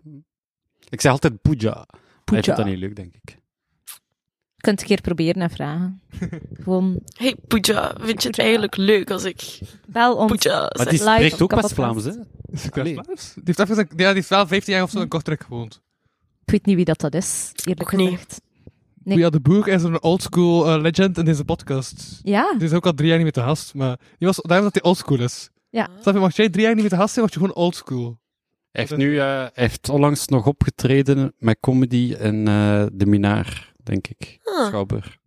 Speaker 5: Ik zeg altijd Poeja. Hij
Speaker 3: Poeja.
Speaker 5: vindt dat niet leuk, denk ik.
Speaker 3: Je kunt een keer proberen en vragen. Gewoon
Speaker 6: Hey, Pooja, vind je het eigenlijk leuk als ik
Speaker 3: bel ons.
Speaker 6: Pooja
Speaker 5: Maar
Speaker 6: zeg?
Speaker 5: die
Speaker 3: Live
Speaker 5: spreekt
Speaker 3: op
Speaker 5: ook
Speaker 3: de
Speaker 5: best Vlaams, hè?
Speaker 4: Is het Klaas
Speaker 5: Allee.
Speaker 4: Vlaams? Die heeft, even, zijn- ja, die heeft wel 15 jaar of zo in Kortrijk gewoond.
Speaker 3: Ik weet niet wie dat, dat is, eerlijk
Speaker 6: Ook niet.
Speaker 3: gezegd. Nee.
Speaker 4: Poeja de Boer is een oldschool eh, legend in deze podcast.
Speaker 3: Ja,
Speaker 4: Die is ook al drie jaar niet meer te gast, maar die was, daarom dat hij oldschool is.
Speaker 3: Ja.
Speaker 4: Snap je, mag jij drie jaar niet meer te gast zijn, word je gewoon oldschool.
Speaker 5: Hij heeft, nu, eh, hij heeft onlangs nog opgetreden met comedy in eh, De Minaar, denk ik.
Speaker 6: Ah.
Speaker 5: Schouwburg.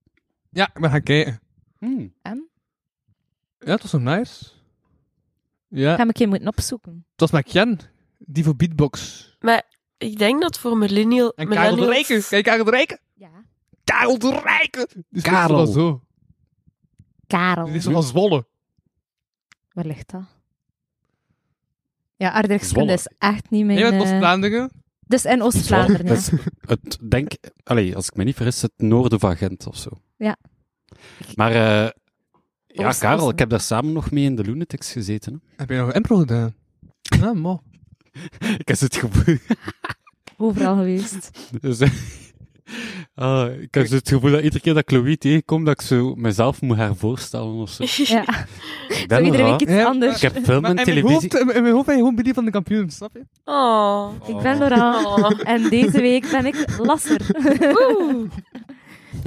Speaker 4: Ja, we gaan kijken.
Speaker 5: Hmm.
Speaker 4: Ja, het was zo nice. Ja,
Speaker 5: Eh.
Speaker 3: ga ik een keer moeten opzoeken.
Speaker 4: het was met Jen, die voor beatbox.
Speaker 6: Ik denk dat voor millennial...
Speaker 4: En Karel de Rijken. Kijk, Karel de Rijken.
Speaker 3: Ja.
Speaker 4: Karel de Rijken. Die speelt
Speaker 5: Karel.
Speaker 4: wel zo.
Speaker 3: Karel.
Speaker 4: Die is van Zwolle.
Speaker 3: Waar ligt dat? Ja, aardrijkskunde
Speaker 5: Zwolle.
Speaker 3: is echt niet mijn...
Speaker 4: Jij bent
Speaker 3: eh,
Speaker 4: Oost-Vlaanderen.
Speaker 3: Dus in Oost-Vlaanderen,
Speaker 5: Dat
Speaker 3: ja.
Speaker 5: is het, denk, allee, als ik me niet vergis, het noorden van Gent of zo.
Speaker 3: Ja.
Speaker 5: Maar eh, ja,
Speaker 3: Oost-
Speaker 5: Karel,
Speaker 3: Oost-
Speaker 5: ik heb daar samen nog mee in de Lunatics gezeten. Hè?
Speaker 4: Heb je nog een impro gedaan? Ja, mo.
Speaker 5: Ik heb het gevoel...
Speaker 3: Overal geweest.
Speaker 5: Dus, eh, ah, ik heb het gevoel dat iedere keer dat ik Chloe tegenkom, dat ik zo mezelf moet hervoorstellen of zo.
Speaker 3: Ja.
Speaker 5: Ik
Speaker 3: Zo
Speaker 5: ben er
Speaker 3: iedere
Speaker 5: wel.
Speaker 3: week iets
Speaker 4: Ja,
Speaker 3: anders.
Speaker 5: Ik heb film
Speaker 4: Maar in
Speaker 5: en
Speaker 4: mijn,
Speaker 5: televisie... Ah,
Speaker 4: hoofd, in, mijn- in mijn hoofd ben je gewoon Billy van de kampioen, snap je?
Speaker 6: Oh.
Speaker 3: Ik ben Laurent.
Speaker 6: Oh.
Speaker 3: En deze week ben ik lasser.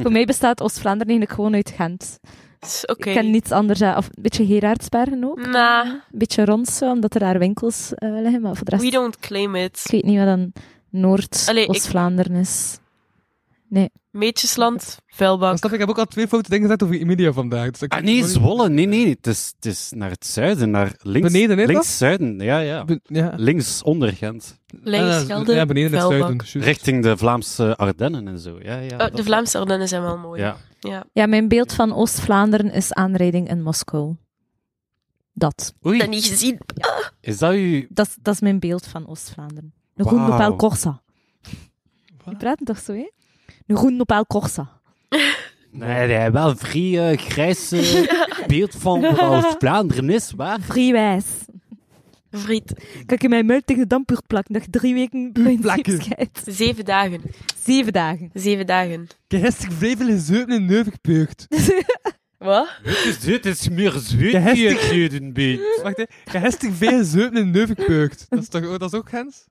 Speaker 3: Voor mij bestaat Oost-Vlaanderen eigenlijk gewoon uit Gent.
Speaker 6: Is Oké. Mm.
Speaker 3: Ik ken niets anders. eh, Of een beetje Gerardsbergen ook.
Speaker 6: Nah,
Speaker 3: Een beetje rond zo, omdat er daar winkels eh, liggen. Maar voor de rest,
Speaker 6: we don't claim
Speaker 3: ik
Speaker 6: it.
Speaker 3: weet niet wat een
Speaker 6: Allee, ik-
Speaker 3: Noord-Oost-Vlaanderen is.
Speaker 6: Meetjesland,
Speaker 4: Maar
Speaker 6: vuilbak.
Speaker 4: snap je, ik heb ook al twee foute dingen gezegd over Emilia vandaag. Dus ik-
Speaker 5: Ah nee, Zwolle. Nee, nee. Het is, het is naar het zuiden. Naar links,
Speaker 4: Beneden, hè, toch?
Speaker 5: links zuiden. Ja, ja.
Speaker 4: Be- Ja.
Speaker 5: Links onder Gent.
Speaker 6: Leeg Schelde,
Speaker 4: Ja, beneden in het
Speaker 6: vuilbak.
Speaker 4: zuiden. juist.
Speaker 5: Richting de Vlaamse Ardennen en zo. Ja, ja.
Speaker 6: Oh,
Speaker 5: dat-
Speaker 6: de Vlaamse Ardennen zijn wel mooi.
Speaker 5: Ja.
Speaker 3: Ja, mijn beeld van Oost-Vlaanderen is aanrijding in Moskou. Dat.
Speaker 6: Ik
Speaker 5: Oei,
Speaker 6: heb dat niet gezien.
Speaker 5: is dat uw...
Speaker 3: Dat, is- dat is mijn beeld van Oost-Vlaanderen. Een
Speaker 5: Wauw.
Speaker 3: goed Nopel Corsa. Die praten toch zo, hè? Een goed Nopel Corsa.
Speaker 5: Nee, nee, wel een vrij eh, grijs eh, beeld van wat Oost-Vlaanderen is, waar?
Speaker 3: Vrijwijs.
Speaker 6: Vriend,
Speaker 3: Kan ik mijn muil tegen de dampuur plakken? Nog drie weken bij scheet.
Speaker 6: zeven dagen.
Speaker 3: Zeven dagen.
Speaker 6: Zeven dagen.
Speaker 4: Ik heb gisteren vrevel gezeupen in Neuvengepeugd.
Speaker 6: Wat?
Speaker 5: Dit is meer zuid
Speaker 4: Ja,
Speaker 5: hier, Zuidenbeet.
Speaker 4: Wacht, hè. Ik heb gisteren veel gezeupen in Neuvengepeugd. Dat is toch ook- dat is ook Gens?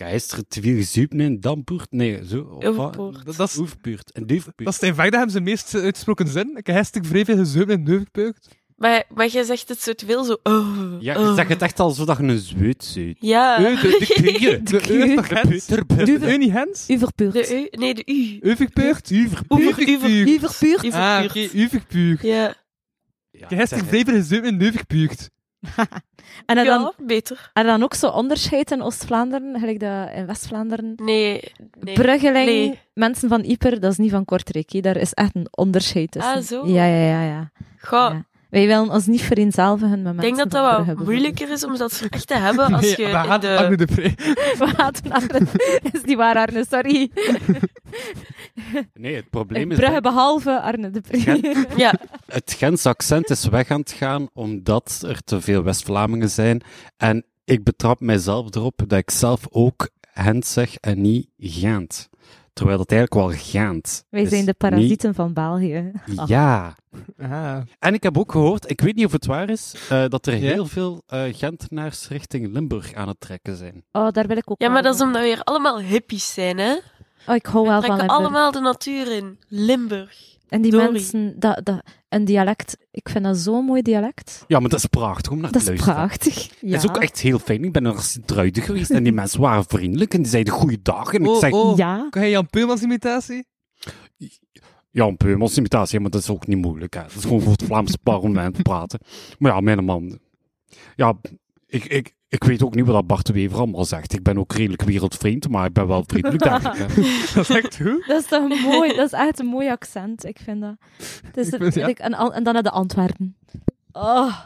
Speaker 5: Geister te veel gezuipen in Dampoort? Nee, zo. of wat?
Speaker 6: Overpoort.
Speaker 4: Dat, dat is
Speaker 5: Oefpuurt. En Duifpuurt.
Speaker 4: Dat is in feite hem zijn meest uitgesproken zin. Ik heb hartstikke vrij veel gezeupen en neufpeukt.
Speaker 6: Maar, maar jij zegt het zo te veel, zo... Oh,
Speaker 5: Ja,
Speaker 6: oh.
Speaker 5: je zegt het
Speaker 4: Ah.
Speaker 5: echt al zodat je een zweet
Speaker 4: Oh,
Speaker 5: zuid.
Speaker 6: Ja.
Speaker 4: Eu, Eh, de- de
Speaker 5: Knieën.
Speaker 4: De eu toch Gens?
Speaker 5: Putterbutten.
Speaker 4: Dus De eu niet Gens?
Speaker 3: U verpuurt.
Speaker 6: De U? Nee, de U.
Speaker 4: Uverpeukt?
Speaker 6: Oever-
Speaker 4: Uverpeukt.
Speaker 3: U verpuurt.
Speaker 6: Die
Speaker 4: Ah,
Speaker 6: verpuurt.
Speaker 4: oké, uverpeukt.
Speaker 6: Ja,
Speaker 5: Ja,
Speaker 4: Ik heb hartstikke vrij veel gezeupen en neufpeukt.
Speaker 3: En
Speaker 6: ja,
Speaker 3: dan, en
Speaker 6: beter.
Speaker 3: dan ook zo onderscheid in Oost-Vlaanderen, gelijk dat in West-Vlaanderen.
Speaker 6: Nee. nee.
Speaker 3: Bruggeling,
Speaker 6: Nee.
Speaker 3: mensen van Ieper, dat is niet van Kortrijk. hè. Daar is echt een onderscheid tussen.
Speaker 6: Ah, zo.
Speaker 3: Ja, ja, ja. ja.
Speaker 6: Goh,
Speaker 3: Ja. Wij willen ons niet vereenzelvigen met
Speaker 6: ik
Speaker 3: mensen
Speaker 6: denk dat
Speaker 3: van
Speaker 6: dat
Speaker 3: Brugge,
Speaker 6: wel moeilijker is om dat soort echt te hebben als
Speaker 4: Nee,
Speaker 6: je
Speaker 4: we
Speaker 6: in
Speaker 4: hadden Arno
Speaker 6: de...
Speaker 4: de Pre.
Speaker 3: bijvoorbeeld. We hadden Arne. is die waar, Arne? Sorry.
Speaker 5: Nee, het probleem is...
Speaker 3: Brugge behalve Arne de Pre.
Speaker 6: Ja,
Speaker 5: Het Gentse accent is weg aan het gaan omdat er te veel West-Vlamingen zijn. En ik betrap mijzelf erop dat ik zelf ook Gent zeg en niet Gent. Terwijl het eigenlijk wel Gent
Speaker 3: Wij
Speaker 5: is.
Speaker 3: zijn de parasieten van België.
Speaker 5: Niet-
Speaker 3: Ah.
Speaker 5: Ja.
Speaker 4: Ah,
Speaker 5: En ik heb ook gehoord, ik weet niet of het waar is, eh, dat er
Speaker 4: Ja?
Speaker 5: heel veel eh, Gentenaars richting Limburg aan het trekken zijn.
Speaker 3: Oh, daar wil ik ook
Speaker 6: ja, maar
Speaker 3: wel
Speaker 6: dat is
Speaker 3: van.
Speaker 6: omdat we hier allemaal hippies zijn, hè.
Speaker 3: Oh, ik hou wel
Speaker 6: We
Speaker 3: van
Speaker 6: trekken
Speaker 3: Limburg.
Speaker 6: allemaal de natuur in. Limburg.
Speaker 3: En die
Speaker 6: Sorry.
Speaker 3: mensen, dat, dat, een dialect, ik vind dat zo'n mooi dialect.
Speaker 5: Ja, maar dat is prachtig om naar
Speaker 3: Dat
Speaker 5: te
Speaker 3: is
Speaker 5: luisteren.
Speaker 3: prachtig. Ja.
Speaker 5: Dat is ook echt heel fijn. Ik ben naar Sint-Truiden geweest en die mensen waren vriendelijk en die zeiden goeiedag. En ik
Speaker 4: Oh,
Speaker 5: zei,
Speaker 4: oh.
Speaker 3: Ja.
Speaker 4: Kan jij Jan Peulmans imitatie?
Speaker 5: Ja, een Peumans imitatie, maar dat is ook niet moeilijk. Hè. Dat is gewoon voor het Vlaamse parlement praten. Maar ja, mijn man. Ja, ik, ik, ik weet ook niet wat dat Bart de Wever allemaal zegt. Ik ben ook redelijk wereldvriend, maar ik ben wel vriendelijk, denk ik. hè.
Speaker 4: Dat is echt goed.
Speaker 3: Dat is toch mooi? Dat is echt een mooi accent, ik vind dat. Het is
Speaker 4: Ik vind- ja.
Speaker 3: ik- en, al- en dan naar de Antwerpen. Oh,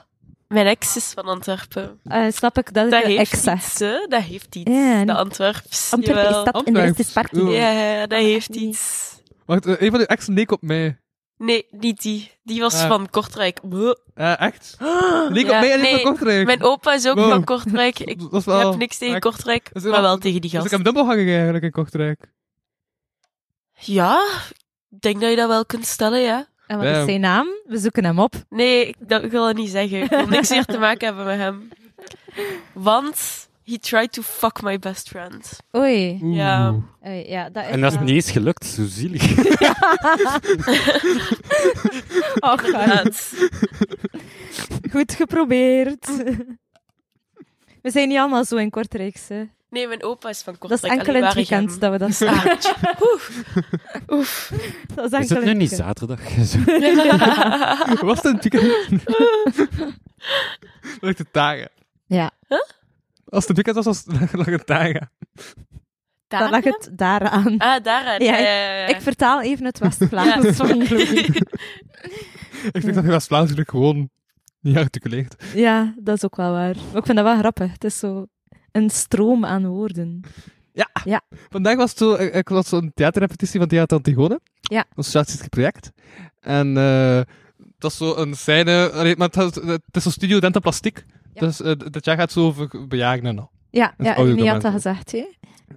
Speaker 6: Mijn ex is van Antwerpen.
Speaker 3: eh, snap ik, dat is
Speaker 6: Dat
Speaker 3: de
Speaker 6: heeft
Speaker 3: excess.
Speaker 6: iets, hè. Dat heeft iets.
Speaker 3: Ja, en-
Speaker 6: de Antwerps.
Speaker 3: Antwerpen is
Speaker 6: jawel.
Speaker 3: stad en de rest is party.
Speaker 4: Antwerpen.
Speaker 6: Ja, ja, dat heeft iets.
Speaker 4: Wacht, eh, een van uw ex leek op mij.
Speaker 6: Nee, niet die. Die was
Speaker 4: Ah.
Speaker 6: van Kortrijk. Buh.
Speaker 4: Eh, echt? Leek op
Speaker 6: Ja,
Speaker 4: mij en
Speaker 6: nee,
Speaker 4: ik van Kortrijk.
Speaker 6: Mijn opa is ook
Speaker 4: Wow.
Speaker 6: van Kortrijk. Ik
Speaker 4: Dat is wel...
Speaker 6: heb niks tegen
Speaker 4: ik-
Speaker 6: Kortrijk,
Speaker 4: Dat is
Speaker 6: maar
Speaker 4: wel-
Speaker 6: wel tegen die
Speaker 4: Dus ik
Speaker 6: gast.
Speaker 4: heb dubbel hangen eigenlijk in Kortrijk.
Speaker 6: Ja, ik denk dat je dat wel kunt stellen, ja.
Speaker 3: En wat is
Speaker 4: Ja.
Speaker 3: zijn naam? We zoeken hem op.
Speaker 6: Nee, ik, dat ik wil dat niet zeggen. Ik wil niks meer te maken hebben met hem. Want he tried to fuck my best friend.
Speaker 3: Oei.
Speaker 6: Ja.
Speaker 4: Oeh.
Speaker 3: Oei, ja, dat is
Speaker 5: En dat is
Speaker 3: wel-
Speaker 5: niet eens gelukt, zo zielig.
Speaker 3: Oh, God.
Speaker 6: Inderdaad.
Speaker 3: Goed geprobeerd. We zijn niet allemaal zo in Kortrijkse.
Speaker 6: Nee, mijn opa is van
Speaker 3: Dat is
Speaker 6: Kortrijk.
Speaker 3: enkel in
Speaker 6: alleen
Speaker 3: het
Speaker 6: waar
Speaker 3: weekend dat we
Speaker 6: ik hem-
Speaker 3: dat staan.
Speaker 6: Ah, tje. Oeh. Oef.
Speaker 3: Dat is enkel
Speaker 5: Is het
Speaker 3: in
Speaker 5: nu
Speaker 3: het
Speaker 5: niet
Speaker 3: weekend.
Speaker 5: zaterdag?
Speaker 4: Was het een weekend? Lag de dagen.
Speaker 3: Ja.
Speaker 4: Als het een weekend was, was het lag het dagen.
Speaker 3: Dan lag het daaraan.
Speaker 6: Ah, Eh, daaraan.
Speaker 3: Ja,
Speaker 6: Ja, ja, ja.
Speaker 3: Ik vertaal even het West-Vlaams van Louis.
Speaker 4: Ik vind dat je was Vlaams gewoon niet articuleert.
Speaker 3: Ja, dat is ook wel waar. Maar ik vind dat wel grappig. Het is zo een stroom aan woorden.
Speaker 4: Vandaag was het zo, ik, ik was zo'n theaterrepetitie van Theater Antigone.
Speaker 3: Ja.
Speaker 4: Een socialistisch project. En eh dat is zo een scène, allee, maar het, had- het is zo'n studio Denta Plastiek.
Speaker 3: Ja.
Speaker 4: Dus eh, d- dat jaar gaat zo over bejagen en al.
Speaker 3: Ja,
Speaker 4: is
Speaker 3: ja
Speaker 4: audio
Speaker 3: Remy had
Speaker 4: daarvan.
Speaker 3: dat gezegd, hè.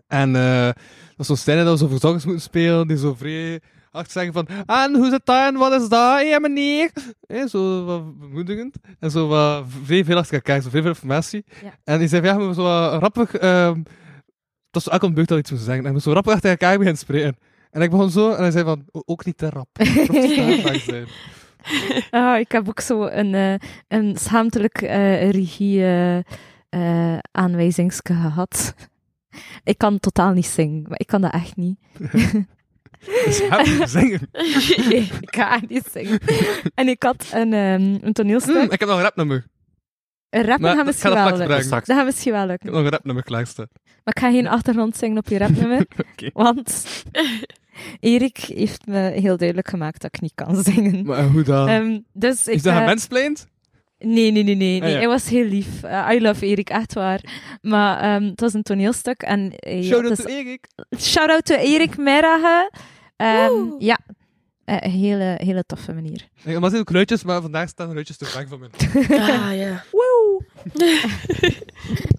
Speaker 4: En eh dat was zo'n scène dat we zo verzorgers moeten spelen, die zo vrij hard zeggen van En hoe zit dat en wat is dat? Hé meneer! Hé, zo wat bemoedigend. En zo wat vrij veel achter elkaar, zo vrij veel informatie.
Speaker 3: Ja.
Speaker 4: En die zei van ja, we moeten zo wat rappig... ehm dat is elke beurt al iets moeten zeggen. En we zo rappig achter elkaar beginnen spreken. En ik begon zo, en hij zei van, "O- ook niet te rap. Het moet traag zijn.
Speaker 3: Ah, ik heb ook zo een, eh, een schaamtelijk eh regie eh, eh, aanwijzingske gehad. Ik kan totaal niet zingen, maar ik kan dat echt niet.
Speaker 4: Dus hij moet zingen.
Speaker 3: Nee, ik kan niet zingen. En ik had een, ehm, een
Speaker 4: Hmm,
Speaker 3: toneelstuk.
Speaker 4: ik heb nog een rapnummer.
Speaker 3: Rappen
Speaker 4: Maar
Speaker 3: gaat
Speaker 4: dat-
Speaker 3: misschien
Speaker 4: ik ga dat
Speaker 3: wel
Speaker 4: straks
Speaker 3: lukken.
Speaker 4: vragen.
Speaker 3: Dat gaat misschien wel
Speaker 4: Ik
Speaker 3: lukken.
Speaker 4: heb nog een rapnummer klaarstaan.
Speaker 3: Maar ik ga geen achtergrond zingen op je rapnummer.
Speaker 4: Oké.
Speaker 3: Want Erik heeft me heel duidelijk gemaakt dat ik niet kan zingen.
Speaker 4: Maar hoe dan?
Speaker 3: Ehm, dus ik,
Speaker 4: is dat
Speaker 3: eh,
Speaker 4: een mensplaint?
Speaker 3: Nee, nee, nee, nee.
Speaker 4: Ah,
Speaker 3: nee.
Speaker 4: ja.
Speaker 3: Hij was heel lief. Eh, I love Erik, echt waar. Maar ehm, het was een toneelstuk. En, eh, ja,
Speaker 4: Show
Speaker 3: het
Speaker 4: dat
Speaker 3: is-
Speaker 4: to Erik.
Speaker 3: Shout-out to Erik Merage. Ehm,
Speaker 6: Woe.
Speaker 3: ja, Eh, een hele, hele toffe manier.
Speaker 4: Nee, maar zijn kleutjes, maar vandaag staan de kleutjes te bang van mijn.
Speaker 6: Ah, ja.
Speaker 3: Woe!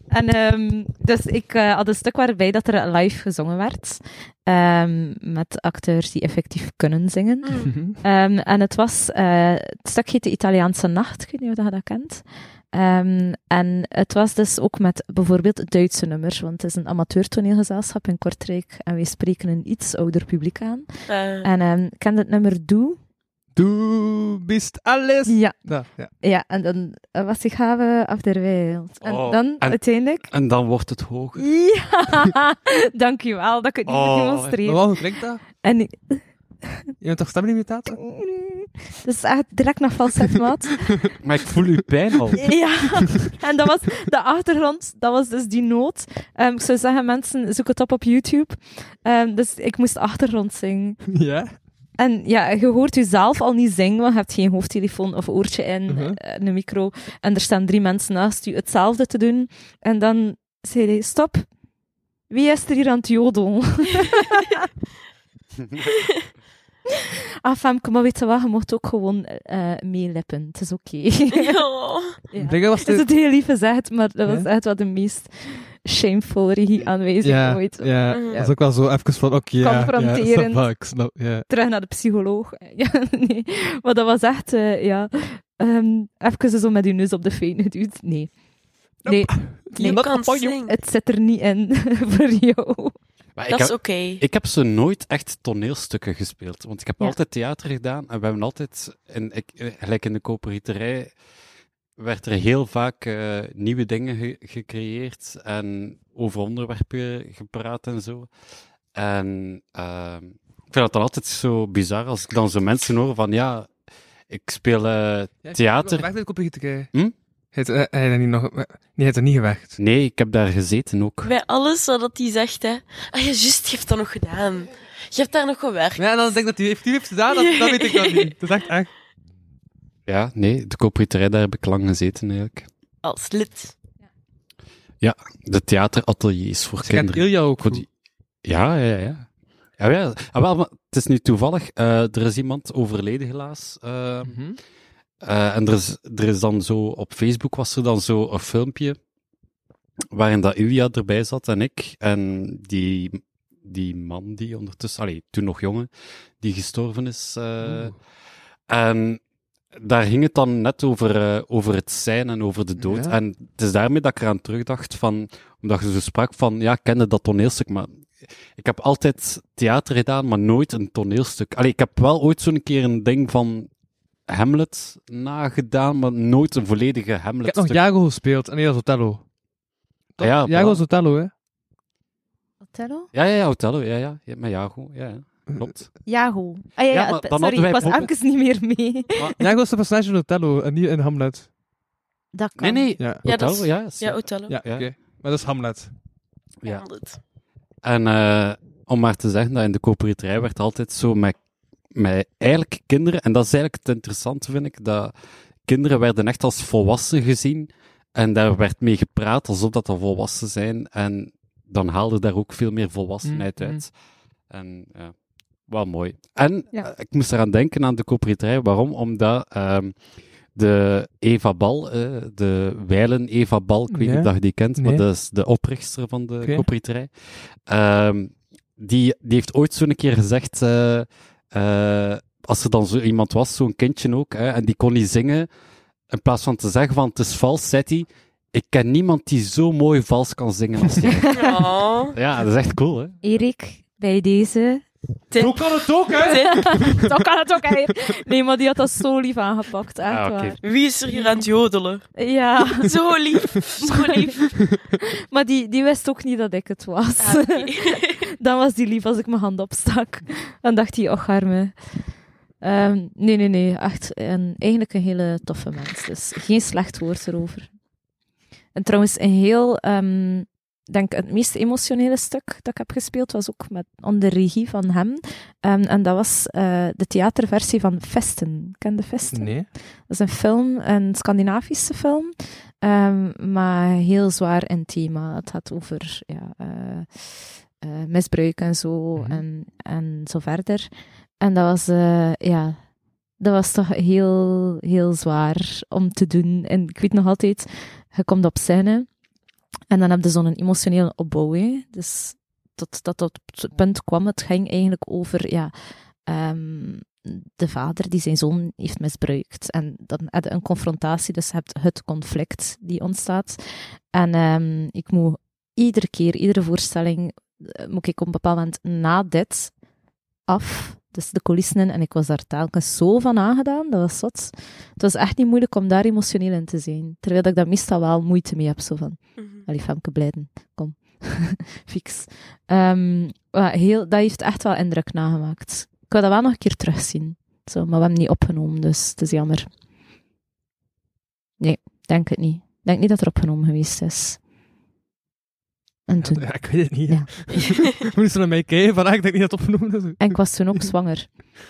Speaker 3: en ehm, dus ik eh, had een stuk waarbij dat er live gezongen werd. Ehm, met acteurs die effectief kunnen zingen. Ehm, en het was, eh, het stuk heet De Italiaanse Nacht, ik weet niet of je dat kent. Ehm, en het was dus ook met bijvoorbeeld Duitse nummers, want het is een amateurtoneelgezelschap in Kortrijk en wij spreken een iets ouder publiek aan.
Speaker 6: Eh,
Speaker 3: En ehm, ik ken het nummer Doe.
Speaker 4: Du bist alles.
Speaker 3: Ja,
Speaker 4: Nou, ja.
Speaker 3: ja en dan eh, was ik have af der wereld. En
Speaker 5: Oh,
Speaker 3: dan
Speaker 5: en-
Speaker 3: uiteindelijk...
Speaker 5: En dan wordt het hoger.
Speaker 3: Ja, dankjewel dat ik het niet
Speaker 5: Oh,
Speaker 3: moet
Speaker 4: Maar
Speaker 3: demonstreren.
Speaker 4: waarom klinkt dat?
Speaker 3: En ik-
Speaker 4: Je bent toch stemlimitator?
Speaker 3: dus echt direct naar falsetmaat.
Speaker 5: Maar ik voel uw pijn al.
Speaker 3: Ja, en dat was de achtergrond, dat was dus die noot. Ehm, ik zou zeggen, mensen, zoek het op op YouTube. Ehm, dus ik moest achtergrond zingen.
Speaker 4: Ja.
Speaker 3: En ja, je hoort jezelf al niet zingen, want je hebt geen hoofdtelefoon of oortje in,
Speaker 4: Mhm.
Speaker 3: eh, een micro. En er staan drie mensen naast je hetzelfde te doen. En dan zei hij, stop, wie is er hier aan het jodel? ah, Femke, maar weet je wat, je mocht ook gewoon eh meelippen. Het is oké.
Speaker 6: oh.
Speaker 3: Ja.
Speaker 4: Dingen was
Speaker 3: Het is
Speaker 4: dit-
Speaker 3: het heel lief gezegd, maar dat was
Speaker 4: Ja?
Speaker 3: echt wel de meest shameful regie aanwezig
Speaker 4: Ja,
Speaker 3: ooit.
Speaker 4: ja.
Speaker 6: Mhm.
Speaker 4: Dat is ook wel zo even van, oké, ja, ja,
Speaker 3: Confronterend.
Speaker 4: snap wel, ik snap, ja.
Speaker 3: Terug naar de psycholoog. Ja, nee. Maar dat was echt, eh, ja... ehm, even zo met je neus op de fijn geduwd. Nee. Nee,
Speaker 6: Je
Speaker 3: Nee.
Speaker 6: kan zingen.
Speaker 3: het zit er niet in voor jou.
Speaker 5: Maar ik,
Speaker 6: Dat is
Speaker 5: heb,
Speaker 6: oké.
Speaker 5: ik heb ze nooit echt toneelstukken gespeeld. Want ik heb
Speaker 3: Ja.
Speaker 5: altijd theater gedaan. En we hebben altijd, en ik, eh, gelijk in de koperieterij, werd er heel vaak eh, nieuwe dingen ge- gecreëerd. En over onderwerpen gepraat en zo. En ehm, ik vind dat dan altijd zo bizar als ik dan zo mensen hoor van ja, ik speel eh,
Speaker 4: Ja,
Speaker 5: Theater.
Speaker 4: Ik werkte in de kopieterij.
Speaker 5: Hm?
Speaker 4: Ik Heeft eh, hij dat niet nog... Nee, hij heeft dat niet gewerkt.
Speaker 5: Nee, ik heb daar gezeten ook.
Speaker 6: Bij alles wat hij zegt, hè. Ah ja, juist, je hebt dat nog gedaan. Je hebt daar nog gewerkt.
Speaker 4: Ja, dan denk ik dat hij heeft, die heeft gedaan, dat, dat weet ik dan niet. Dat is echt echt.
Speaker 5: Ja, nee, de koopieterij, daar heb ik lang gezeten eigenlijk.
Speaker 6: Als lid.
Speaker 5: De theaterateliers voor
Speaker 6: Dus
Speaker 4: Ze kent
Speaker 5: kinderen.
Speaker 4: Ilja ook
Speaker 5: Voor
Speaker 4: goed.
Speaker 5: die- Ja, ja, ja. Ja, ja. Ah, wel, maar het is nu toevallig. eh, er is iemand overleden helaas. eh,
Speaker 4: Mhm.
Speaker 5: Eh, en er is, er is dan zo, op Facebook was er dan zo een filmpje waarin dat Ilja erbij zat en ik. En die, die man die ondertussen, allee, toen nog jongen, die gestorven is. eh, en daar ging het dan net over, eh, over het zijn en over de dood.
Speaker 4: Ja.
Speaker 5: En het is daarmee dat ik eraan terugdacht van, omdat je zo sprak van, ja, ik kende dat toneelstuk, maar ik heb altijd theater gedaan, maar nooit een toneelstuk. Allee, ik heb wel ooit zo'n keer een ding van Hamlet nagedaan, maar nooit een volledige
Speaker 4: Ik
Speaker 5: Hamlet.
Speaker 4: heb nog Jago gespeeld. en Nee, dat is Othello. Toch?
Speaker 5: Ah Ja,
Speaker 4: Jago
Speaker 5: voilà.
Speaker 4: is Othello, hè?
Speaker 3: Othello?
Speaker 5: Ja, ja, ja, Othello, ja, ja. ja met Jago, ja, ja. Klopt.
Speaker 3: Jago. Ah ja,
Speaker 5: Ja,
Speaker 3: ja,
Speaker 5: maar
Speaker 3: het-
Speaker 5: dan
Speaker 3: sorry,
Speaker 5: hadden
Speaker 3: ik
Speaker 5: wij
Speaker 3: was even niet meer mee.
Speaker 4: Jago is de personage in Othello en niet in Hamlet.
Speaker 3: Dat
Speaker 5: Nee,
Speaker 3: kan.
Speaker 5: nee,
Speaker 4: Ja.
Speaker 6: Ja, dat
Speaker 5: Othello,
Speaker 6: is-
Speaker 5: ja. is-
Speaker 6: Ja, Othello.
Speaker 4: Ja,
Speaker 5: Ja.
Speaker 4: oké. Maar dat is Hamlet.
Speaker 5: ja.
Speaker 6: Hamlet.
Speaker 5: En eh, om maar te zeggen, dat in de koperieterij werd altijd zo met, met eigenlijk kinderen, en dat is eigenlijk het interessante, vind ik, dat kinderen werden echt als volwassenen gezien en daar werd mee gepraat alsof dat al volwassen zijn en dan haalde daar ook veel meer volwassenheid
Speaker 4: Mm,
Speaker 5: uit. En ja, wel mooi. En
Speaker 3: Ja.
Speaker 5: eh, ik moest eraan denken aan de koperieterij. Waarom? Omdat ehm, de Eva Bal, eh, de wijlen Eva Bal, ik weet
Speaker 4: Ja.
Speaker 5: niet of dat je die kent, maar
Speaker 4: Nee.
Speaker 5: dat is de oprichter van de
Speaker 4: Oké.
Speaker 5: koperieterij. Ehm, die, die heeft ooit zo'n keer gezegd, eh, eh, als er dan zo iemand was, zo'n kindje ook, hè, en die kon niet zingen, in plaats van te zeggen van het is vals, zei hij, ik ken niemand die zo mooi vals kan zingen als jij.
Speaker 6: Oh,
Speaker 5: ja, dat is echt cool, hè?
Speaker 3: Erik, bij deze.
Speaker 6: Zo
Speaker 4: kan het ook, hè?
Speaker 3: Zo kan het ook, hè. Nee, maar die had dat zo lief aangepakt, echt
Speaker 5: Ah, oké.
Speaker 3: waar.
Speaker 6: Wie is er hier aan het jodelen?
Speaker 3: Ja,
Speaker 6: Zo lief. Zo lief.
Speaker 3: maar die, die wist ook niet dat ik het was.
Speaker 6: Ah, oké.
Speaker 3: Dan was die lief als ik mijn hand opstak. Dan dacht hij, och arme. Ehm, nee, nee, nee. Echt, een, eigenlijk een hele toffe mens. Dus geen slecht woord erover. En trouwens, een heel... ehm, denk het meest emotionele stuk dat ik heb gespeeld was ook met, onder regie van hem. Ehm, en dat was eh, de theaterversie van Festen. Ken de Festen?
Speaker 4: Nee.
Speaker 3: Dat is een film, een Scandinavische film, ehm, maar heel zwaar in thema. Het gaat over ja, eh, eh, misbruik en zo
Speaker 4: Mhm.
Speaker 3: en, en zo verder. En dat was, eh, ja, dat was toch heel, heel zwaar om te doen. En ik weet nog altijd, je komt op scène en dan heb je zo'n emotionele opbouw. hè. Dus tot dat op het punt kwam, het ging eigenlijk over... Ja, ehm, de vader die zijn zoon heeft misbruikt. En dan heb je een confrontatie, dus je hebt het conflict die ontstaat. En ehm, ik moet iedere keer, iedere voorstelling, eh, moet ik op een bepaald moment na dit af. Dus de coulissen in. En ik was daar telkens zo van aangedaan. Dat was zot. Het was echt niet moeilijk om daar emotioneel in te zijn. Terwijl dat ik daar meestal wel moeite mee heb. Zo van, Allee, Femke Blijden, kom. Fix. Ehm, maar heel, dat heeft echt wel indruk nagemaakt. Ik wil dat wel nog een keer terugzien. Zo, maar we hebben het niet opgenomen, dus het is jammer. Nee, denk het niet. Ik denk niet dat er opgenomen geweest is. En, toen,
Speaker 4: Ja, ik weet het niet.
Speaker 3: Ja.
Speaker 4: Moet ze naar mij kijken, van ah, ik denk niet dat het opgenomen is.
Speaker 3: en ik was toen ook zwanger.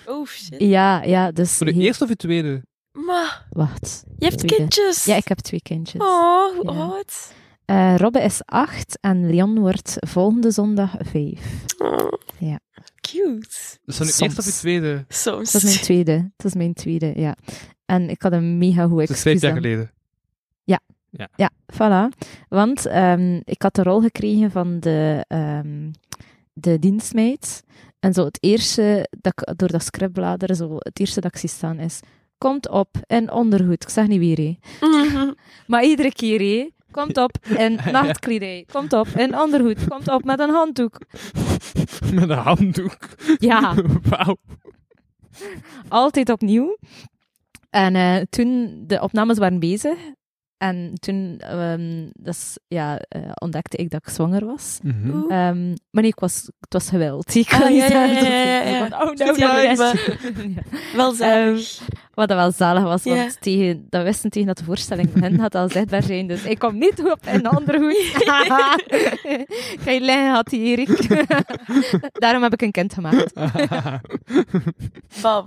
Speaker 6: Oh shit.
Speaker 3: Ja, ja, dus...
Speaker 4: Voor de
Speaker 3: heel-
Speaker 4: eerste of de tweede?
Speaker 6: Maar
Speaker 3: Wacht.
Speaker 6: je hebt
Speaker 3: Tweede.
Speaker 6: kindjes.
Speaker 3: Ja, ik heb twee kindjes.
Speaker 6: Oh, hoe
Speaker 3: Ja.
Speaker 6: oud?
Speaker 3: Eh, Robbe is acht en Leon wordt volgende zondag vijf.
Speaker 6: Oh,
Speaker 3: Ja.
Speaker 6: Cute.
Speaker 4: Dus dan de
Speaker 3: Soms.
Speaker 4: eerste of de tweede?
Speaker 6: Soms.
Speaker 3: Dat is mijn tweede. Dat is mijn tweede, ja. En ik had een mega goed
Speaker 4: Dat is vijf
Speaker 3: excuus.
Speaker 4: jaar
Speaker 3: aan.
Speaker 4: geleden.
Speaker 3: Ja, voilà. Want ehm, ik had de rol gekregen van de, ehm, de dienstmeid. En zo het eerste dat ik door dat script bladeren, zo het eerste dat ik zie staan is... Komt op in ondergoed. Ik zeg niet wie, hé.
Speaker 6: Mhm.
Speaker 3: Maar iedere keer, hé. Komt op in
Speaker 4: Ja.
Speaker 3: nachtkledij. Komt op in ondergoed. Komt op met een handdoek.
Speaker 4: Met een handdoek.
Speaker 3: Ja.
Speaker 4: Wauw.
Speaker 3: altijd opnieuw. En eh, toen de opnames waren bezig. En toen ehm, dus, ja, eh, ontdekte ik dat ik zwanger was.
Speaker 6: Oeh.
Speaker 3: Ehm, maar nee, ik was, het was geweld. Ik
Speaker 6: Ah,
Speaker 3: kan niet
Speaker 6: ja, ja,
Speaker 3: zeggen dat
Speaker 6: ja, ja,
Speaker 3: ik-
Speaker 6: ja.
Speaker 3: van, Oh,
Speaker 6: Goed,
Speaker 3: nou, nou,
Speaker 6: ja,
Speaker 3: yes.
Speaker 6: maar-
Speaker 3: Ja.
Speaker 6: Wel zalig.
Speaker 3: Wat dat wel zalig was, want
Speaker 6: Ja.
Speaker 3: tegen, dat wisten tegen dat de voorstelling van hen had al zichtbaar zijn. Dus ik kom niet goed op in de andere hoed. Geen lijn had die Erik. Daarom heb ik een kind gemaakt.
Speaker 6: Bam.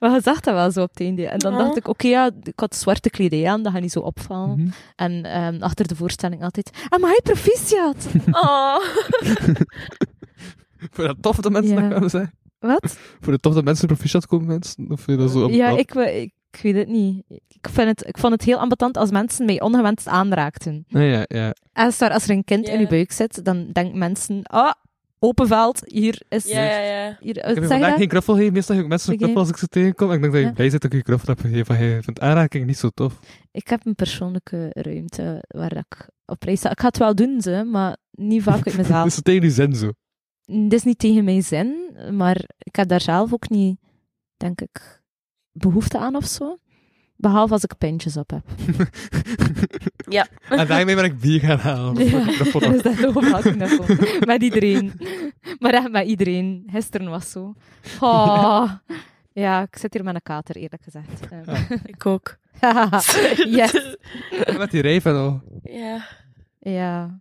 Speaker 3: Maar je zag dat wel zo op het einde. En dan
Speaker 6: Ja.
Speaker 3: dacht ik, oké, ja, ik had zwarte kledij aan, dat gaat niet zo opvallen.
Speaker 4: Mhm.
Speaker 3: En ehm, achter de voorstelling altijd, ah, maar hij proficiat!
Speaker 6: Oh.
Speaker 4: Vind je dat tof dat mensen
Speaker 3: Ja.
Speaker 4: dat kwamen zeggen?
Speaker 3: Wat?
Speaker 4: Vond je het tof dat mensen proficiat komen, mensen? Of vind je dat zo...
Speaker 3: Ja,
Speaker 4: op-
Speaker 3: ik, we- ik, ik weet het niet. Ik, vind het, ik vond het heel ambetant als mensen mij ongewenst aanraakten.
Speaker 4: Nee, ja, ja.
Speaker 3: Als er, als er een kind
Speaker 6: Ja.
Speaker 3: in je buik zit, dan denken mensen, ah, open veld, hier is...
Speaker 6: Ja, ja, ja.
Speaker 3: Hier,
Speaker 4: Ik heb je
Speaker 3: zeg je
Speaker 4: vandaag
Speaker 3: dat?
Speaker 4: geen knuffel gegeven. Meestal geef ik mensen een
Speaker 3: Oké.
Speaker 4: knuffel als ik ze tegenkom. En ik denk dat je
Speaker 3: Ja.
Speaker 4: blij zit dat ik je knuffel heb gegeven. Want je vindt aanraking niet zo tof.
Speaker 3: Ik heb een persoonlijke ruimte waar dat ik op reis sta. Ik ga het wel doen, ze, maar niet vaak uit mezelf.
Speaker 4: Dus tegen je zin zo.
Speaker 3: Dit is niet tegen mijn zin, maar ik heb daar zelf ook niet, denk ik, behoefte aan of zo. Behalve als ik pintjes op heb.
Speaker 6: Ja.
Speaker 4: En daarmee ben ik bier gaan halen.
Speaker 3: Ja.
Speaker 4: Voor die knuffel dan.
Speaker 3: Dus dat is overal knuffel. Met iedereen. Maar echt met iedereen. Gisteren was zo. Oh. Ja, ik zit hier met een kater, eerlijk gezegd. Eh,
Speaker 6: Ik ook.
Speaker 3: Ah, yes.
Speaker 4: Met die rijf en al.
Speaker 6: ja.
Speaker 3: Ja.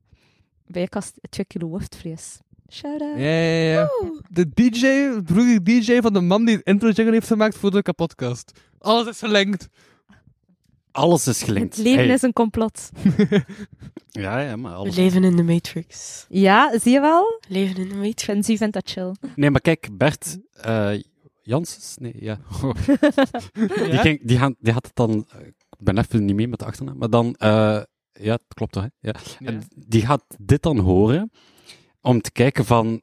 Speaker 3: Bijkast 2 kilo hoofdvlees. Shout out.
Speaker 4: Ja, ja, ja. De DJ, broer DJ van de man die het intro jingle heeft gemaakt voor de kapotcast. Alles is verlengd.
Speaker 5: Alles is
Speaker 3: Het
Speaker 5: gelinkt.
Speaker 3: leven
Speaker 5: Hey.
Speaker 3: is een complot.
Speaker 5: Ja, ja, maar alles.
Speaker 6: We leven in de Matrix.
Speaker 3: Ja, zie je wel?
Speaker 6: We leven in de Matrix.
Speaker 3: Vinci vindt dat chill.
Speaker 5: Nee, maar kijk, Bert eh Janssens? Nee, ja. Die,
Speaker 4: Ja?
Speaker 5: ging, die, gaan- die had het dan... eh, Ik ben even niet mee met de achternaam. Maar dan... eh, ja, het klopt toch, hè? Ja. En die gaat dit dan horen om te kijken van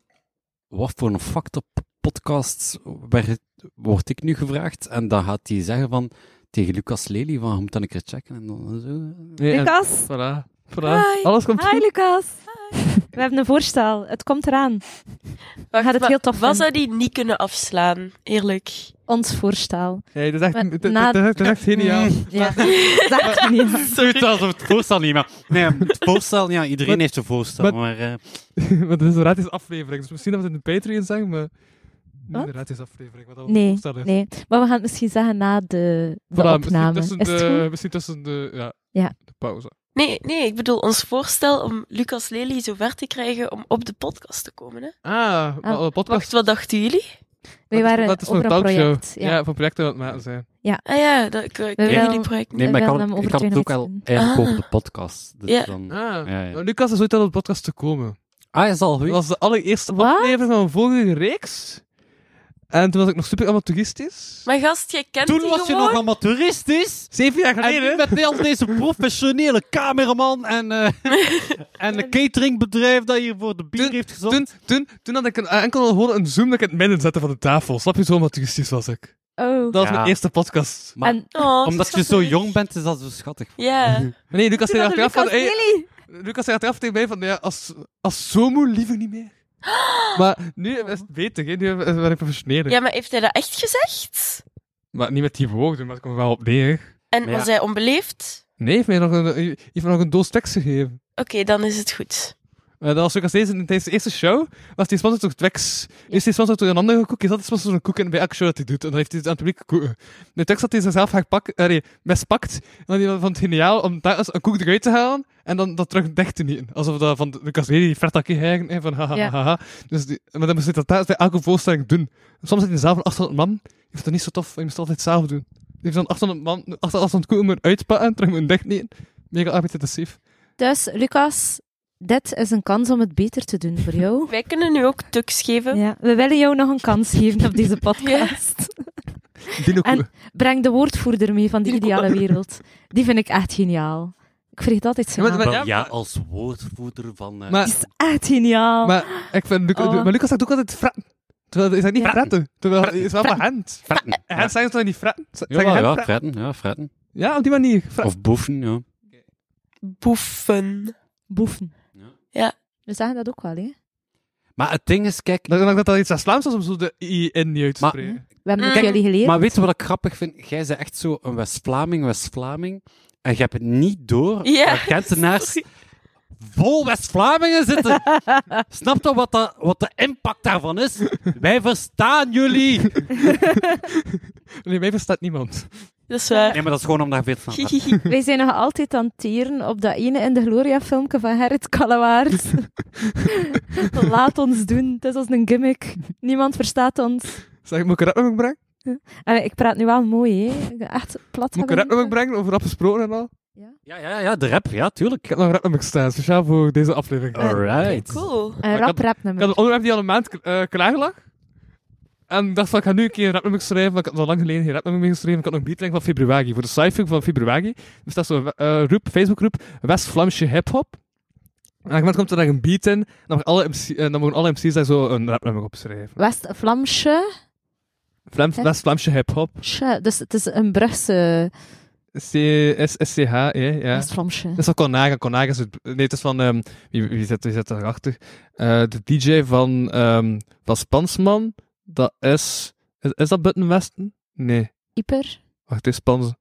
Speaker 5: wat voor een fucked up podcast werd- word ik nu gevraagd. En dan gaat hij zeggen van tegen Lucas Lely van je moet dan een keer checken en dan zo. eh.
Speaker 4: Ja, en-
Speaker 3: Lucas!
Speaker 4: Voilà. Voilà.
Speaker 6: Hi.
Speaker 4: Alles komt
Speaker 3: Hi
Speaker 4: goed.
Speaker 3: Lucas! We hebben een voorstel. Het komt eraan.
Speaker 6: Wacht,
Speaker 3: Gaat het
Speaker 6: maar
Speaker 3: heel tof vinden.
Speaker 6: Wat zou die niet kunnen afslaan? Eerlijk.
Speaker 3: Ons voorstel.
Speaker 4: Nee, dat is echt,
Speaker 3: Maar
Speaker 4: dat- dat-
Speaker 3: na-
Speaker 4: dat is echt- dat is echt geniaal.
Speaker 3: Ja. Zeg het niet.
Speaker 5: Zoiets als het voorstel niet, maar... Nee, het voorstel, ja, iedereen heeft een voorstel,
Speaker 4: Wat?
Speaker 5: maar... eh,
Speaker 4: maar dit is een gratis aflevering. Dus misschien dat we het in de Patreon zeggen, maar...
Speaker 3: Wat?
Speaker 4: Niet een gratis aflevering. Wat dat we
Speaker 3: Nee,
Speaker 4: voorstellen.
Speaker 3: nee. Maar we gaan het misschien zeggen na de, de
Speaker 4: Voilà,
Speaker 3: opname.
Speaker 4: Misschien tussen,
Speaker 3: Is het
Speaker 4: de,
Speaker 3: goed?
Speaker 4: misschien tussen de, ja,
Speaker 3: Ja.
Speaker 4: de pauze.
Speaker 6: Nee, nee, ik bedoel ons voorstel om Lucas Lely zo ver te krijgen om op de podcast te komen. Hè?
Speaker 4: Ah,
Speaker 3: Ah,
Speaker 4: ah.
Speaker 6: Wacht,
Speaker 4: podcast.
Speaker 6: wat dachten jullie?
Speaker 3: We waren
Speaker 4: dat is
Speaker 3: over
Speaker 4: voor
Speaker 3: een
Speaker 4: talkshow.
Speaker 3: project. Ja.
Speaker 4: Ja. van projecten aan het maken zijn.
Speaker 6: Ah ja, dat, ik, ik
Speaker 3: We
Speaker 6: ken
Speaker 3: wel-
Speaker 6: jullie project niet.
Speaker 5: Nee, maar ik
Speaker 3: Ik wil
Speaker 5: had,
Speaker 3: hem
Speaker 5: het-
Speaker 3: over
Speaker 5: ik had het ook
Speaker 3: 200
Speaker 5: al eigenlijk
Speaker 6: Ah.
Speaker 5: over de podcast. Dus
Speaker 6: Ja.
Speaker 5: dan...
Speaker 4: Ah,
Speaker 5: Ja, ja.
Speaker 4: nou, Lucas is ooit aan de podcast te komen.
Speaker 5: Ah, is al
Speaker 4: Dat
Speaker 5: goed.
Speaker 4: was de allereerste
Speaker 3: Wat?
Speaker 4: aflevering van een vorige reeks. En toen was ik nog super amateuristisch.
Speaker 6: Maar gast, jij kent die gewoon.
Speaker 5: amateuristisch.
Speaker 4: Zeven jaar
Speaker 5: En nu
Speaker 4: geleden.
Speaker 5: met al deze professionele cameraman en, eh en een cateringbedrijf dat hier voor de bier
Speaker 4: Toen-
Speaker 5: heeft gezorgd.
Speaker 4: Toen, toen, toen had ik een, eh, enkel gewoon een zoom dat ik in het midden zette van de tafel. Snap je, zo amateuristisch was ik.
Speaker 3: Oh.
Speaker 4: Dat was
Speaker 5: Ja.
Speaker 4: mijn eerste podcast.
Speaker 5: Maar
Speaker 3: en
Speaker 6: Oh,
Speaker 5: omdat je zo
Speaker 6: schattig.
Speaker 5: jong bent, is dat zo schattig.
Speaker 6: Ja.
Speaker 4: Maar nee, Lucas zei
Speaker 3: Toen hadden
Speaker 4: achteraf van...
Speaker 3: Lucas
Speaker 4: hey, Lucas zei achteraf tegen mij van... Ja, als, als zomo liever niet meer. Maar nu is het beter, hè. nu ben ik professioneel.
Speaker 6: ja, maar heeft hij dat echt gezegd?
Speaker 4: Maar niet met die woorden, maar het komt er wel op neer.
Speaker 6: En
Speaker 5: Maar ja.
Speaker 6: was hij onbeleefd?
Speaker 4: Nee, heeft mij nog een, heeft mij nog een doos tekst gegeven.
Speaker 6: Oké, dan is het goed.
Speaker 4: Eh, dat was ook als deze, in deze eerste show, was die sponsor door Twex. Is die sponsor door een andere koek? Is dat de sponsor door een koek en bij elke show dat hij doet? En dan heeft hij het aan het publiek koeken. De Twex had hij zichzelf haar pak, eh, nee, mispakt. En dan die vond het geniaal om daar eens een koek eruit te halen en dan dat terug dicht te nieten. Alsof dat van de kasserie die vertakkie hegen en van haha,
Speaker 3: Ja.
Speaker 4: haha. Dus die, maar dan moest hij dat daar bij elke voorstelling doen. Soms zit hij zelf een 800 man. Die vindt dat niet zo tof, want je moest het altijd zelf doen. Die heeft zo'n 800 man, 800 koeken moeten uitpakken en terug moeten dichtnieten. Mega arbeidsintensief.
Speaker 3: Dus Lucas, dit is een kans om het beter te doen voor jou.
Speaker 6: Wij kunnen nu ook tuks geven.
Speaker 3: Ja, we willen jou nog een kans geven op deze podcast.
Speaker 4: Dino
Speaker 3: En- Breng de woordvoerder mee van die
Speaker 4: Die-
Speaker 3: ideale wereld. Die vind ik echt geniaal. Ik vergeet altijd zijn
Speaker 4: Ja, maar-
Speaker 3: naam.
Speaker 4: ja,
Speaker 5: Wel, ja,
Speaker 4: maar-
Speaker 5: als woordvoerder van... eh,
Speaker 4: Maar-
Speaker 3: Die is echt geniaal.
Speaker 4: Maar, ik vind, Luc-
Speaker 3: Oh.
Speaker 4: maar Lucas zegt ook altijd fratten. Terwijl is dat niet
Speaker 3: Ja.
Speaker 4: fratten? Terwijl het is wel van hand.
Speaker 5: fretten.
Speaker 4: En hand
Speaker 5: Ja,
Speaker 4: zeggen ze toch niet fratten? Z- zeggen
Speaker 5: Jawel,
Speaker 4: hen
Speaker 5: ja,
Speaker 4: fra-
Speaker 5: fretten. Ja, fretten.
Speaker 4: Ja, op die manier. Fra-
Speaker 5: Of boeven, ja.
Speaker 6: Boeven.
Speaker 3: Boeven.
Speaker 5: Ja.
Speaker 6: Ja.
Speaker 3: We zeggen dat ook wel, hè?
Speaker 5: Maar het ding is, kijk...
Speaker 4: Dan denk ik dat dat iets aan Vlaams was om zo de i en niet uit te
Speaker 5: Maar-
Speaker 4: spreken.
Speaker 3: We hebben het
Speaker 6: Kijk,
Speaker 3: jullie geleerd.
Speaker 5: Maar weet je wat ik grappig vind? Jij bent echt zo een West-Vlaming, West-Vlaming. En je hebt het niet door.
Speaker 6: Ja,
Speaker 5: dat Gentenaars
Speaker 6: sorry.
Speaker 5: vol West-Vlamingen zitten. Snap je wat, dat, wat de impact daarvan is? Wij verstaan jullie.
Speaker 4: Nee, mij verstaat niemand.
Speaker 6: Dat is waar.
Speaker 5: Nee, maar dat is gewoon om daar veel van te
Speaker 6: Hihihi.
Speaker 3: Wij zijn nog altijd aan het tieren op dat ene in de Gloria-filmpje van Gerrit Kallewaard. Laat ons doen. Het is als een gimmick. Niemand verstaat ons.
Speaker 4: Zeg, moet ik een rapnummer brengen?
Speaker 3: En Eh, ik praat nu wel mooi, hè. Ik ben Echt plat
Speaker 4: Moet ik een
Speaker 3: hebben.
Speaker 4: rapnummer brengen over rap gesproken en al?
Speaker 5: Ja, ja, ja, de rap, ja, tuurlijk.
Speaker 4: Ik heb nog een rapnummer staan, speciaal voor deze aflevering.
Speaker 3: Eh,
Speaker 5: Alright.
Speaker 6: Cool.
Speaker 3: Een
Speaker 4: ik had-
Speaker 3: rap rap
Speaker 4: Ik had
Speaker 3: nummer.
Speaker 4: een onderwerp die al een maand eh klaar lag. En ik dacht van, ik ga nu een keer een rapnummer schrijven, want ik had al lang geleden geen rapnummer meer geschreven. Ik had nog een beatling van februari, voor de cypher van februari. Dus dat is zo'n eh groep, Facebookgroep, West-Vlaamse hip-hop. En op een gegeven moment komt er daar een beat in, en dan mogen alle, MC, eh, dan mogen alle MC's daar zo een rapnummer op schrijven.
Speaker 3: West-Vlaamse.
Speaker 4: Vlaams-
Speaker 3: Hè?
Speaker 4: West-Vlaamse hip-hop.
Speaker 3: Tje, Dus het is een Brugse
Speaker 4: C-S-C-H, E, ja.
Speaker 3: West-Vlaamse.
Speaker 4: Dat is van Conaga. Conaga is het... Nee, het is van... ehm, wie, wie, zit, wie zit daarachter? Eh de DJ van, ehm van Spansman. Dat is... Is, is dat Button Westen? Nee.
Speaker 3: Ieper.
Speaker 4: Wacht, het is Spans...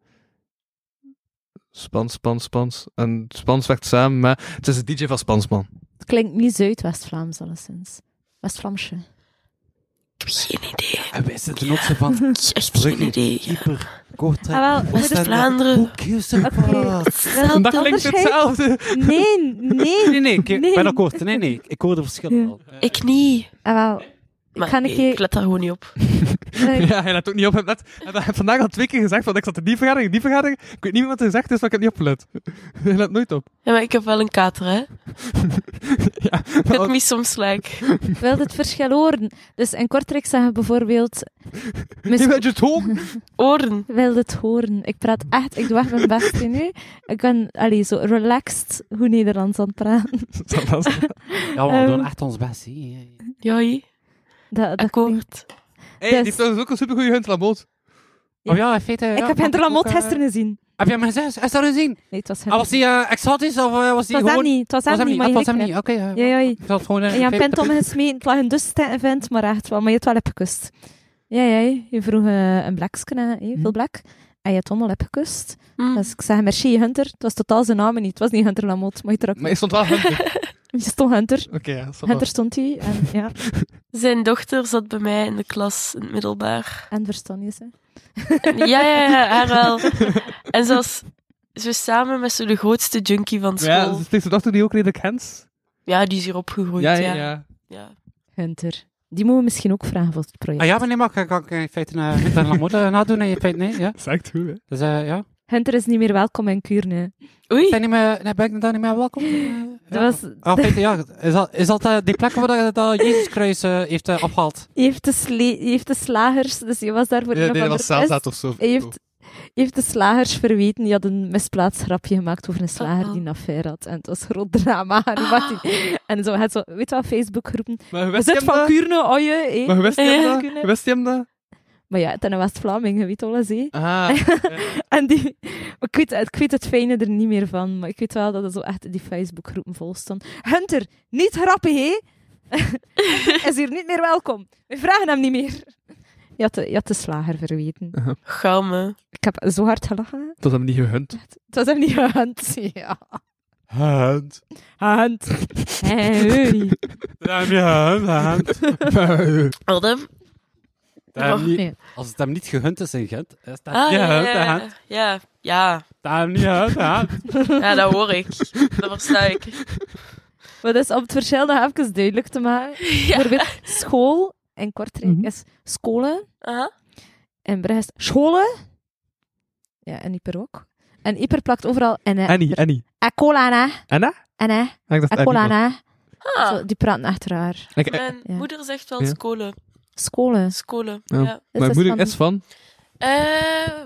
Speaker 4: Spans, Spans, Spans. En Spans werkt samen met... Het is de DJ van Spansman.
Speaker 3: Het klinkt niet Zuid-West-Vlaams, alleszins. West-Vlaamse.
Speaker 6: Ik heb geen idee.
Speaker 5: En wij zitten ook zo van...
Speaker 6: Ik heb echt geen idee.
Speaker 5: Hyper, Kortrijk,
Speaker 3: Ah, wel,
Speaker 6: West-Vlaanderen.
Speaker 5: Who gives a
Speaker 3: Oké.
Speaker 5: fuck?
Speaker 3: Wel,
Speaker 4: dat klinkt
Speaker 3: onderscheid-
Speaker 4: hetzelfde.
Speaker 3: Nee, nee.
Speaker 5: Nee, nee, ik ik
Speaker 3: Nee.
Speaker 5: ben akkoord. Nee, nee, ik hoor de verschillen al.
Speaker 6: Ik niet.
Speaker 3: Ah, wel.
Speaker 6: Maar
Speaker 3: ga een
Speaker 6: nee,
Speaker 3: keer-
Speaker 6: ik let daar gewoon niet op.
Speaker 3: Eh,
Speaker 4: Ja, hij let ook niet op. Hij heeft net- hij heeft vandaag al twee keer gezegd, want ik zat in die vergadering, in die vergadering. Ik weet niet meer wat er gezegd is, maar ik heb niet opgelet. Hij let nooit op.
Speaker 6: Ja, maar ik heb wel een kater, hè.
Speaker 4: Ja,
Speaker 6: Ik
Speaker 4: maar-
Speaker 6: heb me soms like.
Speaker 3: wil het verschil horen. Dus in Kortrijk zeggen bijvoorbeeld...
Speaker 4: Je
Speaker 3: Misschien
Speaker 4: bent je toch?
Speaker 6: Oren.
Speaker 3: wil het horen. Ik praat echt... Ik doe echt mijn best hier nu. Ik ben allee, zo relaxed hoe Nederlands aan het praten.
Speaker 4: Dat was-
Speaker 5: Ja, we doen
Speaker 3: Ehm.
Speaker 5: echt ons best. hè. Ja, ja.
Speaker 6: Joi.
Speaker 3: Dat, dat klinkt-
Speaker 6: Akkoord.
Speaker 4: Hey,
Speaker 3: Dus-
Speaker 4: die heeft trouwens ook een supergoeie Huntelaboot.
Speaker 5: Oh ja, in feite...
Speaker 3: Ik heb Hinterland gisteren gezien.
Speaker 5: eh, Heb jij mijn zus? Is dat gezien?
Speaker 3: Nee, het was
Speaker 5: Ah, was
Speaker 3: hem.
Speaker 5: die eh, exotisch of eh, was
Speaker 3: Het
Speaker 5: die
Speaker 3: was hem
Speaker 5: gewoon...
Speaker 3: niet. Het was hem niet, maar
Speaker 5: Ah,
Speaker 3: je
Speaker 5: het was hem
Speaker 3: geknipt.
Speaker 5: niet, oké. eh,
Speaker 3: Ja, ja, ja.
Speaker 5: Ik zal het gewoon... eh,
Speaker 3: En je
Speaker 5: in
Speaker 3: hebt
Speaker 5: feite-
Speaker 3: om gesmeten. Het lag een dusste vent, maar echt wel. Maar je hebt wel heb gekust. Ja, ja. Je vroeg eh, een blaksken, hè, hè, veel blak. En je hebt allemaal heb gekust.
Speaker 6: Hm.
Speaker 3: Dus ik zeg, merci Hunter. Het was totaal zijn naam niet. Het was niet Hunter Lamotte, maar je trok.
Speaker 4: Maar je stond wel Hunter. Oké,
Speaker 3: Je stond Hunter.
Speaker 4: ja, dat is wel-
Speaker 3: Hunter stond hij. En, ja,
Speaker 6: Zijn dochter zat bij mij in de klas in het middelbaar.
Speaker 3: en verstond je ze.
Speaker 6: Ja, ja, ja, haar wel. En ze was zo samen met zo de grootste junkie van
Speaker 4: Ja,
Speaker 6: school.
Speaker 4: ze spreekt de dochter die ook redelijk kent.
Speaker 6: Ja, die is hier opgegroeid.
Speaker 4: Ja, ja,
Speaker 6: Ja,
Speaker 4: ja.
Speaker 6: ja.
Speaker 3: Hunter. Die mogen we misschien ook vragen voor het project.
Speaker 5: Ah ja, maar nee, maar kan kan ik in feite eh, niet aan Lamotte nadoen? In feite, nee, ja.
Speaker 4: Dat is echt goed, hè.
Speaker 5: Dus eh, ja.
Speaker 3: Hunter is niet meer welkom in Kuurne.
Speaker 6: Oei,
Speaker 5: Ben, je niet meer, nee, ben ik daar niet meer welkom? Eh, ja.
Speaker 3: Dat was,
Speaker 5: Ah, in feite, ja. Is dat, is dat eh, die plek waar dat, dat Jezus kruis eh, heeft eh, opgehaald?
Speaker 3: hij, heeft de sle- hij heeft de slagers, dus hij was daar voor
Speaker 4: Nee,
Speaker 3: een
Speaker 4: nee, dat
Speaker 3: of
Speaker 4: was
Speaker 3: andere
Speaker 4: Zelzaat
Speaker 3: test.
Speaker 4: of zo.
Speaker 3: Hij heeft, hij heeft de slagers verweten. Die had een misplaatst grapje gemaakt over een slager
Speaker 6: Uh-oh.
Speaker 3: die een affaire had. En het was groot drama. En, wat die- en zo, het zo, weet je wat, Facebookgroepen.
Speaker 4: Maar je
Speaker 3: We
Speaker 4: wist
Speaker 3: zitten
Speaker 4: hem
Speaker 3: van
Speaker 4: dat?
Speaker 3: Kuurne, oh je, hé.
Speaker 4: Maar je wist
Speaker 6: Ja.
Speaker 4: hem dat?
Speaker 3: Kuurne.
Speaker 4: Je Wist hem dat?
Speaker 3: Maar ja, het is een West-Vlaming, je weet alles, hé.
Speaker 4: Ah,
Speaker 3: En die, maar ik, weet, ik weet het fijne er niet meer van, maar ik weet wel dat er zo echt die Facebookgroepen vol stond. Hunter, niet grappig, hè? Hunter is hier niet meer welkom. We vragen hem niet meer. Je had de, je had de slager verweten.
Speaker 6: gauw me.
Speaker 3: Ik heb zo hard gelachen.
Speaker 4: dat hebben niet gehunt.
Speaker 3: Het was hem niet gehunt. Ja,
Speaker 5: Hand.
Speaker 3: gehunt. Hey,
Speaker 5: Daar heb je hand, hand.
Speaker 6: Adam?
Speaker 5: Daar heb je niet-
Speaker 3: Oh, nee.
Speaker 5: Als het hem niet gehunt is in Gent, is dat
Speaker 6: Ah,
Speaker 5: niet
Speaker 6: ja,
Speaker 5: gehunt, hè,
Speaker 6: ja,
Speaker 5: hand.
Speaker 6: ja, ja, ja.
Speaker 5: Daar heb je niet gehunt, hè, hand.
Speaker 6: Ja, dat hoor ik. Dat versta ik.
Speaker 3: Maar dus om het verschil nog even duidelijk te maken. Bijvoorbeeld school in Kortrijk
Speaker 4: Mhm.
Speaker 3: is scholen.
Speaker 6: Aha.
Speaker 3: En Brugge is scholen. Ja, en Ieper ook. En Ieper plakt overal en hè.
Speaker 4: Annie, Annie.
Speaker 3: En cola, hè.
Speaker 4: Anna?
Speaker 3: En hè.
Speaker 4: Ah, ik dacht
Speaker 3: En cola,
Speaker 4: Annie.
Speaker 3: hè.
Speaker 6: Ah,
Speaker 3: Zo, die praten achter haar.
Speaker 4: Ik- eh,
Speaker 6: mijn
Speaker 3: Ja.
Speaker 6: moeder zegt wel
Speaker 4: Ja.
Speaker 6: scholen.
Speaker 3: Scholen.
Speaker 6: Scholen,
Speaker 4: Ja.
Speaker 6: ja.
Speaker 3: Dus
Speaker 4: Mijn
Speaker 3: dat
Speaker 4: moeder
Speaker 3: van-
Speaker 4: is van...
Speaker 6: Eh,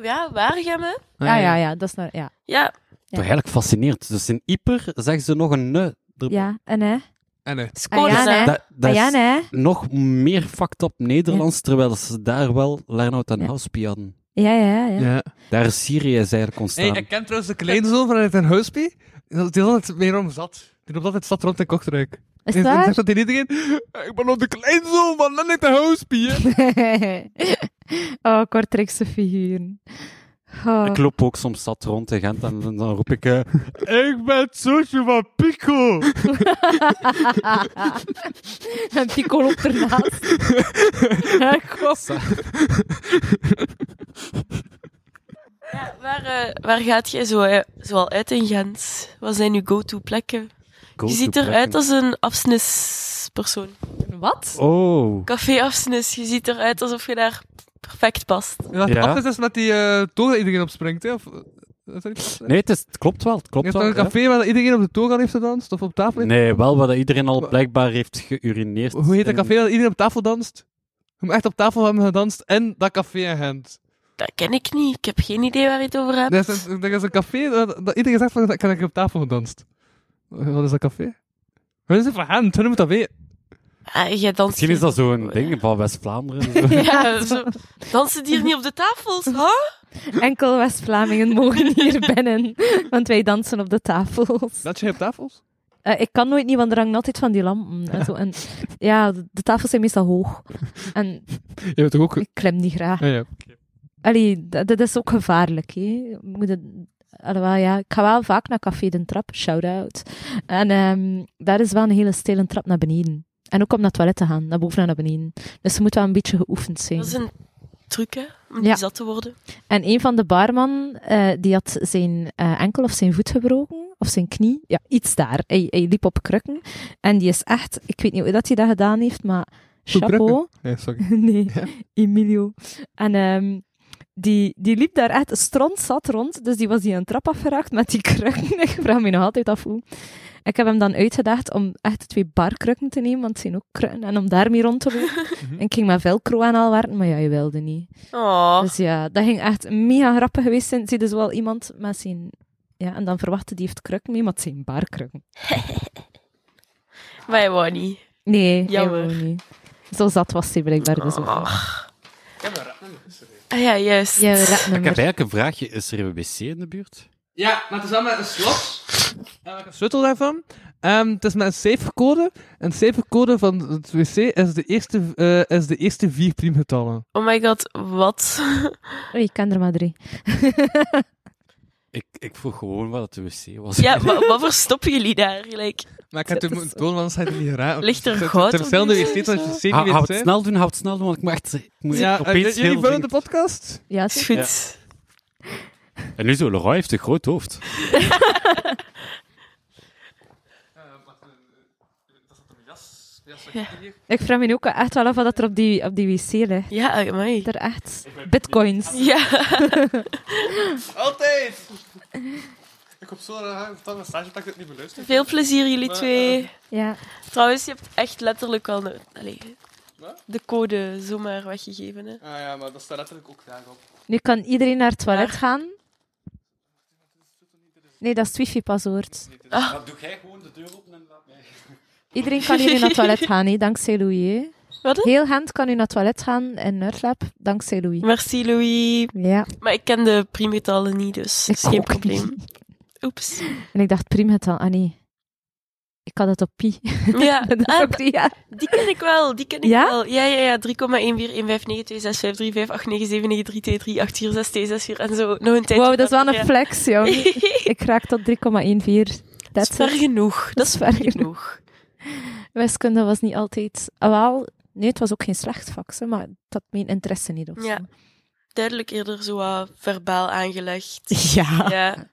Speaker 6: ja, Waregem,
Speaker 4: Ah,
Speaker 3: Ja, ja, ja. Dat is nou... Ja.
Speaker 6: Ja,
Speaker 5: Toch eigenlijk fascinerend. Dus in Ieper zeggen ze nog een ne. Er-
Speaker 3: Ja. En hè.
Speaker 4: En eh,
Speaker 6: scholen.
Speaker 3: Ah, ja,
Speaker 6: hè.
Speaker 3: nee.
Speaker 5: Dat, dat
Speaker 3: Ah, ja,
Speaker 5: is
Speaker 3: hè.
Speaker 5: nog meer fucked up Nederlands, terwijl ze daar wel Lernout en
Speaker 3: Ja.
Speaker 5: Houspie hadden.
Speaker 3: Ja, ja, ja.
Speaker 4: Ja.
Speaker 5: Daar is Syrië is eigenlijk
Speaker 4: Hey,
Speaker 5: ontstaan.
Speaker 4: ik ken trouwens de kleinzoon vanuit een huispie. Die is altijd meer om zat. Die loopt altijd stad rond in Kortrijk.
Speaker 3: Is
Speaker 4: En
Speaker 3: het
Speaker 4: dan
Speaker 3: waar?
Speaker 4: zegt dat tegen iedereen, ik ben op de kleinzoon van Lennet de huispie. hè."
Speaker 3: oh, Kortrijkse figuren. Oh.
Speaker 5: Ik loop ook soms zat rond in Gent en dan roep ik... eh, ik ben het zusje van Pico!
Speaker 3: en Pico loopt ernaast. Ja, kom.
Speaker 6: Waar, eh, waar gaat jij zo, eh, zoal uit in Gent? Wat zijn uw go-to plekken?
Speaker 5: Go
Speaker 6: je
Speaker 5: to
Speaker 6: ziet eruit
Speaker 5: plekken.
Speaker 6: als een afsnispersoon.
Speaker 3: Wat?
Speaker 5: Oh.
Speaker 6: Café-afsnis, je ziet eruit alsof je daar perfect past.
Speaker 4: Dat
Speaker 5: Ja.
Speaker 4: af is dus met die eh, toren waar iedereen op springt, hè? Of, eh, is dat niet?
Speaker 5: Nee, het, is, het klopt wel. Het
Speaker 4: Je
Speaker 5: klopt
Speaker 4: hebt dan
Speaker 5: wel.
Speaker 4: een
Speaker 5: ja.
Speaker 4: café waar iedereen op de toren heeft gedanst, of op tafel heeft...
Speaker 5: Nee, wel wat iedereen al
Speaker 4: Wa-
Speaker 5: blijkbaar heeft geurineerd.
Speaker 4: Hoe heet dat
Speaker 5: in-
Speaker 4: café dat iedereen op tafel danst? Je moet echt op tafel hebben gedanst en dat café in Gent.
Speaker 6: Dat ken ik niet. Ik heb geen idee waar je het over hebt.
Speaker 4: Er is, een- er is een café dat, dat iedereen zegt van, ik heb op tafel gedanst. Wat is dat café? Wat is het van Gent? Hun moet dat weten.
Speaker 6: Ah, jij danst Oh,
Speaker 5: Misschien is dat zo'n ding van West-Vlaanderen. zo.
Speaker 6: Ja, zo. Dansen die hier niet op de tafels, huh?
Speaker 3: Enkel West-Vlamingen mogen hier binnen, want wij dansen op de tafels.
Speaker 4: Dat je op tafels?
Speaker 3: Eh, ik kan nooit niet, want er hangt altijd van die lampen. En zo. En, ja, de, de tafels zijn meestal hoog. En
Speaker 4: Je hebt toch ook...
Speaker 3: ik klim niet graag.
Speaker 4: Ja, ja.
Speaker 3: Allee, dat, dat is ook gevaarlijk. Hè? Je Moet het, alhoewel, ja, ik ga wel vaak naar Café de Trap, shout-out. En ehm, daar is wel een hele stille trap naar beneden. En ook om naar het toilet te gaan, naar boven en naar beneden. Dus ze moet wel een beetje geoefend zijn.
Speaker 6: Dat is een truc, hè? Om
Speaker 3: Ja.
Speaker 6: niet zat te worden.
Speaker 3: En een van de barman, eh, die had zijn eh, enkel of zijn voet gebroken, of zijn knie. Ja, iets daar. Hij, hij liep op krukken. En die is echt, ik weet niet hoe dat hij dat gedaan heeft, maar chapeau.
Speaker 4: Nee, sorry. Eh,
Speaker 3: nee, Emilio. En ehm, die, die liep daar echt stront zat rond, dus die was die een trap afgeraakt met die krukken. ik vraag me nog altijd af hoe. Ik heb hem dan uitgedaagd om echt twee barkrukken te nemen, want het zijn ook krukken, en om daarmee rond te lopen. en ik ging met velcro aan al werken, maar ja, je wilde niet.
Speaker 6: Oh,
Speaker 3: Dus ja, dat ging echt mega grappig geweest zijn. Zie dus wel iemand met zijn... Ja, en dan verwachtte die heeft kruk mee, maar het zijn baarkrukken.
Speaker 6: maar hij wou niet.
Speaker 3: Nee,
Speaker 6: Jammer.
Speaker 3: jammer. niet. Zo zat was hij blijkbaar dus ook. niet.
Speaker 6: Och. Oh. Ah ja, juist.
Speaker 3: Ja, rat
Speaker 5: Ik heb eigenlijk een vraagje. Is er een wc in de buurt?
Speaker 4: Ja, maar het is wel met een slot. En ik een sleutel daarvan. Ehm, het is met een cijfercode. En de cijfercode van het wc is de eerste, eh, is de eerste vier priemgetallen.
Speaker 6: Oh my god, wat?
Speaker 3: Oei, Oh, ik ken er maar drie.
Speaker 5: Ik, ik vroeg gewoon wat het de wc was.
Speaker 6: Ja, wa- wat verstoppen jullie daar? Like,
Speaker 4: Maar ik heb
Speaker 3: Dat
Speaker 4: het
Speaker 3: is
Speaker 4: moeten doen, want anders had je het niet geraakt.
Speaker 6: Ligt er
Speaker 4: Het- het-
Speaker 6: goud
Speaker 4: Het
Speaker 6: op
Speaker 4: zijn
Speaker 6: die
Speaker 4: dezelfde wc's
Speaker 6: wc?
Speaker 4: als je zeker
Speaker 5: Hou-
Speaker 4: weet
Speaker 5: hou Ah, het
Speaker 4: zijn.
Speaker 5: snel doen, hou het snel doen, want ik moet echt... Ik moet
Speaker 4: Ja, eh,
Speaker 5: opeens
Speaker 4: jullie
Speaker 5: heel
Speaker 4: vullen de
Speaker 5: dringend-
Speaker 4: podcast?
Speaker 3: Ja,
Speaker 6: is
Speaker 3: zie.
Speaker 6: goed.
Speaker 5: En nu zo, Leroy heeft een groot hoofd.
Speaker 3: Ik vraag me nu ook echt wel af wat er op die, op die wc ligt.
Speaker 6: Ja, ja amai.
Speaker 3: Er echt bitcoins.
Speaker 6: Ja,
Speaker 4: Altijd! Ik heb zo'n raar een stage dat ik het niet beluister.
Speaker 6: veel plezier jullie
Speaker 4: Maar, eh,
Speaker 6: twee.
Speaker 3: Ja.
Speaker 6: Trouwens, je hebt echt letterlijk al de, allee, de code zomaar weggegeven. Hè.
Speaker 4: Ah ja, maar dat staat letterlijk ook graag op.
Speaker 3: Nu kan iedereen naar het toilet
Speaker 6: Maar-
Speaker 3: gaan. Nee, dat is het wifi paswoord.
Speaker 6: Ah.
Speaker 5: Dan doe jij gewoon de deur open en laat mij...
Speaker 3: Iedereen kan hier nu naar het toilet gaan, hè, dankzij Louis. hè.
Speaker 6: Wat? hè?
Speaker 3: Heel Gent kan u naar het toilet gaan in Nerdlab, dankzij Louis.
Speaker 6: Merci Louis.
Speaker 3: Ja,
Speaker 6: Maar ik ken de priemgetallen niet, dus
Speaker 3: Ik
Speaker 6: is geen
Speaker 3: ook
Speaker 6: probleem. Oeps.
Speaker 3: en ik dacht priemgetal. Ah nee, ik had het op pi.
Speaker 6: Ja,
Speaker 3: Dat is
Speaker 6: ah,
Speaker 3: ook die, ja.
Speaker 6: Die ken ik wel, die ken ik
Speaker 3: Ja?
Speaker 6: wel. Ja, ja, ja. 3,1415926535843846264 en zo. Nog een tijd.
Speaker 3: Wow, dat is wel
Speaker 6: Ja.
Speaker 3: een flex, joh. Ik raak tot 3,14.
Speaker 6: dat is
Speaker 3: That's
Speaker 6: ver
Speaker 3: it.
Speaker 6: genoeg. Dat is ver
Speaker 3: ver genoeg.
Speaker 6: genoeg.
Speaker 3: Wiskunde was niet altijd... Ah, wel, nee, het was ook geen slecht vak, hè, maar dat mijn interesse niet of zo.
Speaker 6: Ja. Duidelijk eerder zo wat verbaal aangelegd.
Speaker 3: Ja.
Speaker 6: Ja,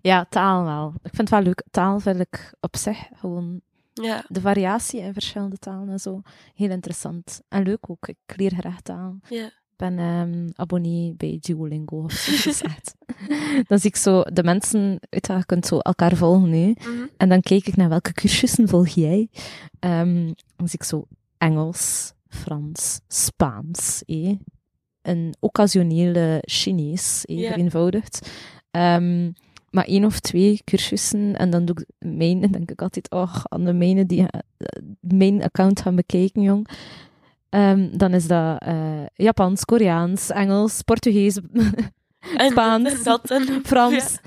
Speaker 3: Ja, taal wel. Ik vind het wel leuk. Taal vind ik op zich gewoon
Speaker 6: ja.
Speaker 3: de variatie in verschillende talen en zo heel interessant. En leuk ook. Ik leer graag taal.
Speaker 6: Ja.
Speaker 3: Ik ben ehm, abonnee bij Duolingo. Of zo. Dus echt. dan zie ik zo de mensen, weet je, je kunt zo elkaar volgen nu.
Speaker 6: Mhm.
Speaker 3: En dan kijk ik naar welke cursussen volg jij. Ehm, dan zie ik zo Engels, Frans, Spaans. eh. Een occasionele Chinees, eh,
Speaker 6: Ja.
Speaker 3: vereenvoudigd. Ehm, maar één of twee cursussen en dan doe ik mijn, en denk ik altijd, oh, aan de mijne die eh, mijn account gaan bekijken, jong. Ehm, dan is dat eh, Japans, Koreaans, Engels, Portugees,
Speaker 6: En
Speaker 3: Spaans,
Speaker 6: dat en dat en
Speaker 3: Frans.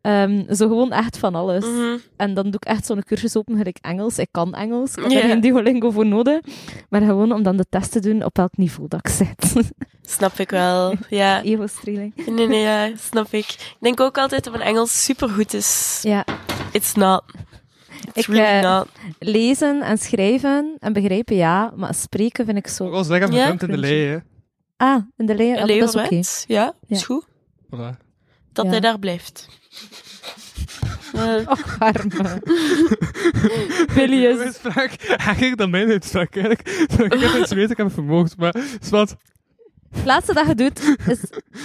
Speaker 3: Ehm, zo gewoon echt van alles.
Speaker 6: Mhm.
Speaker 3: En dan doe ik echt zo'n cursus open, gelijk Engels. Ik kan Engels, ik heb
Speaker 6: Ja.
Speaker 3: daar geen Duolingo voor nodig. Maar gewoon om dan de test te doen op welk niveau dat ik zit.
Speaker 6: Snap ik wel. Ja.
Speaker 3: Ego-streeling.
Speaker 6: Nee, nee, ja, snap ik. Ik denk ook altijd dat mijn Engels supergoed is.
Speaker 3: Ja.
Speaker 6: It's not. It's
Speaker 3: Ik,
Speaker 6: really
Speaker 3: eh,
Speaker 6: not.
Speaker 3: Lezen en schrijven en begrijpen, ja. Maar spreken vind ik
Speaker 4: Ook
Speaker 3: zo...
Speaker 4: al zeggen
Speaker 6: Ja.
Speaker 4: verdomd in de lei, hè.
Speaker 3: Ah, in de leer.
Speaker 6: Leo
Speaker 3: dat is oké.
Speaker 6: Rent, ja, is
Speaker 3: Ja.
Speaker 6: goed.
Speaker 4: Voilà.
Speaker 6: Dat
Speaker 3: Ja.
Speaker 6: hij daar blijft. Eh,
Speaker 3: Och, arme. Willy
Speaker 4: Mijn
Speaker 3: is...
Speaker 4: uitspraak, eigenlijk dan mijn uitspraak, eigenlijk. Ik heb het weten, ik heb het vermoord, maar... is wat.
Speaker 3: Het laatste dat je doet, is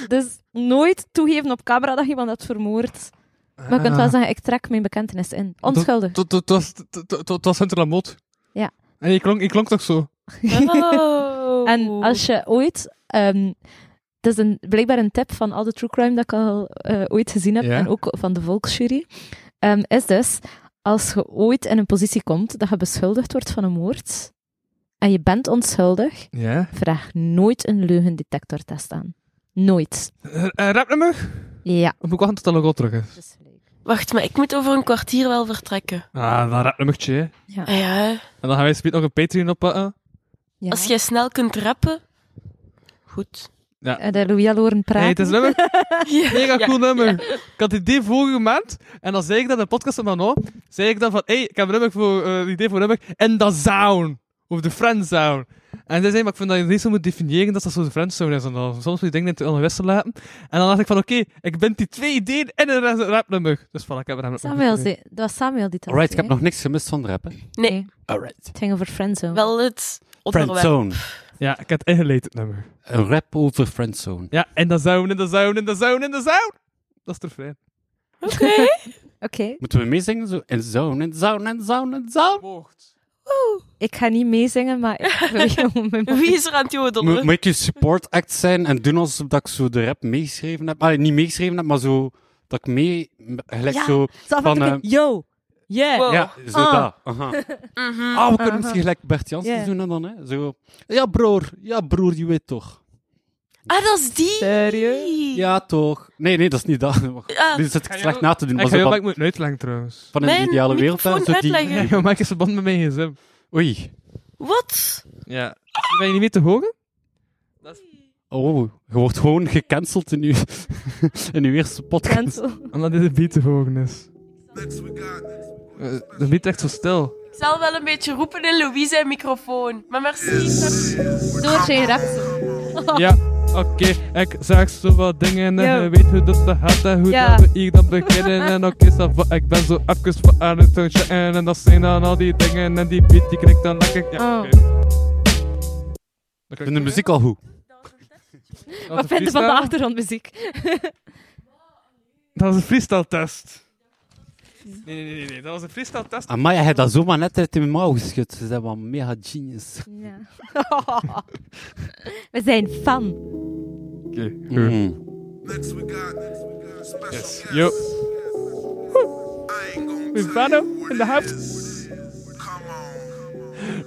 Speaker 3: dus nooit toegeven op camera dat je iemand hebt vermoord. Maar
Speaker 4: Ah.
Speaker 3: je kunt wel zeggen, ik trek mijn bekentenis in. Onschuldig.
Speaker 4: Het was- t- t- t- het was Hunter Mot.
Speaker 3: Ja.
Speaker 4: En je klonk, je klonk toch zo?
Speaker 6: oh.
Speaker 3: En als je ooit... ehm het is een, blijkbaar een tip van al de true crime dat ik al eh, ooit gezien heb,
Speaker 4: Ja.
Speaker 3: en ook van de volksjury, ehm, is dus, als je ooit in een positie komt dat je beschuldigd wordt van een moord, en je bent onschuldig,
Speaker 4: Ja.
Speaker 3: vraag nooit een leugendetectortest aan. Nooit.
Speaker 4: Eh, Rapnummer?
Speaker 3: Ja.
Speaker 4: Of moet ik wachten tot dat logo terug is?
Speaker 6: Wacht, maar ik moet over een kwartier wel vertrekken.
Speaker 4: Ah, dan rapnummertje, hè.
Speaker 3: Ja.
Speaker 6: Ah ja, hè.
Speaker 4: En dan gaan wij speed nog een Patreon oppakken.
Speaker 3: Ja.
Speaker 6: als jij snel kunt rappen... Goed.
Speaker 3: Eh, De Louis Aloren praat.
Speaker 4: Nee, het is een nummer.
Speaker 6: Ja.
Speaker 4: Mega
Speaker 6: Ja.
Speaker 4: cool nummer. Ik had het idee vorige maand. En dan zei ik dat in de podcast van Manon. Zei ik dan van, hey, ik heb een nummer voor, eh, een idee voor een nummer. En dat sound. Of de friend sound. En zij zei, maar ik vind dat je het niet zo moet definiëren dat dat zo de friend sound is. En dan, soms moet je dingen in het onwissel laten. En dan dacht ik van, oké, ik ben die twee ideeën in een res- rapnummer. Dus voilà, ik heb er hem
Speaker 3: Samuel, zei- dat was Samuel die dat
Speaker 5: Alright, ik
Speaker 3: zei.
Speaker 5: heb nog niks gemist van de rap, hè.
Speaker 6: Nee,
Speaker 5: Alright.
Speaker 3: Het ging over friendzone.
Speaker 6: wel het onderwerp.
Speaker 5: Friendzone.
Speaker 4: Ja, ik heb het ingeleid, het nummer.
Speaker 5: Een rap over friendzone.
Speaker 4: Ja, in de zone, in de zone, in de zone, in de zone. Dat is de fijn.
Speaker 6: Oké.
Speaker 3: Oké,
Speaker 5: Moeten we meezingen? Zo, in zone, in zone, in zone, in zone.
Speaker 3: ik ga niet meezingen, maar ik wil je om mijn
Speaker 6: Wie is er aan het jodelen?
Speaker 5: Mo- Moet je support act zijn en doen alsof dat ik zo de rap meegeschreven heb. Ah, niet meegeschreven heb, maar zo dat ik mee... Gelijk
Speaker 3: Ja,
Speaker 5: zo...
Speaker 3: Zo af en toe
Speaker 5: Van,
Speaker 3: een
Speaker 4: eh,
Speaker 3: keer, yo, yeah.
Speaker 6: Wow.
Speaker 5: Ja, zo
Speaker 3: Ah.
Speaker 5: dat. Aha.
Speaker 6: Mhm.
Speaker 5: Ah, we kunnen misschien gelijk Bert Jansen
Speaker 3: Ja.
Speaker 5: doen en dan, hè. Zo... Ja, broer. Ja, broer, je weet toch.
Speaker 6: Ah, dat is die!
Speaker 3: Serieus?
Speaker 5: Ja, toch. Nee, nee, dat is niet dat.
Speaker 6: Ah,
Speaker 5: Nu zit ik
Speaker 4: Ga je
Speaker 5: slecht
Speaker 4: ook-
Speaker 5: na te doen.
Speaker 4: Ik
Speaker 5: Maar
Speaker 4: ga
Speaker 5: zo
Speaker 4: jou
Speaker 5: van,
Speaker 4: ik moet uitleggen trouwens.
Speaker 5: van in de
Speaker 6: Mijn
Speaker 5: ideale wereld. hè,
Speaker 6: microfoon
Speaker 5: zo die-
Speaker 6: uitleggen.
Speaker 4: Ja, maak je verband met mijn gsm.
Speaker 5: Oei.
Speaker 6: Wat?
Speaker 4: Ja. Ben je niet meer te horen?
Speaker 5: Oh, je wordt gewoon gecanceld in uw, in uw eerste podcast.
Speaker 3: Cancel.
Speaker 4: Omdat dit de beat te horen is. Eh, De beat echt zo stil.
Speaker 6: Ik zal wel een beetje roepen in Louise zijn microfoon. Maar merci.
Speaker 3: Doortje in rap.
Speaker 4: Ja, oké. Ik zag zoveel dingen en
Speaker 3: Yo.
Speaker 4: je weet hoe dat gaat en hoe
Speaker 3: Ja.
Speaker 4: dat we hier dan beginnen. En oké, ça va, ik ben zo even van aan het checken. En dat zijn dan al die dingen en die beat die knikt dan lekker. Ja,
Speaker 3: Oh.
Speaker 4: oké.
Speaker 5: Ik vind de muziek al goed.
Speaker 3: Wat vind je van de achtergrondmuziek?
Speaker 4: Dat was een freestyle test. Nee, nee, nee, nee, dat was een freestyle test.
Speaker 5: Amai, hij had dat zomaar net uit mijn mouw geschud. Ze zijn wel mega genius.
Speaker 3: Ja. We zijn fan.
Speaker 5: Mm.
Speaker 4: Yes. Yo. With Vano in de house.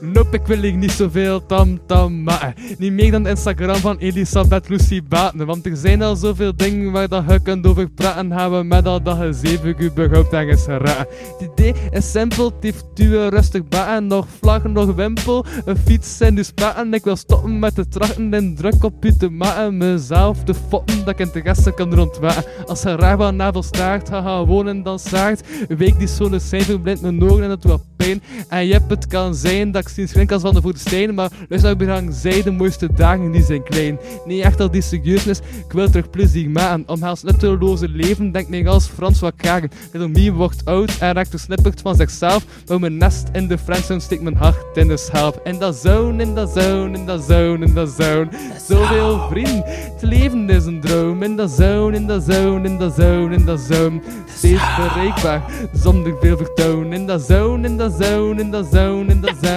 Speaker 4: Nope, ik wil hier niet zoveel tam-tam, maar eh, niet meer dan de Instagram van Elisabeth Lucy Baten. Want er zijn al zoveel dingen waar dat je kunt over praten. Gaan we met al dat gezeven überhaupt ergens geraken. Het idee is simpel, tief duwen, rustig baten. Nog vlaggen, nog wimpel, een fiets en dus spaten. Ik wil stoppen met de trachten en druk op u te maken. Mezelf te foppen, dat ik interesse kan rondwaken. Als je raar van navel staart, haha, wonen dan zaagt. Een week die zo'n cijfer blind mijn ogen en het wel pijn. En jep, het kan zijn dat ik sinds flink als van de voeten steen. Maar luister, ik behang zij de mooiste dagen, die zijn klein. Niet echt al die serieusness, ik wil terug plezier maken. Omhaals nutteloze leven, denk meer als Frans van Kragen. Little me wordt oud en raakt versnipperd van zichzelf. Maar mijn nest in de friendzone steekt mijn hart in de schelp. In dat zone, in dat zone, in dat zone, in dat zone. Zoveel vrienden, het leven is een droom. In dat zone, in dat zone, in dat zone, in dat zone. Steeds bereikbaar, zonder veel vertoon. In dat zone, in dat zone, in dat zone, in dat zone.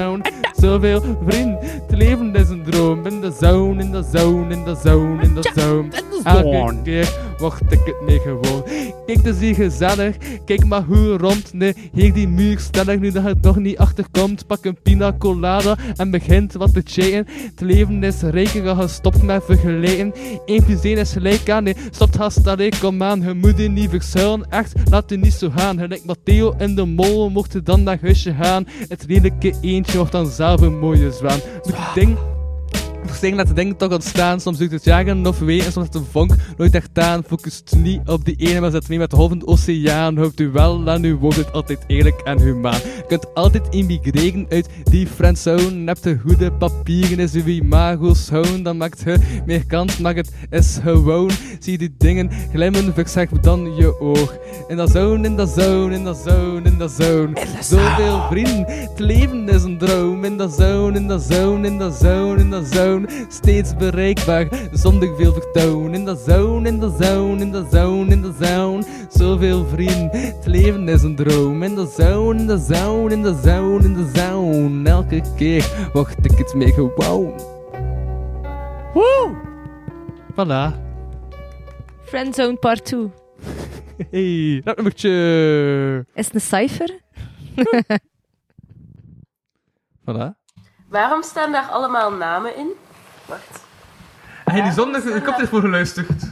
Speaker 4: Zoveel vrienden, het leven is een droom. In dat zone, in dat zone, in dat zone, in dat zone.
Speaker 5: Dat is
Speaker 4: Elke
Speaker 5: Dawn.
Speaker 4: keer word ik het niet gewoon. Kijk, het is hier gezellig. Kijk maar hoe rond. Nee, hier die muur stellig. Nu dat het nog niet achterkomt, pak een pina colada en begint wat te chaten. Het leven is rijker als gestopt met vergelijken. 1 plus 1 is gelijk aan, nee, stopt haast allee, kom aan. Je moet je niet verzuilen, echt, laat je niet zo gaan. Gelijk Matteo in de molen, mocht je dan naar huisje gaan. Het lelijke eentje wordt dan zelf een mooie zwaan. Moet ik ding Sting laat de dingen toch ontstaan. Soms doet het jagen of ween en soms het een vonk nooit echt aan. Focust niet op die ene, maar zet mee met de golvende oceaan. Hoopt u wel aan uw woord, het altijd eerlijk en humaan. Je kunt altijd immigreren uit die friendzone. Heb de goede papieren, is uw imago schoon. Dan maakt je meer kans, maar het is gewoon. Zie die dingen glimmen, verzeg dan je oog. In dat zone, in dat zone, in dat zone, in dat zone. Zoveel vrienden, het leven is een droom. In dat zone, in dat zone, in dat zone, in dat zone. Steeds bereikbaar, zonder veel vertoon. In dat zone, in dat zone, in dat zone, in dat zone. Zoveel vrienden, het leven is een droom. In dat zone, in dat zone, in dat zone, in dat zone. Elke keer wacht ik het mee gewoon. Woe! Voilà.
Speaker 3: Friendzone part 2.
Speaker 4: Hey, dat nummertje.
Speaker 3: Is het een cijfer?
Speaker 4: Voilà.
Speaker 6: Waarom staan daar allemaal namen in? Wacht.
Speaker 4: Hij heeft zondag de koptelefoon geluisterd.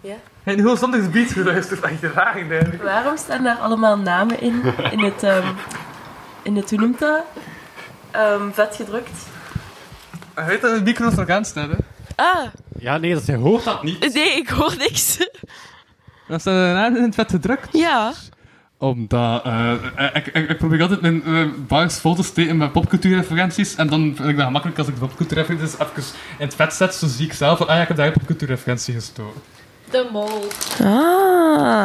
Speaker 6: Ja.
Speaker 4: Hij heeft heel zondag de beat geluisterd. Echt raar eigenlijk.
Speaker 6: Waarom staan daar allemaal namen in? In het, ehm, in het hoe noemt dat? Ehm, vet gedrukt.
Speaker 4: Hij weet dat de micro's nog aan staan, hè?
Speaker 6: Ah,
Speaker 5: Ja, nee, dat, hij hoort dat niet.
Speaker 6: nee, ik hoor niks.
Speaker 4: Dan staan de naam in het vet gedrukt.
Speaker 6: Ja.
Speaker 4: Omdat, eh, ik, ik, ik probeer altijd mijn eh, bars vol te steken met popcultuurreferenties. En dan vind ik dat gemakkelijk als ik de popcultuurreferenties even in het vet zet. Zo zie ik zelf van, ah ja, ik heb daar een popcultuurreferentie gestoken.
Speaker 3: De mol.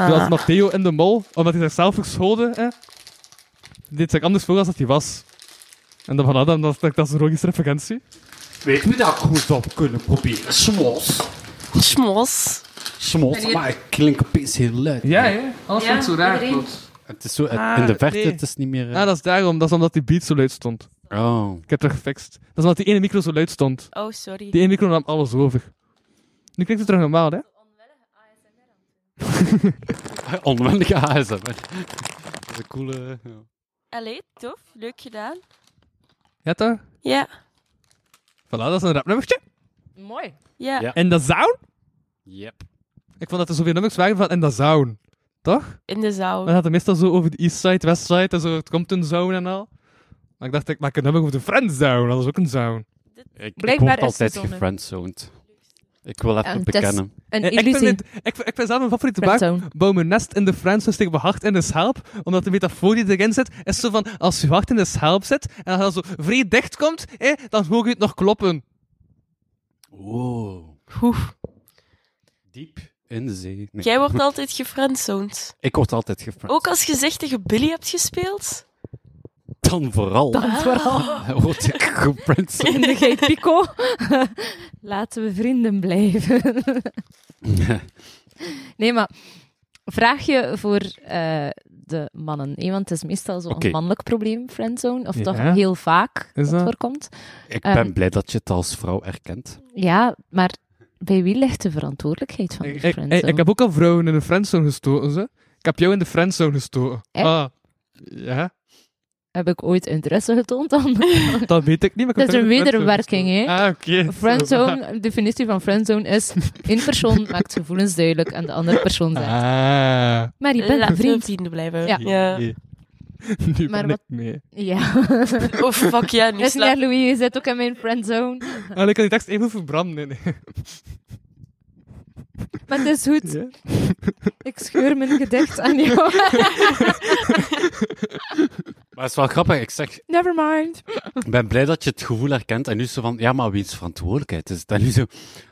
Speaker 4: Dat is
Speaker 6: Ah.
Speaker 4: Matteo in de mol, omdat hij zichzelf verscholen. Hè? Dit zag anders voor als dat hij was. En dan voilà, dan, dat, dat, dat is een logische referentie.
Speaker 5: Weet u dat goed op kunnen proberen? Smos.
Speaker 6: Smos.
Speaker 5: Smos, maar ik klink opeens heel luid.
Speaker 4: Ja, hè? Alles
Speaker 3: Ja, wordt zo raar, iedereen. plots.
Speaker 5: Het is zo, het-
Speaker 4: Ah,
Speaker 5: in de verte,
Speaker 4: nee.
Speaker 5: het is niet meer... eh,
Speaker 4: Ah, dat is daarom. Dat is omdat die beat zo luid stond.
Speaker 5: Oh.
Speaker 4: Ik heb het gefixt. Dat is omdat die ene micro zo luid stond.
Speaker 6: Oh, sorry.
Speaker 4: Die ene micro nam alles over. Nu klinkt het terug normaal, hè?
Speaker 5: Onwendige ASMR. Dat is een coole... ja.
Speaker 6: Allee, tof. Leuk gedaan.
Speaker 4: Ja, toch?
Speaker 6: Ja.
Speaker 4: Voilà, dat is een rapnummertje.
Speaker 3: Mooi.
Speaker 6: Ja.
Speaker 5: Ja.
Speaker 4: En dat zoun?
Speaker 5: Yep.
Speaker 4: Ik vond dat er zoveel nummers waren van en dat zoun. Toch?
Speaker 6: In de
Speaker 4: Maar
Speaker 6: zaal.
Speaker 4: dat had meestal zo over de east side, west side en zo, het komt een zoun en al. Maar ik dacht, ik maak een nummer over de friendzone. Dat is ook een zoun.
Speaker 5: Ik, ik
Speaker 3: Blijkbaar
Speaker 5: word
Speaker 3: is
Speaker 5: altijd
Speaker 3: de zon, hè.
Speaker 5: gefriendzoned. Ik wil even
Speaker 3: En het is
Speaker 5: bekennen.
Speaker 3: Een
Speaker 4: Eh, ik, vind
Speaker 3: illusie.
Speaker 4: het, ik, vind- ik vind zelf mijn favoriete baar.
Speaker 3: Friendzone.
Speaker 4: Bouw een nest in de friendzone, steek mijn hart in de schelp. Omdat de metafoor die erin zit, is zo van, als je hart in de schelp zit, en als dat zo vrij dicht komt, eh, dan hoor je het nog kloppen.
Speaker 5: Wow.
Speaker 6: Oeh.
Speaker 5: Diep in de zee. Nee.
Speaker 6: Jij wordt altijd gefriendzoned.
Speaker 5: Ik word altijd gefriendzoned.
Speaker 6: Ook als je zegt dat je Billy hebt gespeeld?
Speaker 5: Dan vooral. Ah.
Speaker 3: Vooral
Speaker 5: word ik gefriendzoned.
Speaker 3: in de Gay Pico. Laten we vrienden blijven. nee, maar vraag je voor eh, de mannen. hè, want het is meestal zo'n
Speaker 5: Oké.
Speaker 3: mannelijk probleem, friendzone. Of
Speaker 4: Ja.
Speaker 3: toch heel vaak
Speaker 4: Is
Speaker 3: dat,
Speaker 4: dat?
Speaker 3: voorkomt.
Speaker 5: ik
Speaker 3: Ehm.
Speaker 5: ben blij dat je het als vrouw erkent.
Speaker 3: Ja, maar bij wie ligt de verantwoordelijkheid van de
Speaker 4: Ik, ik,
Speaker 3: friendzone?
Speaker 4: ik heb ook al vrouwen in de friendzone gestoten, ze. Ik heb jou in de friendzone gestoten.
Speaker 3: Echt?
Speaker 4: Ah, ja,
Speaker 3: Heb ik ooit interesse getoond dan?
Speaker 4: dat weet ik niet. Maar ik heb
Speaker 3: Dat is
Speaker 4: jou in
Speaker 3: een
Speaker 4: de friendzone
Speaker 3: wederwerking,
Speaker 4: gestoten. Ah, oké.
Speaker 3: Friendzone, de definitie van friendzone is... één persoon maakt gevoelens duidelijk en de andere persoon zegt...
Speaker 4: Ah.
Speaker 3: Maar je bent
Speaker 6: Laten
Speaker 3: een
Speaker 6: we
Speaker 3: vriend.
Speaker 6: eh, vrienden blijven.
Speaker 3: Ja.
Speaker 4: Nee. Nu
Speaker 3: Maar
Speaker 4: ben
Speaker 3: wat-
Speaker 4: ik mee.
Speaker 3: Ja.
Speaker 6: Oh, fuck ja. Nu
Speaker 3: Dus
Speaker 6: sla...
Speaker 3: naar Louis, je zit ook in mijn friendzone.
Speaker 4: Ah, ik kan die tekst even verbranden. Nee, nee.
Speaker 3: Maar het is goed.
Speaker 4: Ja.
Speaker 3: Ik scheur mijn gedicht aan jou.
Speaker 5: Maar het is wel grappig. Ik zeg,
Speaker 3: Never mind.
Speaker 5: ik ben blij dat je het gevoel herkent. En nu zo van, ja, maar wiens verantwoordelijkheid is het? En nu zo,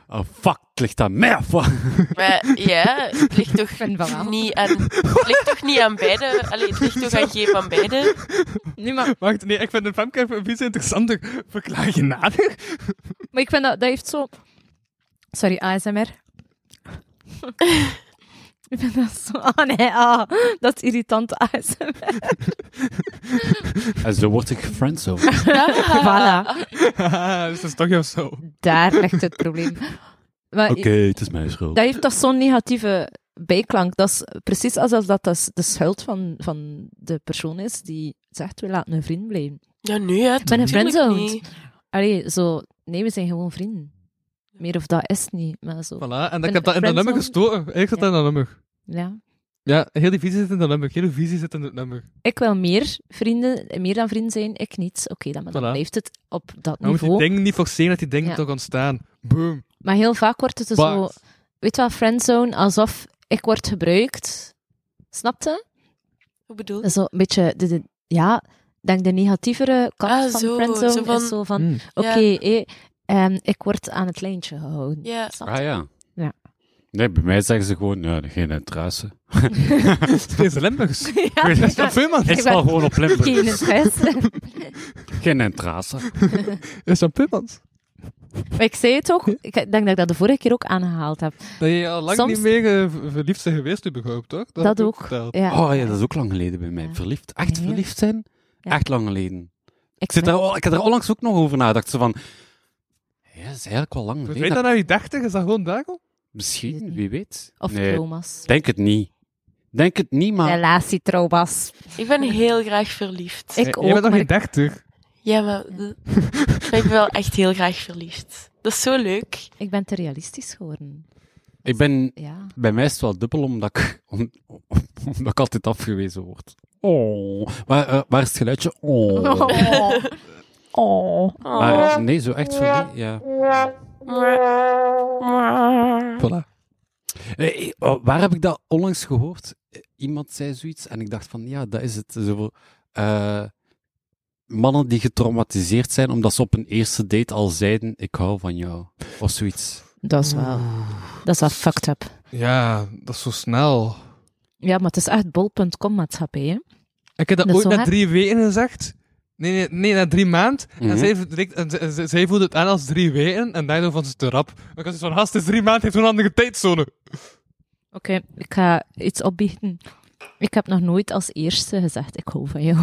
Speaker 5: oh fuck, het ligt aan mij of wat?
Speaker 6: Maar ja, het ligt toch
Speaker 3: vind van wel.
Speaker 6: niet aan... Het ligt toch niet aan beide? Allee, het ligt toch aan geen van beide?
Speaker 3: Nee, maar,
Speaker 4: Wacht, nee, ik vind de Femke even iets interessanter. Verklaar je nader?
Speaker 3: maar ik vind dat, dat heeft zo... Sorry, ASMR. ik vind dat zo... Ah nee, ah, dat is irritant ASMR.
Speaker 5: En zo word ik gefriendzoned.
Speaker 3: Voilà,
Speaker 4: Haha, dus dat is toch jouw zo.
Speaker 3: daar ligt het probleem. Maar
Speaker 5: Oké, het is mijn schuld.
Speaker 3: dat heeft toch zo'n negatieve bijklank. Dat is precies alsof dat, dat de schuld van, van de persoon is die zegt, we laten een vriend blijven.
Speaker 6: Ja, nu hè.
Speaker 3: Ik ben een
Speaker 6: tuurlijk
Speaker 3: friendzoned.
Speaker 6: niet.
Speaker 3: Allee, zo, nee, we zijn gewoon vrienden. Meer of dat is het niet, maar zo.
Speaker 4: Voilà, en
Speaker 3: ben
Speaker 4: ik heb dat in dat nummer
Speaker 3: friendzone.
Speaker 4: gestoken. Ik zat
Speaker 3: Ja.
Speaker 4: in dat nummer.
Speaker 3: Ja.
Speaker 4: Ja, heel die visie zit in dat nummer. Heel die visie zit in dat nummer.
Speaker 3: Ik wil meer vrienden, meer dan vrienden zijn, ik niet. Oké, dan, maar dan
Speaker 4: Voilà.
Speaker 3: blijft het op dat
Speaker 4: Je moet die
Speaker 3: niveau.
Speaker 4: dingen niet forceren dat die dingen
Speaker 3: Ja.
Speaker 4: toch ontstaan. Boom.
Speaker 3: Maar heel vaak wordt het dus
Speaker 4: Bart.
Speaker 3: zo, weet je wel, friendzone, alsof ik word gebruikt. Snapte?
Speaker 6: Hoe bedoel je?
Speaker 3: Zo een beetje, de, de- ja, ik denk de negatievere kant
Speaker 6: Ah,
Speaker 3: van
Speaker 6: zo,
Speaker 3: friendzone
Speaker 6: zo van-
Speaker 3: is zo van,
Speaker 5: Hmm.
Speaker 4: Mm.
Speaker 3: oké,
Speaker 6: Ja.
Speaker 3: hé, ehm, ik word aan het lijntje gehouden.
Speaker 6: Ja.
Speaker 3: Snap
Speaker 5: Ah ja.
Speaker 3: Ja.
Speaker 5: Nee, bij mij zeggen ze gewoon, ja, geen interesse.
Speaker 4: Het is Limburgs.
Speaker 3: je? Ja,
Speaker 5: Weet je,
Speaker 4: Dat is toch veel, man?
Speaker 5: Ik val gewoon op
Speaker 3: Geen
Speaker 5: Limburg.
Speaker 3: interesse.
Speaker 5: Geen interesse.
Speaker 4: Is dat Pummans?
Speaker 3: Maar ik zei het ook, ik denk dat ik dat de vorige keer ook aangehaald heb.
Speaker 4: Dat je al lang
Speaker 3: Soms-
Speaker 4: niet meer eh, ver- verliefd bent geweest, überhaupt, toch?
Speaker 3: Dat,
Speaker 4: heb ik
Speaker 3: ook.
Speaker 4: verteld.
Speaker 3: Ja.
Speaker 5: Oh ja, dat is ook lang geleden bij mij.
Speaker 3: Ja.
Speaker 5: Verliefd. Echt
Speaker 3: Ja.
Speaker 5: verliefd zijn?
Speaker 3: Ja.
Speaker 5: Echt lang geleden.
Speaker 3: ik
Speaker 5: Ik, zit
Speaker 3: ben-
Speaker 5: daar, al- ik heb er onlangs ook nog over nagedacht. Zo van, ja, dat is eigenlijk wel lang
Speaker 4: Weet
Speaker 5: geleden.
Speaker 4: je dat nou je dertig? Is dat gewoon dagel?
Speaker 3: Weet
Speaker 5: Misschien,
Speaker 3: niet.
Speaker 5: wie weet.
Speaker 3: Of
Speaker 5: nee,
Speaker 3: trauma's.
Speaker 5: denk het niet. Denk het niet, maar...
Speaker 3: Relatietrauma's.
Speaker 6: Ik ben heel graag verliefd.
Speaker 3: Ik
Speaker 4: Je
Speaker 3: ook,
Speaker 4: bent nog
Speaker 3: maar
Speaker 4: geen
Speaker 3: ik-
Speaker 4: dertig.
Speaker 6: Ja, maar de- ik ben wel echt heel graag verliefd. Dat is zo leuk.
Speaker 3: Ik ben te realistisch geworden.
Speaker 5: Ik ben...
Speaker 3: Ja.
Speaker 5: Bij mij is het wel dubbel, omdat ik, om- om- omdat ik altijd afgewezen word. Oh. Waar, eh, waar is het geluidje? Oh.
Speaker 3: Oh.
Speaker 5: Maar, eh, nee, zo echt verliefd, ja.
Speaker 6: Oh.
Speaker 4: Voilà.
Speaker 5: Eh, eh, oh, waar heb ik dat onlangs gehoord? Eh, Iemand zei zoiets en ik dacht van, ja, dat is het. Zo, voor, eh, mannen die getraumatiseerd zijn omdat ze op een eerste date al zeiden, ik hou van jou. Of zoiets.
Speaker 3: Dat is wel, dat is wel fucked up.
Speaker 4: Ja, dat is zo snel.
Speaker 3: Ja, maar het is echt bol.com maatschappij, hè.
Speaker 4: Ik heb dat,
Speaker 3: Dat is
Speaker 4: ooit
Speaker 3: zo
Speaker 4: na
Speaker 3: hard.
Speaker 4: drie weken gezegd. Nee, nee, nee na drie maanden.
Speaker 5: Mhm.
Speaker 4: En zij, verdikt- en zij- zij- zij voelde het aan als drie weken en daardoor vond ze het te rap. Maar ik was zo'n gast, het is drie maanden, heeft zo'n andere tijdzone.
Speaker 3: Oké, ik ga iets opbiechten. Ik heb nog nooit als eerste gezegd, ik hou van jou.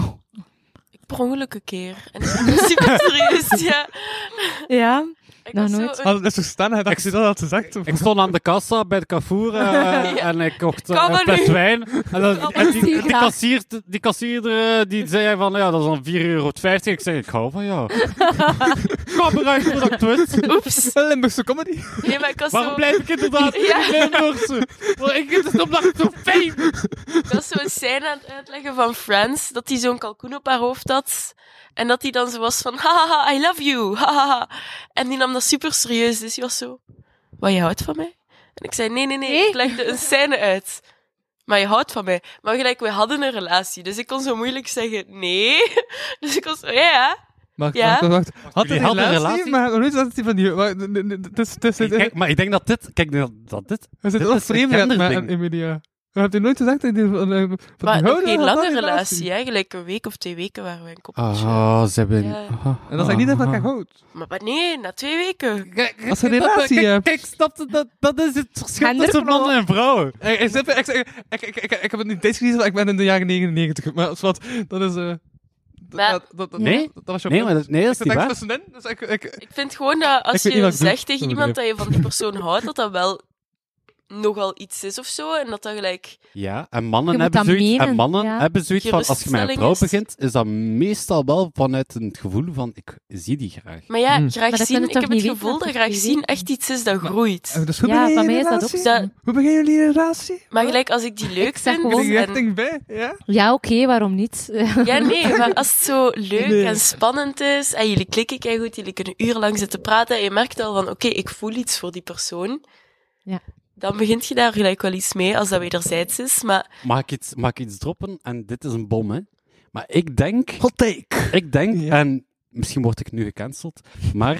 Speaker 6: Ik per ongeluk een keer. En ik ben super serieus, ja.
Speaker 3: Ja?
Speaker 6: Ik
Speaker 3: Nog
Speaker 6: was zo
Speaker 3: nooit.
Speaker 6: een-
Speaker 4: Had het zo staan, hij dacht, ze dat had gezegd.
Speaker 5: Ik stond aan de kassa bij de Carrefour eh, en ik kocht eh,
Speaker 6: Kan maar
Speaker 5: een fles
Speaker 6: nu.
Speaker 5: wijn. En, dan-
Speaker 6: Kan
Speaker 5: en die,
Speaker 3: maar nu.
Speaker 5: die, kassier, die kassierder eh, die zei van, ja, dat is dan 4,50 euro. Ik zei, ik hou van jou. Kom eruit, productwit.
Speaker 6: Oeps.
Speaker 4: Limburgse comedy.
Speaker 6: Nee, maar ik was
Speaker 5: Waarom
Speaker 6: zo...
Speaker 5: blijf ik inderdaad
Speaker 6: Ja.
Speaker 5: Limburgse? Want ik vind het omdat ik zo fijn
Speaker 6: Dat is zo'n scène aan het uitleggen van Friends, dat hij zo'n kalkoen op haar hoofd had. En dat hij dan zo was van, haha, I love you, haha. En die nam dat super serieus, dus die was zo, wat, je houdt van mij? En ik zei, nee, nee, nee,
Speaker 3: Nee.
Speaker 6: ik legde een scène uit. Maar je houdt van mij. Maar gelijk, we hadden een relatie, dus ik kon zo moeilijk zeggen, nee. Dus ik was zo, ja, ja.
Speaker 4: Wacht,
Speaker 6: Ja?
Speaker 4: wacht, wacht. Had
Speaker 5: Jullie
Speaker 4: hij
Speaker 5: hadden
Speaker 4: een
Speaker 5: een
Speaker 4: relatie?
Speaker 5: relatie?
Speaker 4: Maar nog nooit dat hij van die... maar- nee, nee, nee, Het is- het is-
Speaker 5: Hey, Kijk, maar ik denk dat dit... Kijk, dat, dat dit...
Speaker 4: Er zit
Speaker 5: dit
Speaker 4: wel
Speaker 5: is een
Speaker 4: vreemd met
Speaker 5: genderding.
Speaker 4: Emilia. Maar Heb je nooit gezegd dat je van, eh, van
Speaker 6: Maar
Speaker 4: die
Speaker 6: nog
Speaker 4: houden?
Speaker 6: geen
Speaker 4: had
Speaker 6: lange
Speaker 4: dat
Speaker 6: relatie, hè. Gelijk een week of twee weken waren we een koppeltje.
Speaker 5: Oh, ze hebben...
Speaker 6: Ja.
Speaker 4: En dat is eigenlijk niet dat van elkaar houdt.
Speaker 6: Maar, maar nee, na twee weken.
Speaker 5: Kijk,
Speaker 4: Als je
Speaker 5: kijk,
Speaker 4: relatie
Speaker 5: kijk,
Speaker 4: hebt.
Speaker 5: Kijk, snap je? Dat, dat is het verschil tussen
Speaker 3: Genderkloof.
Speaker 5: mannen en vrouwen.
Speaker 4: Ik, ik, snap- ik, ik, ik, ik, ik, ik heb het niet eens gezien, want ik ben in de jaren 99. Maar zwart, dat is... eh, dat-
Speaker 6: Maar-
Speaker 4: dat, dat, dat-
Speaker 5: Nee?
Speaker 4: dat was jouw
Speaker 5: Nee, maar dat, nee, dat is
Speaker 4: Ik zit
Speaker 5: niet
Speaker 4: echt
Speaker 5: waar.
Speaker 4: tussenin, dus ik... ik
Speaker 6: Ik vind gewoon dat
Speaker 4: Ik
Speaker 6: als
Speaker 4: weet niet
Speaker 6: je
Speaker 4: wat ik
Speaker 6: zegt
Speaker 4: doe.
Speaker 6: tegen
Speaker 4: Dat
Speaker 6: iemand dat
Speaker 4: bedoel
Speaker 6: je van die persoon houdt, dat dat wel nogal iets is of zo. En dat dat gelijk.
Speaker 5: Ja, en
Speaker 3: Je
Speaker 5: mannen
Speaker 3: moet
Speaker 5: hebben
Speaker 3: dat
Speaker 5: zoiets, en
Speaker 3: menen,
Speaker 5: mannen
Speaker 3: ja.
Speaker 5: hebben zoiets van, als je met een vrouw
Speaker 6: Geruststelling is-
Speaker 5: begint, is dat meestal wel vanuit een gevoel van, ik zie die graag.
Speaker 6: Maar ja,
Speaker 4: Hmm.
Speaker 6: graag
Speaker 3: Maar dat
Speaker 6: zien.
Speaker 3: kunnen
Speaker 6: Ik
Speaker 3: toch
Speaker 6: heb het
Speaker 3: niet
Speaker 6: gevoel
Speaker 3: weten,
Speaker 6: dat
Speaker 3: dat
Speaker 6: graag
Speaker 3: je
Speaker 6: zien
Speaker 3: weet.
Speaker 6: echt iets is dat groeit.
Speaker 4: dus hoe
Speaker 3: Ja,
Speaker 4: begin
Speaker 3: bij
Speaker 4: je
Speaker 3: mij is dat ook
Speaker 4: relatie?
Speaker 6: zo.
Speaker 4: Hoe beginnen jullie een relatie?
Speaker 6: Maar gelijk als ik die leuk
Speaker 3: zeg
Speaker 6: vind.
Speaker 4: Kun
Speaker 3: gewoon-
Speaker 4: je
Speaker 6: en-
Speaker 4: echt ding bij, ja?
Speaker 3: Ja, oké, waarom niet?
Speaker 6: Ja, nee, maar als het zo leuk
Speaker 4: Nee.
Speaker 6: en spannend is en jullie klikken kei goed, jullie kunnen urenlang zitten praten en je merkt al van, oké, ik voel iets voor die persoon.
Speaker 3: Ja.
Speaker 6: Dan begint je daar gelijk wel iets mee als dat wederzijds is. Maar
Speaker 5: Mag ik iets, mag ik iets droppen? En dit is een bom, hè. Maar ik denk... Ik denk,
Speaker 4: Ja.
Speaker 5: en misschien word ik nu gecanceld, maar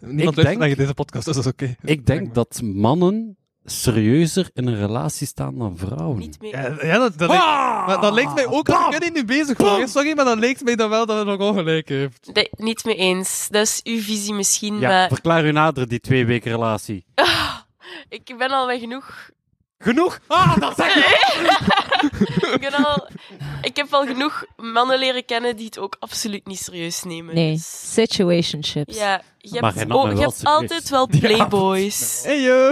Speaker 4: Niemand
Speaker 5: denk-
Speaker 4: weet dat je deze podcast, dus dat is oké.
Speaker 5: ik denk dat mannen serieuzer in een relatie staan dan vrouwen.
Speaker 6: niet meer.
Speaker 4: Ja, ja, dat, dat, lijkt, maar dat lijkt mij ook... Ik ben hier niet bezig, hoor. sorry, maar dat lijkt mij dan wel dat het nog ongelijk heeft.
Speaker 6: Nee, niet mee eens. Dat is uw visie
Speaker 3: eh,
Speaker 6: misschien, eh,
Speaker 5: Ja,
Speaker 6: maar
Speaker 5: verklaar u nader die twee weken relatie.
Speaker 6: ik ben al wel genoeg
Speaker 4: Genoeg? Ah, dat zeg ik!
Speaker 6: Ik, ben al, ik heb al genoeg mannen leren kennen die het ook absoluut niet serieus nemen.
Speaker 3: Nee,
Speaker 6: Dus-
Speaker 3: situationships.
Speaker 6: Ja, je
Speaker 5: Maar hij
Speaker 6: hebt,
Speaker 5: nam
Speaker 6: oh,
Speaker 5: me
Speaker 6: je
Speaker 5: wel
Speaker 6: hebt
Speaker 5: serieus.
Speaker 6: altijd wel playboys.
Speaker 4: Hey, yo.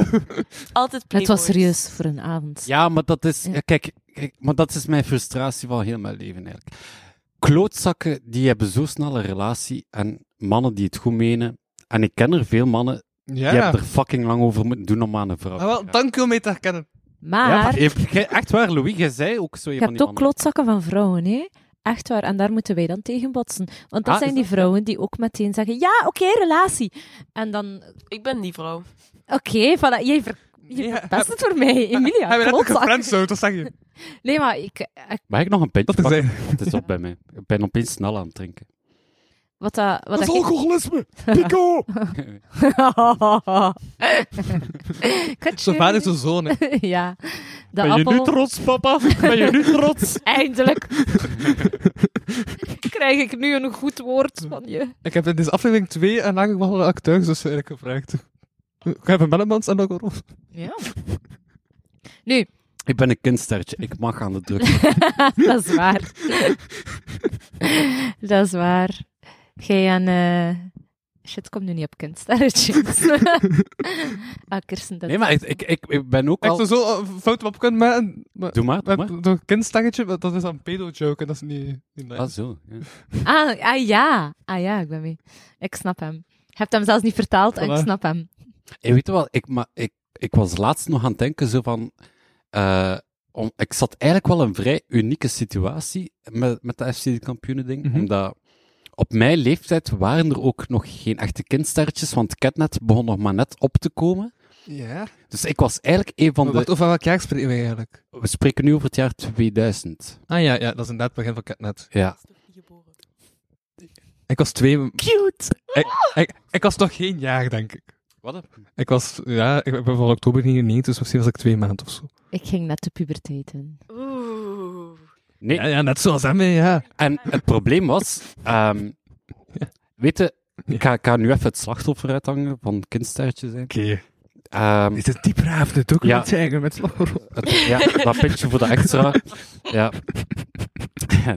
Speaker 6: Altijd
Speaker 3: Het
Speaker 6: playboys.
Speaker 3: was serieus voor een avond.
Speaker 5: Ja, maar dat is...
Speaker 3: Ja.
Speaker 5: ja, Kijk, kijk, maar dat is mijn frustratie van heel mijn leven eigenlijk. Klootzakken, die hebben zo snel een relatie. En mannen die het goed menen... En ik ken er veel mannen
Speaker 4: Ja.
Speaker 5: die hebben er fucking lang over moeten doen om aan een vrouw
Speaker 4: Ah, wel, dank u om mee te herkennen.
Speaker 5: Ja,
Speaker 3: Maar
Speaker 5: maar je- jij- echt waar, Louis, jij zei ook zo
Speaker 3: je
Speaker 5: iemand.
Speaker 3: hebt ook klotzakken van vrouwen, hè? Echt waar, en daar moeten wij dan tegen botsen. Want dat
Speaker 5: Ah,
Speaker 3: zijn
Speaker 5: is
Speaker 3: die
Speaker 5: dat-
Speaker 3: vrouwen die ook meteen zeggen: Ja, oké, relatie. En dan,
Speaker 6: Ik ben die vrouw.
Speaker 3: oké, voilà, jij ver- je
Speaker 4: Ja,
Speaker 3: verpest het voor mij, Emilia.
Speaker 4: Hij werd net
Speaker 3: klotzak.
Speaker 4: gefriendzoned, dat zeg je.
Speaker 3: Nee, maar ik, ik-
Speaker 5: Mag ik nog een pintje
Speaker 4: Dat is
Speaker 5: pakken?
Speaker 4: hij.
Speaker 5: Het is op bij mij. Ik ben opeens snel aan het drinken.
Speaker 3: wat dat. Wat
Speaker 4: Dat is
Speaker 3: dat ik-
Speaker 4: alcoholisme! Pico!
Speaker 3: Katje.
Speaker 4: Zijn vader is zijn zoon, hè.
Speaker 3: ja, de appel.
Speaker 5: trots, papa? Ben je nu trots?
Speaker 3: Eindelijk krijg ik nu een goed woord van je.
Speaker 4: Ik heb in deze aflevering twee en eigenlijk wel acteurs dus eigenlijk gevraagd. Ik heb een Bellemans en ook een Rolf.
Speaker 3: Ja,
Speaker 5: Ik ben een kindstertje. Ik mag aan de druk.
Speaker 3: dat is waar. dat is waar. Jij en... eh, Shit, kom nu niet op kindsterretjes. ah, Kirsten, dat...
Speaker 5: Nee, maar ik, ik, ik, ik ben ook
Speaker 4: Ik
Speaker 5: al...
Speaker 4: zou zo eh, fouten op kunnen maken, maar...
Speaker 5: Doe maar, doe maar.
Speaker 4: Met een kindstangetje, maar dat is een pedo-joke en dat is niet, niet nice.
Speaker 5: Ah, zo. ja.
Speaker 3: Ah, ah, ja. Ah ja, ik ben mee. Ik snap hem. Je hebt hem zelfs niet vertaald en ik
Speaker 4: Voilà.
Speaker 3: snap hem.
Speaker 5: En weet je wel, ik, maar, ik, ik was laatst nog aan het denken zo van... eh, om, ik zat eigenlijk wel in een vrij unieke situatie met, met de FC kampioenen ding.
Speaker 4: Mhm.
Speaker 5: Omdat op mijn leeftijd waren er ook nog geen echte kindsterretjes, want Catnet begon nog maar net op te komen.
Speaker 4: Ja.
Speaker 5: Dus ik was eigenlijk een van
Speaker 4: Maar wacht, oh.
Speaker 5: de...
Speaker 4: over welk jaar spreken we eigenlijk?
Speaker 5: We spreken nu over het jaar 2000.
Speaker 4: Ah ja, ja, dat is inderdaad het begin van Catnet.
Speaker 5: Ja.
Speaker 4: Ik was twee... Cute! Ik, ik, ik was nog geen jaar, denk ik.
Speaker 5: Wat?
Speaker 4: Ik was... Ja, ik ben van oktober 99, dus misschien was ik twee maanden of zo.
Speaker 3: Ik ging net de puberteit in.
Speaker 6: Oeh.
Speaker 5: Nee,
Speaker 4: Ja, ja, net zoals hem, hè, ja.
Speaker 5: en het probleem was... ehm, weet je, ik ga, ik ga nu even het slachtoffer uithangen van kindsterretjes zijn.
Speaker 4: Oké.
Speaker 5: Ehm,
Speaker 4: Dit is een diepe avond, ook
Speaker 5: Ja.
Speaker 4: met zeggen, met slagroom.
Speaker 5: Het- ja, dat pintje voor de extra. Ja.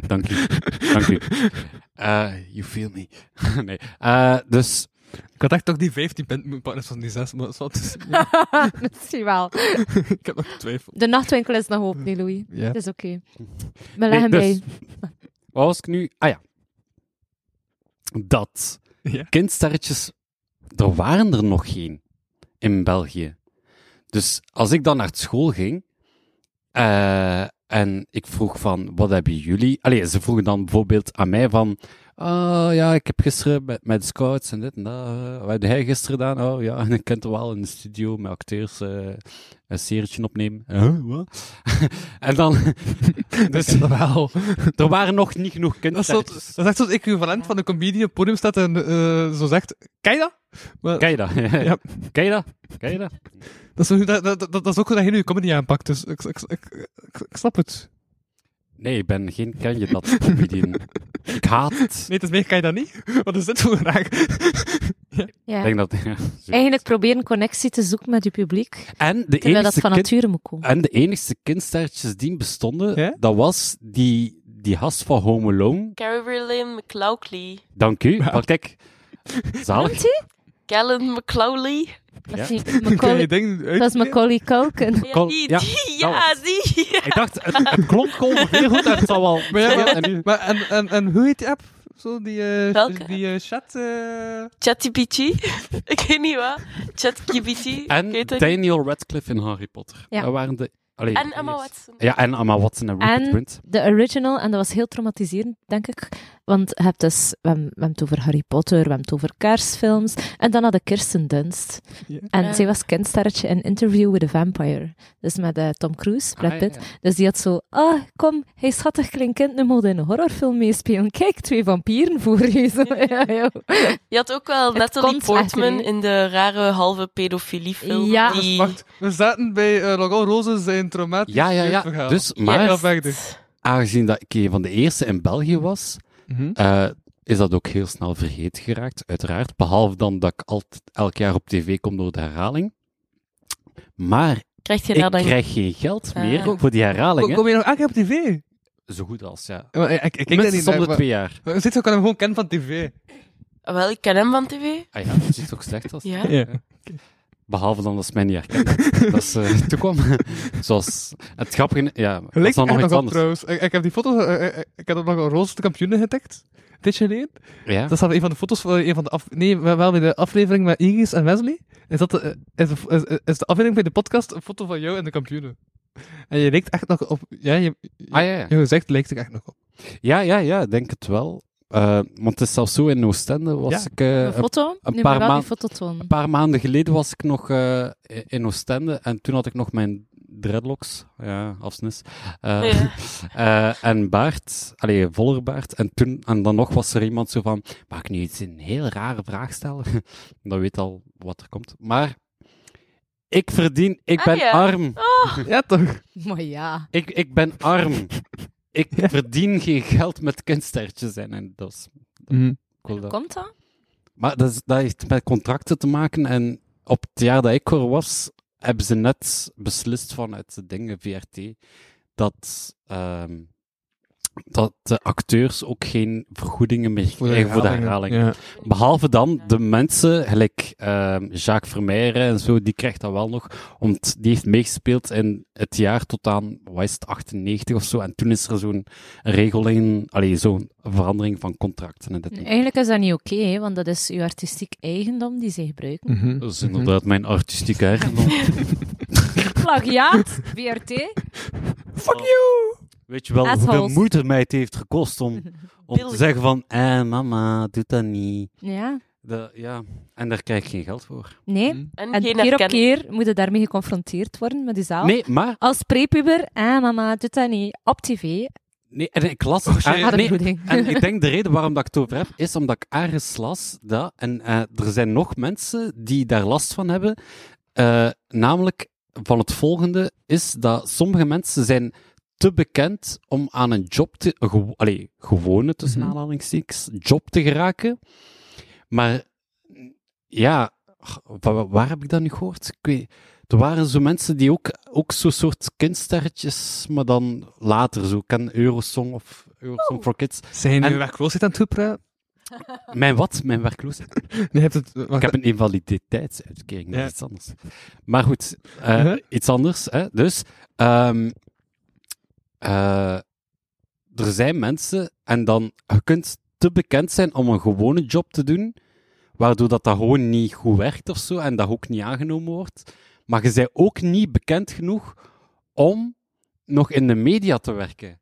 Speaker 5: Dank u. Dank u. Eh, you feel me. nee. Eh, dus,
Speaker 4: Ik had echt toch die 15 pint moeten pakken, van die 6, maar dat is,
Speaker 3: Misschien wel.
Speaker 4: ik heb nog twijfel.
Speaker 3: De nachtwinkel is nog open, nee, Louis.
Speaker 4: Ja.
Speaker 3: Dat is oké. We leggen bij.
Speaker 5: Nee, dus- wat was ik nu? Ah ja. Dat.
Speaker 4: Ja.
Speaker 5: Kindsterretjes, er waren er nog geen in België. Dus als ik dan naar het school ging eh, en ik vroeg van, wat hebben jullie? Allee, ze vroegen dan bijvoorbeeld aan mij van, ah ja, ik heb gisteren met, met scouts en dit en dat. eh, wat heb jij gisteren gedaan? Oh ja, en ik kent wel in de studio met acteurs eh, een serietje opnemen. Huh, wat? en dan, dus
Speaker 4: Dat wel.
Speaker 5: er waren nog niet genoeg
Speaker 4: Dat is, zo, dat
Speaker 5: kindsterretjes.
Speaker 4: is echt zo'n equivalent van een comedian die op het podium staat en eh, zo zegt, kijk dat? Maar,
Speaker 5: Ken je dat?
Speaker 4: Ja.
Speaker 5: Ken je dat? Ken je dat?
Speaker 4: Dat, is, zo- dat, dat, dat, dat is ook hoe dat je nu je comedy aanpakt, dus ik, ik, ik, ik, ik snap het.
Speaker 5: Nee, ik ben geen ken je dat comedian. ik haat het.
Speaker 4: Nee, het is meer, kan je dat niet? Wat is dit voor een raak?
Speaker 3: Ja.
Speaker 5: Ik denk dat, Dus-
Speaker 3: Eigenlijk proberen connectie te zoeken met je publiek,
Speaker 5: En de
Speaker 3: terwijl dat
Speaker 5: enige
Speaker 3: van
Speaker 5: kind-
Speaker 3: nature moet komen.
Speaker 5: En de enigste kindsterretjes die bestonden,
Speaker 4: Ja?
Speaker 5: dat was die, die gast van Home Alone.
Speaker 6: Carolyn McLaughlin.
Speaker 5: Dank u. Maar kijk,
Speaker 3: Noemt
Speaker 5: zalig.
Speaker 3: hij?
Speaker 6: Callan McLaughlin.
Speaker 3: Dat is die
Speaker 5: Ja.
Speaker 4: Kan je
Speaker 3: Macaulay-
Speaker 4: dingen uit-
Speaker 3: Dat is Macaulay Culkin.
Speaker 6: Ja,
Speaker 5: Col-
Speaker 6: die,
Speaker 5: ja,
Speaker 6: die,
Speaker 5: dat
Speaker 6: ja, die. Ja.
Speaker 5: Ik dacht, het, het klonk ongeveer goed en het zal wel...
Speaker 4: Maar, ja, maar,
Speaker 5: En nu-
Speaker 4: maar en, en, en hoe heet die app? Zo die, eh,
Speaker 6: Welke
Speaker 4: die eh, chat... eh,
Speaker 6: ChatGPT. ik weet niet wat. ChatGPT. ik
Speaker 5: En
Speaker 6: weet het niet.
Speaker 5: Daniel Radcliffe in Harry Potter.
Speaker 3: Ja.
Speaker 5: Dat waren de... allee,
Speaker 6: En Emma Watson.
Speaker 5: Ja, en Emma Watson en Rupert
Speaker 3: En-
Speaker 5: Grint.
Speaker 3: De original, en dat was heel traumatiserend, denk ik. Want je hebt dus, we hebben, we hebben het over Harry Potter, we hebben het over kaarsfilms. En dan had ik Kirsten Dunst.
Speaker 4: Ja.
Speaker 3: En
Speaker 6: Ja.
Speaker 3: zij was kindsterretje in Interview with a Vampire. Dus met eh, Tom Cruise, Brad
Speaker 5: Ah,
Speaker 3: Pitt.
Speaker 5: ja, ja.
Speaker 3: Dus die had zo, ah, kom, hij is schattig klein kind, nu moet hij in een horrorfilm meespelen. Kijk, twee vampieren voor je. Zo, ja, ja.
Speaker 6: Je had ook wel
Speaker 3: Het
Speaker 6: Natalie
Speaker 3: komt echt
Speaker 6: Portman
Speaker 3: niet.
Speaker 6: in de rare halve pedofilie film.
Speaker 3: Ja.
Speaker 6: die...
Speaker 4: Wacht, we zaten bij eh Logan Rose zijn traumatisch
Speaker 5: Ja, ja, ja.
Speaker 4: jeugdverhaal.
Speaker 5: Dus,
Speaker 6: Ja,
Speaker 5: maar...
Speaker 4: dat ben ik dus.
Speaker 5: aangezien dat ik een van de eerste in België was,
Speaker 4: Mhm.
Speaker 5: eh, is dat ook heel snel vergeten geraakt, uiteraard. Behalve dan dat ik altijd, elk jaar op tv kom door de herhaling. Maar
Speaker 6: Krijg je
Speaker 5: Ik
Speaker 6: daar dan...
Speaker 5: krijg geen geld
Speaker 6: Ah.
Speaker 5: meer
Speaker 6: Kom-
Speaker 5: voor die herhalingen.
Speaker 4: Kom je nog Ah, elke keer op tv?
Speaker 5: Zo goed als, ja.
Speaker 4: Ja, maar eh, Ik, ik, ik kijk daar
Speaker 5: Minstens
Speaker 4: niet
Speaker 5: om
Speaker 4: naar.
Speaker 5: de
Speaker 4: maar-
Speaker 5: twee jaar.
Speaker 4: maar Zit, ik kan hem gewoon kennen van tv.
Speaker 6: Ah, Wel, ik ken hem van tv.
Speaker 5: Ah ja, dat is toch slecht als.
Speaker 6: Ja.
Speaker 5: Behalve dan dat ze mij niet herkende. dat ze eh, toekwam. Zoals... Het grappige... Ja, dat is
Speaker 4: Lijkt
Speaker 5: dan nog
Speaker 4: echt nog
Speaker 5: iets
Speaker 4: op
Speaker 5: anders.
Speaker 4: trouwens. Ik, ik heb die foto's... eh, eh, ik heb ook nog een roze kampioenen getikt. Een tijdje geleden.
Speaker 5: Ja?
Speaker 4: Dat staat op een van de foto's van een van de af, nee, wel wel bij de aflevering met Iris en Wesley. Is dat de, eh, is, de, is- is de aflevering bij de podcast een foto van jou en de kampioenen? En je lijkt echt nog op. Ja, je,
Speaker 5: Ah ja, ja.
Speaker 4: je gezicht lijkt er echt nog op.
Speaker 5: Ja, ja, ja, ik denk het wel. Eh, want het is zelfs zo in Oostende was
Speaker 4: Ja.
Speaker 5: ik... eh,
Speaker 3: Een foto?
Speaker 5: een
Speaker 3: nu
Speaker 5: paar
Speaker 3: maar wel
Speaker 5: maand-
Speaker 3: die foto tonen.
Speaker 5: een paar maanden geleden was ik nog eh, in Oostende en toen had ik nog mijn dreadlocks, ja, afsnis, eh,
Speaker 6: Ja.
Speaker 5: eh, en baard, allee, voller baard. En, toen, en dan nog was er iemand zo van, mag ik nu iets een heel rare vraag stellen? dan weet al wat er komt. Maar ik verdien, ik
Speaker 6: Ah,
Speaker 5: ben
Speaker 6: ja.
Speaker 5: arm.
Speaker 6: Oh,
Speaker 4: Ja, toch?
Speaker 3: Maar ja.
Speaker 5: Ik, ik ben arm. Ik verdien geen geld met kunstertjes en, en dat is
Speaker 4: Mhm.
Speaker 5: cool.
Speaker 3: Hoe
Speaker 5: dat-
Speaker 3: komt dat?
Speaker 5: Maar dat, is- dat heeft met contracten te maken. En op het jaar dat ik er was, hebben ze net beslist vanuit de dingen VRT dat, ehm, dat de acteurs ook geen vergoedingen meer krijgen voor de herhaling.
Speaker 4: Ja.
Speaker 5: Behalve dan de mensen, gelijk ehm, Jacques Vermeijeren en zo, die krijgt dat wel nog. Want die heeft meegespeeld in het jaar tot aan, wat is het, 98 of zo. En toen is er zo'n regeling, allee, zo'n verandering van contracten. En dit en dat.
Speaker 3: Eigenlijk is dat niet oké, hè, want dat is uw artistiek eigendom die ze gebruiken.
Speaker 4: Mhm.
Speaker 5: Dat is inderdaad mijn artistieke eigendom.
Speaker 3: Plagiaat, BRT.
Speaker 5: Fuck you! Weet je wel
Speaker 3: Assholes.
Speaker 5: hoeveel moeite mij het heeft gekost om, om te
Speaker 6: Billy.
Speaker 5: zeggen van... Eh, mama, doe dat niet.
Speaker 3: Ja,
Speaker 5: De, ja, en daar krijg ik geen geld voor.
Speaker 3: nee.
Speaker 4: Mhm.
Speaker 6: en,
Speaker 3: En
Speaker 6: geen
Speaker 3: keer op
Speaker 6: herkenning.
Speaker 3: keer moet je daarmee geconfronteerd worden met die zaal.
Speaker 5: Nee, maar...
Speaker 3: Als prepuber, eh mama, doet dat niet. Op tv,
Speaker 5: Nee, en ik las...
Speaker 4: shit.
Speaker 5: ah,
Speaker 3: had
Speaker 5: nee,
Speaker 3: bloeding.
Speaker 5: en ik denk de reden waarom dat ik het over heb, is omdat ik ergens las dat... En eh, er zijn nog mensen die daar last van hebben. eh, namelijk van het volgende is dat sommige mensen zijn te bekend om aan een job te... een gewo- allee, gewone, tussen
Speaker 4: Mhm.
Speaker 5: aanhalingstekens, job te geraken. Maar ja, ach, wa- wa- waar, heb ik dat nu gehoord? Ik weet, er waren zo mensen die ook, ook zo'n soort kindsterretjes, maar dan later zo. Ik ken Eurosong of Eurosong for Kids.
Speaker 4: Zijn jullie
Speaker 5: En-
Speaker 4: werkloosheid aan het toepraten?
Speaker 5: Mijn wat? Mijn werkloosheid?
Speaker 4: Nee, je hebt het. wacht,
Speaker 5: Ik heb een invaliditeitsuitkering, dat
Speaker 4: Ja.
Speaker 5: is iets anders. Maar goed, eh,
Speaker 4: Uh-huh.
Speaker 5: iets anders. Hè? Dus, ehm, eh, er zijn mensen, en dan, je kunt te bekend zijn om een gewone job te doen, waardoor dat, dat gewoon niet goed werkt of zo, en dat ook niet aangenomen wordt. Maar je bent ook niet bekend genoeg om nog in de media te werken.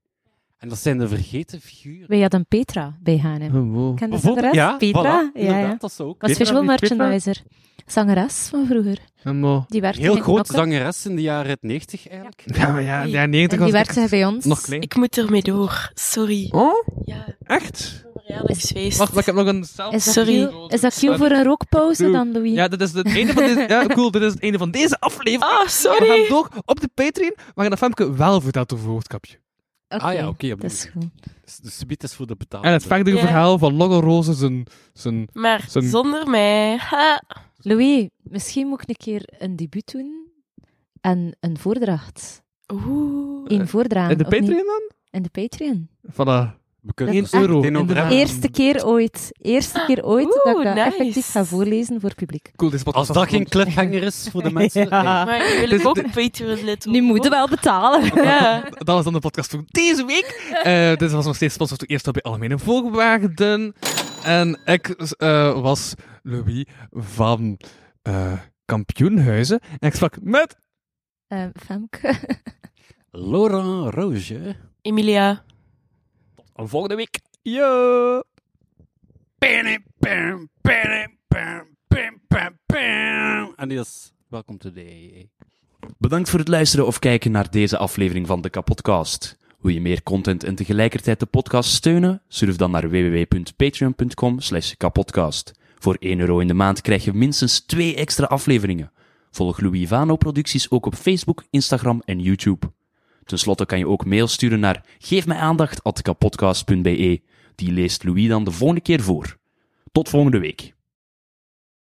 Speaker 5: En dat zijn de vergeten figuren.
Speaker 3: Wij hadden Petra bij H&M.
Speaker 4: Oh,
Speaker 3: Ken je
Speaker 4: wow.
Speaker 3: ze de
Speaker 5: Bijvoorbeeld-
Speaker 3: rest?
Speaker 5: ja,
Speaker 3: Petra?
Speaker 5: voilà,
Speaker 3: ja,
Speaker 5: inderdaad,
Speaker 3: ja.
Speaker 5: dat zou ook
Speaker 3: Was
Speaker 5: kunnen.
Speaker 3: visual
Speaker 4: niet Petra?
Speaker 3: merchandiser. Zangeres van vroeger.
Speaker 4: Ja,
Speaker 5: Oh,
Speaker 4: maar-
Speaker 3: Die werkte
Speaker 5: Heel
Speaker 3: in
Speaker 5: grote
Speaker 3: Knokke.
Speaker 5: zangeres in de jaren 90 eigenlijk.
Speaker 4: Ja, maar ja, ja, 90
Speaker 3: En die
Speaker 4: was
Speaker 3: werkte
Speaker 4: echt
Speaker 3: bij ons.
Speaker 4: Nog klein.
Speaker 6: Ik moet ermee door. Sorry.
Speaker 4: Oh,
Speaker 6: Ja,
Speaker 4: echt?
Speaker 6: verjaardagsfeest.
Speaker 4: Wacht, maar ik heb nog een zelf.
Speaker 3: Is dat
Speaker 6: Sorry.
Speaker 3: cue- Is dat cue voor een rookpauze dan, Louis?
Speaker 4: Ja, dit is het einde van deze. Ja, cool, dit is het einde van deze aflevering.
Speaker 3: Oh,
Speaker 6: Ah,
Speaker 4: We gaan
Speaker 6: sorry.
Speaker 4: door op de Patreon, maar dat Femke wel voor dat hoofdkapje.
Speaker 3: Oké,
Speaker 5: Ah ja, oké. op die
Speaker 3: Dat is
Speaker 5: manier.
Speaker 3: goed.
Speaker 5: Dus de subiet is voor de betaling.
Speaker 4: En het verdere
Speaker 6: Ja.
Speaker 4: verhaal van Logge Roze zijn, zijn...
Speaker 6: Maar
Speaker 4: Zo'n-
Speaker 6: zonder mij. Ha.
Speaker 3: Louis, misschien moet ik een keer een debuut doen en een voordracht.
Speaker 6: Oeh.
Speaker 3: Eén voordragen.
Speaker 4: En de
Speaker 3: of niet?
Speaker 4: Patreon dan?
Speaker 3: In de Patreon.
Speaker 4: Voilà.
Speaker 5: We kunnen
Speaker 3: Dat
Speaker 5: er
Speaker 3: is
Speaker 5: zo
Speaker 4: echt-
Speaker 5: meteen
Speaker 4: in de
Speaker 5: over hebben.
Speaker 4: raam.
Speaker 3: Eerste keer ooit. Eerste keer ooit dat ik
Speaker 6: Oeh,
Speaker 3: dat
Speaker 6: nice.
Speaker 3: effectief ga voorlezen voor publiek.
Speaker 4: Cool, dit is
Speaker 5: Als dat geen cliffhanger is voor de mensen.
Speaker 3: Ja.
Speaker 6: Maar jullie ook een Patreon-lid
Speaker 3: Nu moeten wel betalen.
Speaker 6: Ja.
Speaker 4: Dat was dan de podcast voor deze week. Eh, dit was nog steeds sponsor toe eerst op bij Algemene Voorwaarden. En ik eh, was Louis van eh, Kampioenhuizen. En ik sprak met...
Speaker 3: Eh, Femke.
Speaker 5: Laurent Roger.
Speaker 6: Emilia.
Speaker 4: Volgende week. Yo!
Speaker 5: Pam, pam, pam, pam, pam, pam, pam. En die is Welcome to the
Speaker 8: Bedankt voor het luisteren of kijken naar deze aflevering van de Kapodcast. Wil je meer content en tegelijkertijd de podcast steunen? Surf dan naar www.patreon.com slash kapodcast. Voor 1 euro in de maand krijg je minstens 2 extra afleveringen. Volg Louis Vano producties ook op Facebook, Instagram en YouTube. Ten slotte kan je ook mail sturen naar geefmijaandacht.kapodcast.be. Die leest Louis dan de volgende keer voor. Tot volgende week.